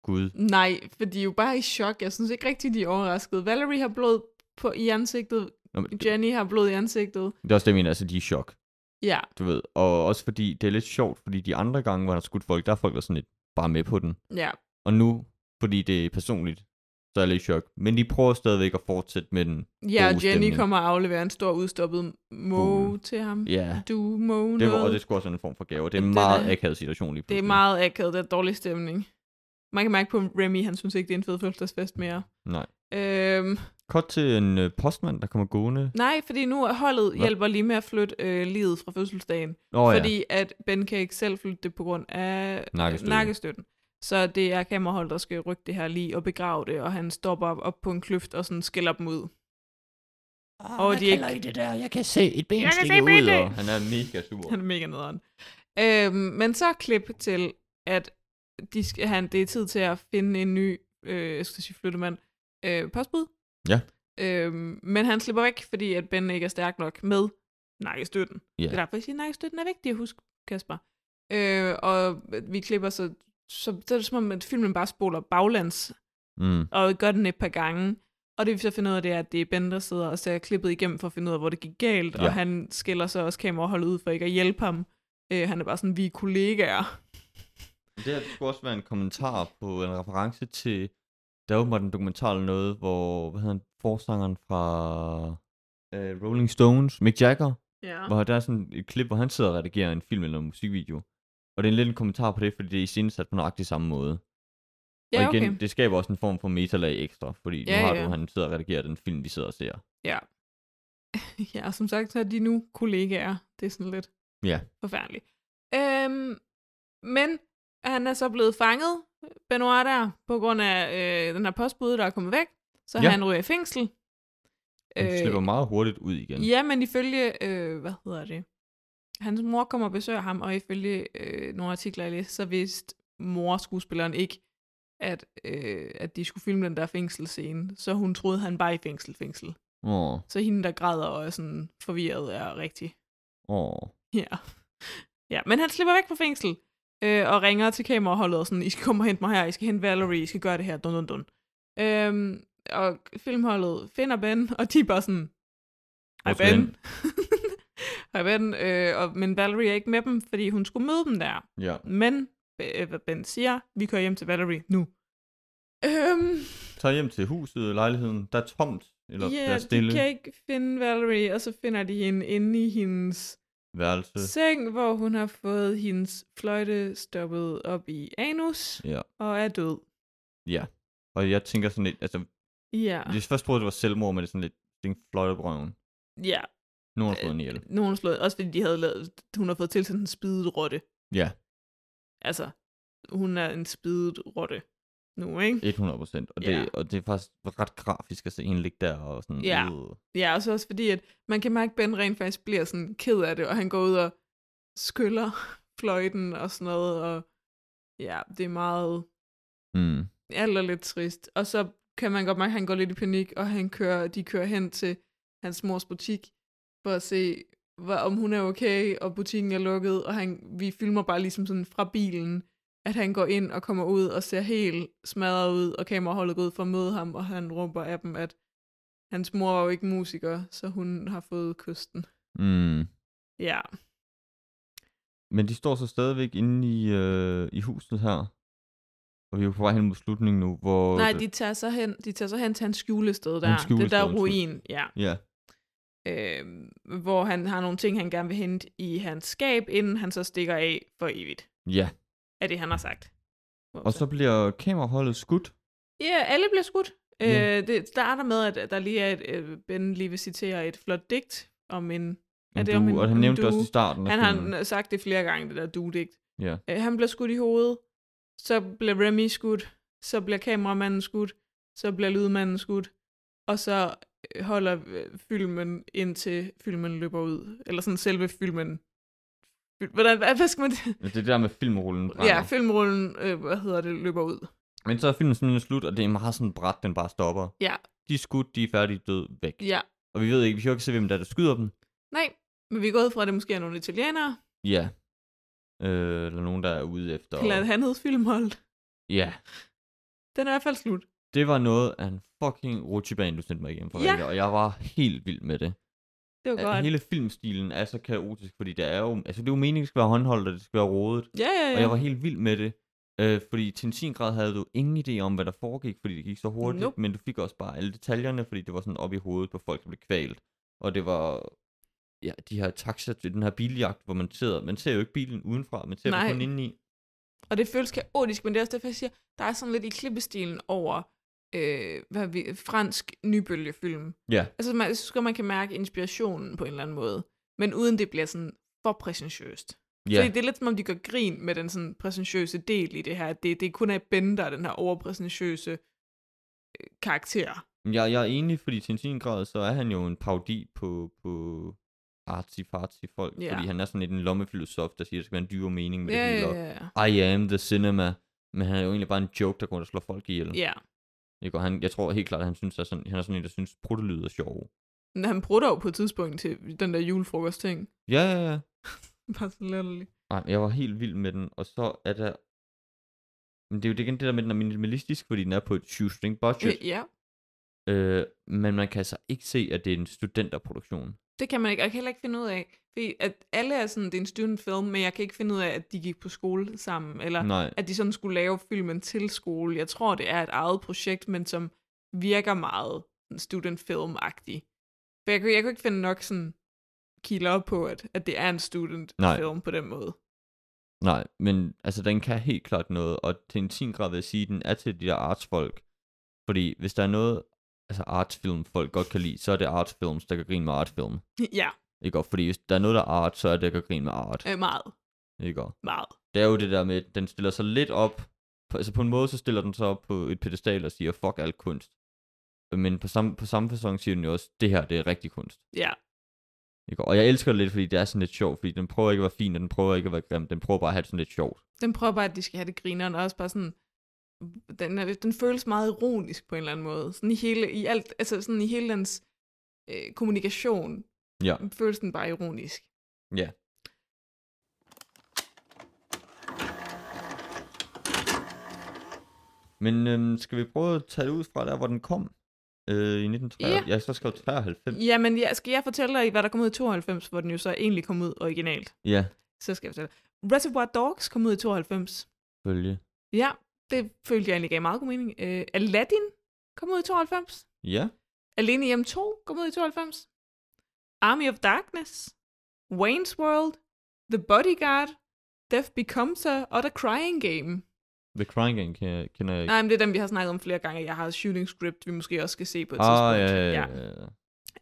[SPEAKER 4] gud,
[SPEAKER 6] Nej, for de er jo bare i chok. Jeg synes ikke rigtigt, de er overraskede. Valerie har blod på, i ansigtet,
[SPEAKER 4] Nå, men det-
[SPEAKER 6] Jenny har blod i ansigtet.
[SPEAKER 4] Det er også det, jeg mener, altså de er i chok,
[SPEAKER 6] Ja,
[SPEAKER 4] du ved. Og også fordi, det er lidt sjovt, fordi de andre gange, hvor han har skudt folk, der er folk der sådan lidt bare med på den.
[SPEAKER 6] ja.
[SPEAKER 4] Og nu, fordi det er personligt, så er jeg lidt i chok. Men de prøver stadigvæk at fortsætte med den.
[SPEAKER 6] Ja, og
[SPEAKER 4] God
[SPEAKER 6] Jenny
[SPEAKER 4] stemning.
[SPEAKER 6] kommer og afleverer en stor udstoppet måge
[SPEAKER 4] Fugl.
[SPEAKER 6] til ham.
[SPEAKER 4] Ja,
[SPEAKER 6] Du måge
[SPEAKER 4] det var,
[SPEAKER 6] noget.
[SPEAKER 4] og det skulle også være en form for gave. og Det er en
[SPEAKER 6] Den
[SPEAKER 4] meget
[SPEAKER 6] er-
[SPEAKER 4] akavet situation lige
[SPEAKER 6] det er
[SPEAKER 4] pludselig.
[SPEAKER 6] meget akavet, det er dårlig stemning. Man kan mærke på Remy, han synes ikke, det er en fed fødselsdagsfest mere.
[SPEAKER 4] Nej.
[SPEAKER 6] Øhm,
[SPEAKER 4] Kort til en øh, postmand, der kommer gående.
[SPEAKER 6] nej, fordi nu er holdet
[SPEAKER 4] Nå.
[SPEAKER 6] hjælper lige med at flytte øh, livet fra fødselsdagen.
[SPEAKER 4] Nå ja,
[SPEAKER 6] fordi at Ben kan ikke selv flytte det på grund af øh,
[SPEAKER 4] Nakkestøtte.
[SPEAKER 6] nakkestøtten. Så det er kameraholdet, der skal rykke det her lige og begrave det, og han stopper op, op på en kløft og sådan skælder dem ud.
[SPEAKER 4] Åh,
[SPEAKER 6] Og hvad de ikke- kalder I
[SPEAKER 4] det der? Jeg kan se et ben
[SPEAKER 6] Jeg kan stikke se ud, benet! og-
[SPEAKER 4] han er mega sur.
[SPEAKER 6] Han er mega nederen. Øhm, men så klip til, at de skal, han, det er tid til at finde en ny, øh, jeg skal sige flyttemand, øh, postbud.
[SPEAKER 4] Ja.
[SPEAKER 6] Øhm, men han slipper væk, fordi at Ben ikke er stærk nok med nakkestøtten.
[SPEAKER 4] Ja.
[SPEAKER 6] Det er derfor, jeg siger, at nakkestøtten er vigtig at huske, Kasper. Øh, og vi klipper så, så, så er det som om, at filmen bare spoler baglands,
[SPEAKER 4] Mm.
[SPEAKER 6] og gør den et par gange. Og det vi så finder ud af, det er, at det er Ben, der sidder og ser klippet igennem for at finde ud af, hvor det gik galt. Ja.
[SPEAKER 4] Ja.
[SPEAKER 6] Og han skiller så også kameraholdet ud for ikke at hjælpe ham. Øh, han er bare sådan, vi er kollegaer.
[SPEAKER 4] Det her skulle også være en kommentar på en reference til, der er åbenbart en dokumentar eller noget, hvor, hvad hedder han, forsangeren fra øh, Rolling Stones, Mick Jagger,
[SPEAKER 6] Ja.
[SPEAKER 4] hvor der er sådan et klip, hvor han sidder og redigerer en film eller en musikvideo. Og det er lidt en kommentar på det, fordi det er iscenesat på nøjagtig samme måde.
[SPEAKER 6] Ja,
[SPEAKER 4] og igen,
[SPEAKER 6] okay.
[SPEAKER 4] det skaber også en form for metalag ekstra, fordi
[SPEAKER 6] Ja,
[SPEAKER 4] nu har
[SPEAKER 6] ja.
[SPEAKER 4] du, han sidder og redigerer den film, vi sidder og ser.
[SPEAKER 6] [LAUGHS] Ja, og som sagt, så er de nu kollegaer. Det er sådan lidt
[SPEAKER 4] Ja.
[SPEAKER 6] forfærdeligt. Øhm, men han er så blevet fanget, Benoit der, på grund af øh, den her postbude, der er kommet væk. Så
[SPEAKER 4] Ja.
[SPEAKER 6] han ryger i fængsel.
[SPEAKER 4] Han øh, slipper meget hurtigt ud igen.
[SPEAKER 6] Ja, men ifølge, øh, hvad hedder det, hans mor kommer og besøger ham, og ifølge øh, nogle artikler, jeg læste, så vidste morskuespilleren ikke, at, øh, at de skulle filme den der fængselsscene, så hun troede, han var i fængsel, fængsel.
[SPEAKER 4] Åh,
[SPEAKER 6] Så hende, der græder og er sådan forvirret, er rigtig.
[SPEAKER 4] åh.
[SPEAKER 6] [LAUGHS] Ja. ja, men han slipper væk fra fængsel, øh, og ringer til kameraholdet og sådan, I skal komme og hente mig her, I skal hente Valerie, I skal gøre det her, dun dun dun. Øhm, og filmholdet finder Ben, og de er bare sådan, hej
[SPEAKER 4] Hvorfor
[SPEAKER 6] Ben. [LAUGHS] hej Ben, øh, og, men Valerie er ikke med dem, fordi hun skulle møde dem der.
[SPEAKER 4] Ja.
[SPEAKER 6] Men, øh, hvad Ben siger, vi kører hjem til Valerie nu. Øhm,
[SPEAKER 4] Tag hjem til huset, lejligheden, der er tomt, eller
[SPEAKER 6] ja,
[SPEAKER 4] der er stille
[SPEAKER 6] de kan ikke finde Valerie, og så finder de hende inde i hendes
[SPEAKER 4] værelse.
[SPEAKER 6] seng, hvor hun har fået hendes fløjte stoppet op i anus
[SPEAKER 4] Ja.
[SPEAKER 6] og er død.
[SPEAKER 4] Og jeg tænker sådan lidt,
[SPEAKER 6] Ah.
[SPEAKER 4] altså,
[SPEAKER 6] Ja,
[SPEAKER 4] jeg først troede, det var selvmord, men det er sådan lidt, det er en fløjt op røven.
[SPEAKER 6] ja.
[SPEAKER 4] Nogen har fået en ihjel.
[SPEAKER 6] Nogen har slået, også fordi de havde lavet, hun har fået tilsendt en spidet rotte.
[SPEAKER 4] Ja,
[SPEAKER 6] Altså, hun er en spidet rotte nu, ikke?
[SPEAKER 4] 100 procent. Og, det,
[SPEAKER 6] Ja.
[SPEAKER 4] og det er faktisk ret grafisk at se hende ligge der og sådan,
[SPEAKER 6] Ja.
[SPEAKER 4] øh,
[SPEAKER 6] Ja, og så også fordi, at man kan mærke, at Ben rent faktisk bliver sådan ked af det, og han går ud og skyller [LAUGHS] fløjten og sådan noget, og ja, det er meget,
[SPEAKER 4] mm,
[SPEAKER 6] alt er lidt trist. Og så kan man godt mærke, at han går lidt i panik, og han kører, de kører hen til hans mors butik for at se, hvor, om hun er okay, og butikken er lukket, og han, vi filmer bare ligesom sådan fra bilen, at han går ind og kommer ud og ser helt smadret ud, og kameraholdet går ud for at møde ham, og han råber af dem, at hans mor er jo ikke musiker, så hun har fået kysten.
[SPEAKER 4] mm.
[SPEAKER 6] Ja,
[SPEAKER 4] Men de står så stadigvæk inde i, øh, i huset her. Og vi er jo på vej hen mod slutningen nu, hvor...
[SPEAKER 6] nej, de tager så hen, de tager så hen til hans skjulested der,
[SPEAKER 4] Hans
[SPEAKER 6] det
[SPEAKER 4] skjulested,
[SPEAKER 6] der
[SPEAKER 4] undskyld.
[SPEAKER 6] ruin, ja.
[SPEAKER 4] Ja,
[SPEAKER 6] øh, hvor han har nogle ting, han gerne vil hente i hans skab, inden han så stikker af for evigt,
[SPEAKER 4] ja.
[SPEAKER 6] er det, han har sagt. Hvor
[SPEAKER 4] Og så bliver kameraholdet skudt.
[SPEAKER 6] Ja, alle bliver skudt.
[SPEAKER 4] Ja.
[SPEAKER 6] Øh, det starter med, at at der lige er et, øh, Ben lige vil citere et flot digt om en... Er
[SPEAKER 4] En
[SPEAKER 6] det om
[SPEAKER 4] due,
[SPEAKER 6] en-
[SPEAKER 4] og han
[SPEAKER 6] en
[SPEAKER 4] nævnte det også i
[SPEAKER 6] due?
[SPEAKER 4] starten. af
[SPEAKER 6] Han
[SPEAKER 4] filmen.
[SPEAKER 6] har sagt det flere gange, det der dudigt.
[SPEAKER 4] Ja.
[SPEAKER 6] Øh, han bliver skudt i hovedet, så bliver Remy skudt, så bliver kameramanden skudt, så bliver lydmanden skudt, og så øh, holder øh, filmen indtil filmen løber ud. Eller sådan selve filmen. Fil- Hvordan, hvad, hvad skal man...
[SPEAKER 4] Men Det er det der med filmrullen brænder.
[SPEAKER 6] Ja, filmrullen, øh, hvad hedder det, løber ud.
[SPEAKER 4] Men så er filmen simpelthen slut, og det er meget sådan bræt, den bare stopper.
[SPEAKER 6] Ja.
[SPEAKER 4] De er skudt, de er færdige, død, væk.
[SPEAKER 6] Ja,
[SPEAKER 4] Og vi ved ikke, vi kan jo ikke se, hvem der, er, der skyder dem.
[SPEAKER 6] nej, men vi går ud fra, at det måske er nogle italienere.
[SPEAKER 4] Ja. Øh, eller nogen, der er ude efter.
[SPEAKER 6] Eller han hed filmhold.
[SPEAKER 4] Ja.
[SPEAKER 6] Den er i hvert fald slut.
[SPEAKER 4] Det var noget af en fucking rutsjebane, du sendte mig igennem fra
[SPEAKER 6] Ja.
[SPEAKER 4] ja. og jeg var helt vild med det.
[SPEAKER 6] Det var
[SPEAKER 4] At
[SPEAKER 6] godt.
[SPEAKER 4] hele filmstilen er så kaotisk, fordi det er jo, altså det er jo meningen, det skal være håndholdt, og det skal være rodet.
[SPEAKER 6] Ja, ja, ja.
[SPEAKER 4] Og jeg var helt vild med det, øh, fordi til en sin grad havde du ingen idé om, hvad der foregik, fordi det gik så hurtigt,
[SPEAKER 6] Nope.
[SPEAKER 4] men du fik også bare alle detaljerne, fordi det var sådan op i hovedet på folk, der blev kvalt. Og det var ja, de her taxa, den her biljagt, hvor man sidder, man ser jo ikke bilen udenfra, man ser
[SPEAKER 6] Nej.
[SPEAKER 4] den kun indeni.
[SPEAKER 6] Og det føles kaotisk, men det er også derfor, jeg siger, der er sådan lidt i klippestilen over øh, hvad vi, fransk nybølgefilm.
[SPEAKER 4] Ja,
[SPEAKER 6] Altså, man, jeg synes godt, man kan mærke inspirationen på en eller anden måde, men uden det bliver sådan for præsentiøst.
[SPEAKER 4] ja,
[SPEAKER 6] Fordi det er lidt som om, de gør grin med den sådan præsentiøse del i det her. at Det, det kun er Ben, der er den her overpræsentiøse øh, karakter.
[SPEAKER 4] jeg, jeg er enig, fordi til en sin grad, så er han jo en parodi på, på artsy-fartsy folk,
[SPEAKER 6] Ja.
[SPEAKER 4] fordi han er sådan lidt en lommefilosof, der siger, at der skal være en dybere mening med det
[SPEAKER 6] Ja,
[SPEAKER 4] hele,
[SPEAKER 6] ja,
[SPEAKER 4] og
[SPEAKER 6] ja.
[SPEAKER 4] I am the cinema, men han er jo egentlig bare en joke, der går rundt og slår folk ihjel.
[SPEAKER 6] ja.
[SPEAKER 4] Ikke? Og han, jeg tror helt klart, at han, synes, at sådan, han er sådan en, der synes, pruttelyde er sjove.
[SPEAKER 6] Men Han prutter jo på et tidspunkt til den der julefrokost-ting. [LAUGHS]
[SPEAKER 4] Ja, ja, ja.
[SPEAKER 6] Bare så latterligt.
[SPEAKER 4] Ej, men jeg var helt vild med den, og så er der... Men det er jo det igen det der med, at den er minimalistisk, fordi den er på et shoestring budget.
[SPEAKER 6] Ja,
[SPEAKER 4] Øh, men man kan altså ikke se, at det er en studenterproduktion.
[SPEAKER 6] Det kan man ikke. og Jeg kan heller ikke finde ud af, fordi at alle er sådan, det er en student film, men jeg kan ikke finde ud af, at de gik på skole sammen, eller Nej.
[SPEAKER 4] Nej,
[SPEAKER 6] at de sådan skulle lave filmen til skole. Jeg tror, det er et eget projekt, men som virker meget student film agtig For jeg, kunne- jeg kunne ikke finde nok sådan kilder på, at, at det er en student
[SPEAKER 4] Nej.
[SPEAKER 6] film på den måde. [LAUGHS]
[SPEAKER 4] Nej, men altså, den kan helt klart noget, og til en 10 grad vil jeg sige, den er til de der artsfolk. Fordi hvis der er noget, altså artsfilm folk godt kan lide, så er det artsfilms, der kan grine med artfilm.
[SPEAKER 6] Ja,
[SPEAKER 4] Ikke også? Fordi hvis der er noget, der er art, så er det, der kan grine med art.
[SPEAKER 6] øh, meget,
[SPEAKER 4] Ikke også?
[SPEAKER 6] meget.
[SPEAKER 4] Det er jo det der med, at den stiller sig lidt op. På, altså på en måde, så stiller den sig op på et pedestal og siger, fuck al kunst. Men på samme, på samme fasong siger den jo også, det her, det er rigtig kunst.
[SPEAKER 6] Ja,
[SPEAKER 4] Ikke? Og jeg elsker det lidt, fordi det er sådan lidt sjovt, fordi den prøver ikke at være fin, og den prøver ikke at være grim, den prøver bare at have det sådan lidt sjovt.
[SPEAKER 6] den prøver bare, at de skal have det grineren, og også bare sådan, den, er, den føles meget ironisk på en eller anden måde. Sådan i hele, i alt, altså sådan i hele dens øh, kommunikation
[SPEAKER 4] Ja.
[SPEAKER 6] føles den bare ironisk.
[SPEAKER 4] Ja. Men øhm, skal vi prøve at tage det ud fra der, hvor den kom? Øh, I 1993? Ja. Jeg så skrev 93.
[SPEAKER 6] Jamen, ja, skal jeg fortælle dig, hvad der kom ud i 92, hvor den jo så egentlig kom ud originalt?
[SPEAKER 4] Ja,
[SPEAKER 6] Så skal jeg fortælle dig. Reservoir Dogs kom ud i 92.
[SPEAKER 4] følge.
[SPEAKER 6] Ja, det følte jeg egentlig gav meget god mening. Øh, Aladdin kom ud i 92.
[SPEAKER 4] Ja,
[SPEAKER 6] Alene hjem 2 kom ud i 92. Army of Darkness, Wayne's World, The Bodyguard, Death Becomes Her og The Crying Game.
[SPEAKER 4] The Crying Game kan jeg, kender jeg ikke.
[SPEAKER 6] Nej, men det er dem, vi har snakket om flere gange. Jeg har et shooting script, vi måske også skal se på et
[SPEAKER 4] ah,
[SPEAKER 6] tidspunkt.
[SPEAKER 4] ja, ja, ja, ja.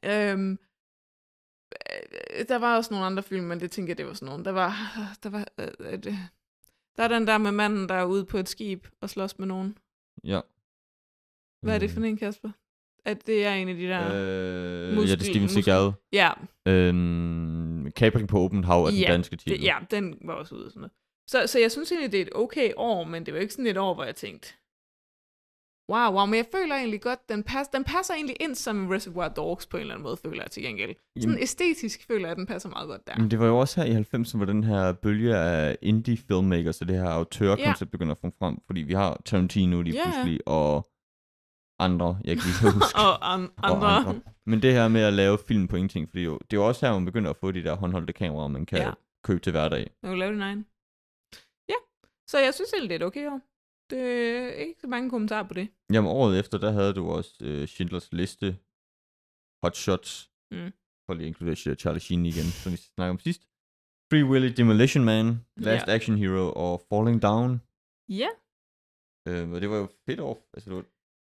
[SPEAKER 6] ja. Øhm, øh, der var også nogle andre film, men det tænker jeg, det var sådan nogle. Der var... [LAUGHS] Der, var øh, øh, det- der er den der med manden, der er ude på et skib og slås med nogen.
[SPEAKER 4] ja.
[SPEAKER 6] Hvad er det for en, Kasper? At det er en af de der... Øh,
[SPEAKER 4] Mm. Øh, ja, det er
[SPEAKER 6] Muskel-
[SPEAKER 4] Steven
[SPEAKER 6] muskel-
[SPEAKER 4] Seagal.
[SPEAKER 6] ja,
[SPEAKER 4] Øhm, Kapring på åbent hav er den
[SPEAKER 6] Ja,
[SPEAKER 4] danske titel.
[SPEAKER 6] det, ja, den var også ude og sådan noget. Så, så jeg synes egentlig, det er et okay år, men det var ikke sådan et år, hvor jeg tænkte, wow, wow, men jeg føler egentlig godt, den, pas, den passer egentlig ind som Reservoir Dogs på en eller anden måde, føler jeg til gengæld. Sådan
[SPEAKER 4] Jamen-
[SPEAKER 6] æstetisk føler jeg, at den passer meget godt [LAUGHS] der.
[SPEAKER 4] Men det var jo også her i 90'erne, hvor den her bølge af indie-filmmakers og det her autørkoncept begynder at komme frem, fordi vi har Tarantino lige
[SPEAKER 6] Ja.
[SPEAKER 4] pludselig, og andre, jeg kan ikke huske.
[SPEAKER 6] [LAUGHS] Og an, andre.
[SPEAKER 4] Og andre. Men det her med at lave film på ingenting, fordi jo, det er jo også her, man begynder at få de der håndholdte kameraer, man kan
[SPEAKER 6] Ja.
[SPEAKER 4] ja. købe til hverdag.
[SPEAKER 6] Man kan lave din egen. Ja, så jeg synes egentlig, det er et okay år. Det er ikke så mange kommentarer på det.
[SPEAKER 4] Jamen året efter, der havde du også øh, Schindlers Liste, Hot Shots,
[SPEAKER 6] Mm.
[SPEAKER 4] for lige at inkludere Charlie Sheen igen, som vi snakkede om sidst. Free Willy, Demolition Man, Last
[SPEAKER 6] Ja.
[SPEAKER 4] ja. Action Hero og Falling Down.
[SPEAKER 6] Ja,
[SPEAKER 4] Øh, og det var jo fedt år. Altså, det, var,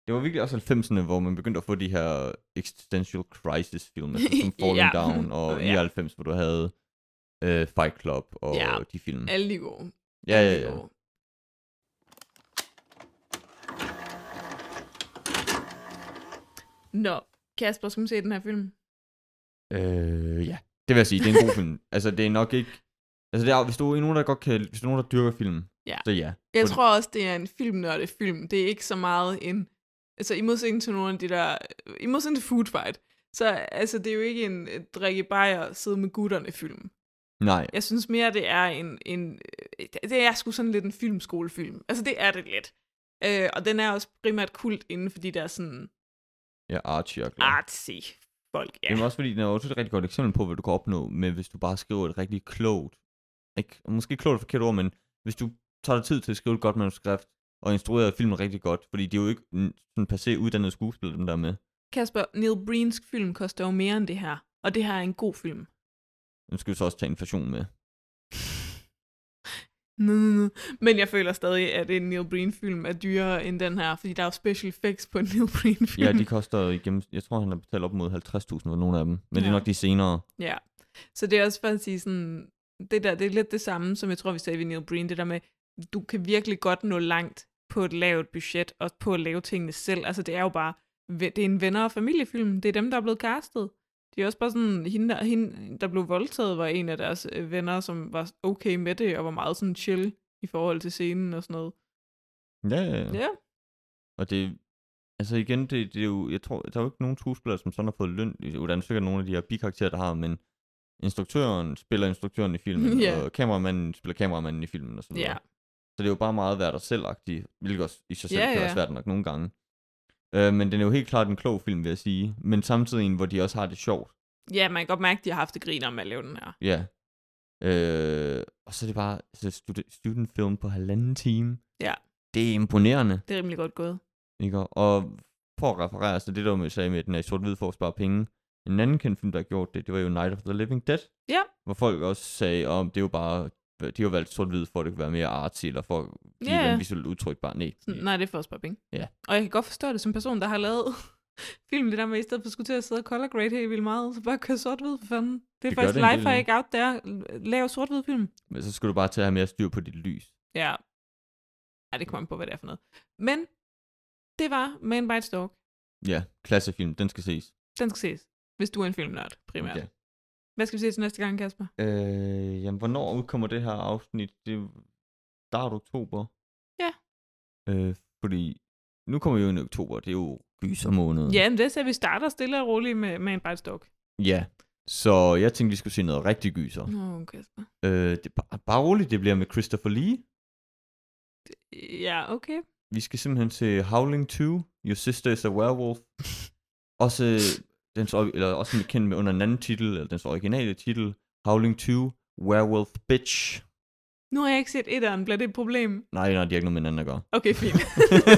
[SPEAKER 4] det var virkelig også 90'erne, hvor man begyndte at få de her existential crisis film, altså, som Falling
[SPEAKER 6] [LAUGHS] Ja.
[SPEAKER 4] ja. Down og
[SPEAKER 6] Ja.
[SPEAKER 4] 99, hvor du havde øh, Fight Club og
[SPEAKER 6] Ja. Øh,
[SPEAKER 4] ja. de film.
[SPEAKER 6] alle de gode.
[SPEAKER 4] Ja,
[SPEAKER 6] Alle
[SPEAKER 4] ja,
[SPEAKER 6] de
[SPEAKER 4] ja.
[SPEAKER 6] gode. Nå, Kasper, skal man se den her film?
[SPEAKER 4] Øh, ja. Det vil jeg sige, det er en god
[SPEAKER 6] [LAUGHS]
[SPEAKER 4] film. Altså, det er nok ikke... Altså, det er, hvis du er nogen, der godt kan... Hvis du er nogen, der dyrker film,
[SPEAKER 6] Ja.
[SPEAKER 4] så ja.
[SPEAKER 6] Jeg
[SPEAKER 4] Fordi-
[SPEAKER 6] tror også, det er en filmnørdet film. Det er ikke så meget en... Altså, i modsætning til nogle af de der... I modsætning til Food Fight. Så altså, det er jo ikke en øh, drikke bajer, sidde med gutterne film.
[SPEAKER 4] Nej.
[SPEAKER 6] Jeg synes mere, det er en... en øh, det er sgu sådan lidt en filmskolefilm. Altså, det er det lidt. Øh, og den er også primært kult inden for de der sådan
[SPEAKER 4] Ja, Archie og Glenn.
[SPEAKER 6] artsy folk. Ah, Ja.
[SPEAKER 4] Jamen også fordi, den er jo også et rigtig godt eksempel på, hvad du kan opnå med, hvis du bare skriver et rigtig klogt, ikke, måske klogt er et forkert ord, men hvis du tager dig tid til at skrive et godt manuskript, og instruerer filmen rigtig godt, fordi det er jo ikke en sådan per se uddannede skuespillere, dem der er med.
[SPEAKER 6] Kasper, Neil Breens film koster jo mere end det her. Og det her er en god film. [LAUGHS]
[SPEAKER 4] Nu skal vi så også tage inflation med.
[SPEAKER 6] Nå, nå, nå. Men jeg føler stadig, at en Neil Breen-film er dyrere end den her, fordi der er jo special effects på en Neil Breen-film.
[SPEAKER 4] Ja,
[SPEAKER 6] [LAUGHS]
[SPEAKER 4] de koster igennem, jeg tror, han har betalt op mod 50.000 for nogle af dem, men ja. det er
[SPEAKER 6] Ja.
[SPEAKER 4] nok de senere.
[SPEAKER 6] ja. Så det er også for at sige sådan, det der, det er lidt det samme, som jeg tror, vi sagde ved Neil Breen, det der med, du kan virkelig godt nå langt på et lavt budget, og på at lave tingene selv. Altså det er jo bare, det er en venner- og familiefilm. Det er dem, der er blevet castet. Det er også bare sådan, hende der, hende, der blev voldtaget, var en af deres øh, venner, som var okay med det, og var meget sådan chill i forhold til scenen og sådan noget.
[SPEAKER 4] Ja, ja, ja.
[SPEAKER 6] Ja. ja.
[SPEAKER 4] Og det, altså igen, det, det er jo, jeg tror, der er jo ikke nogen skuespillere, som sådan har fået løn. Jo, der er sikkert nogle af de her bikarakterer, der har, men instruktøren spiller instruktøren i filmen,
[SPEAKER 6] [LAUGHS] Ja.
[SPEAKER 4] yeah. og kameramanden spiller kameramanden i filmen, og så videre.
[SPEAKER 6] Ja.
[SPEAKER 4] Så det er jo bare meget at være dig selv hvilket også i sig selv
[SPEAKER 6] Ja,
[SPEAKER 4] yeah, kan være
[SPEAKER 6] ja.
[SPEAKER 4] svært nok nogle gange. Øh, men den er jo helt klart en klog film, vil jeg sige. Men samtidig en, hvor de også har det sjovt.
[SPEAKER 6] Ja, man kan godt mærke, at de har haft det griner med at lave den her.
[SPEAKER 4] Ja. Øh, og så er det bare altså, stud- studentfilm på halvanden time.
[SPEAKER 6] Ja.
[SPEAKER 4] Det er imponerende.
[SPEAKER 6] Det er rimelig godt gået.
[SPEAKER 4] Ikke? Og- Og for at referere, så det der med, jeg sagde med, at den er i sort-hvid for at spare penge. En anden kendt film, der har gjort det, det var jo Night of the Living Dead.
[SPEAKER 6] Ja.
[SPEAKER 4] Hvor folk også sagde, om det er jo bare de har jo valgt sort-hvid, for at det kan være mere artsy, eller for at give
[SPEAKER 6] Ja,
[SPEAKER 4] yeah.
[SPEAKER 6] ja.
[SPEAKER 4] en visuelt udtryk bare. Nej,
[SPEAKER 6] Sådan, Nej, det er for at spare penge.
[SPEAKER 4] Ja.
[SPEAKER 6] Og jeg kan godt forstå det som person, der har lavet [LAUGHS] film, det der med, i stedet for skulle til at sidde og color grade helt vildt meget, så bare køre sort-hvid for fanden. Det er
[SPEAKER 4] Det gør
[SPEAKER 6] faktisk
[SPEAKER 4] det en del,
[SPEAKER 6] life hack out der. Lav sort-hvid film.
[SPEAKER 4] men så skulle du bare til at have mere styr på dit lys.
[SPEAKER 6] Ja. Ej, det kommer an på, hvad det er for noget. Men det var Man Bites Dog.
[SPEAKER 4] Ja, klassefilm, den skal ses.
[SPEAKER 6] Den skal ses, hvis du er en filmnørd primært.
[SPEAKER 4] Ja.
[SPEAKER 6] Okay. Hvad skal vi se til næste gang, Kasper?
[SPEAKER 4] Øh, jamen, hvornår udkommer det her afsnit? Det er start oktober.
[SPEAKER 6] Ja.
[SPEAKER 4] Øh, fordi nu kommer vi jo ind i oktober, det er jo gysermåned.
[SPEAKER 6] Ja, men det er så, at vi starter stille og roligt med Man Bites Dog.
[SPEAKER 4] Ja, så jeg tænkte, vi skulle se noget rigtig gyser. Mm.
[SPEAKER 6] Nå, Kasper.
[SPEAKER 4] Øh, det, er bare, bare roligt, det bliver med Christopher Lee.
[SPEAKER 6] Ja, okay.
[SPEAKER 4] Vi skal simpelthen se Howling 2, Your Sister is a Werewolf. også, den, eller også den er kendt med under en anden titel, eller dens originale titel, Howling 2, Werewolf Bitch.
[SPEAKER 6] Nu har jeg ikke set etteren. Bliver det et problem?
[SPEAKER 4] Nej, nej, det er ikke noget med hinanden at gøre.
[SPEAKER 6] Okay,
[SPEAKER 4] [LAUGHS]
[SPEAKER 6] fint.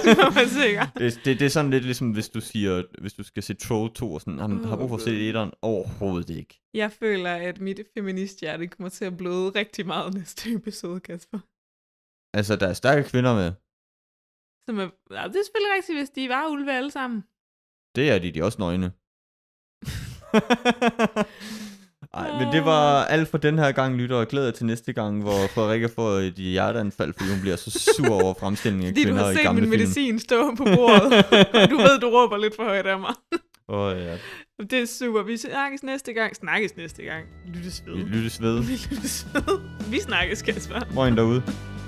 [SPEAKER 6] Så var man sikker.
[SPEAKER 4] det, det, det er sådan lidt ligesom, hvis du siger, hvis du skal se Troll 2, og sådan, han har brug for at se etteren overhovedet ikke.
[SPEAKER 6] Jeg føler, at mit feministhjerte kommer til at bløde rigtig meget næste episode, Kasper.
[SPEAKER 4] Altså, der er stærke kvinder med.
[SPEAKER 6] Som er, ja, det er selvfølgelig rigtigt, hvis de var ulve alle sammen.
[SPEAKER 4] Det er de, de er også
[SPEAKER 6] [LAUGHS]
[SPEAKER 4] nøgne. Nej, men det var alt for den her gang, lytter, og glæder til næste gang, hvor Frederikke får et hjerteanfald, fordi hun bliver så sur over fremstillingen af
[SPEAKER 6] Fordi du
[SPEAKER 4] kvinder
[SPEAKER 6] har
[SPEAKER 4] i
[SPEAKER 6] set
[SPEAKER 4] gamle
[SPEAKER 6] min
[SPEAKER 4] film.
[SPEAKER 6] medicin stå på
[SPEAKER 4] [LAUGHS]
[SPEAKER 6] bordet. Og du ved, du råber lidt for højt af mig.
[SPEAKER 4] Åh oh, ja,
[SPEAKER 6] Det er super. Vi snakkes næste gang. [LAUGHS] Snakkes næste gang. Lyttes ved.
[SPEAKER 4] vi lyttes ved.
[SPEAKER 6] Vi lyttes ved. Vi snakkes, Kasper.
[SPEAKER 4] Moin derude.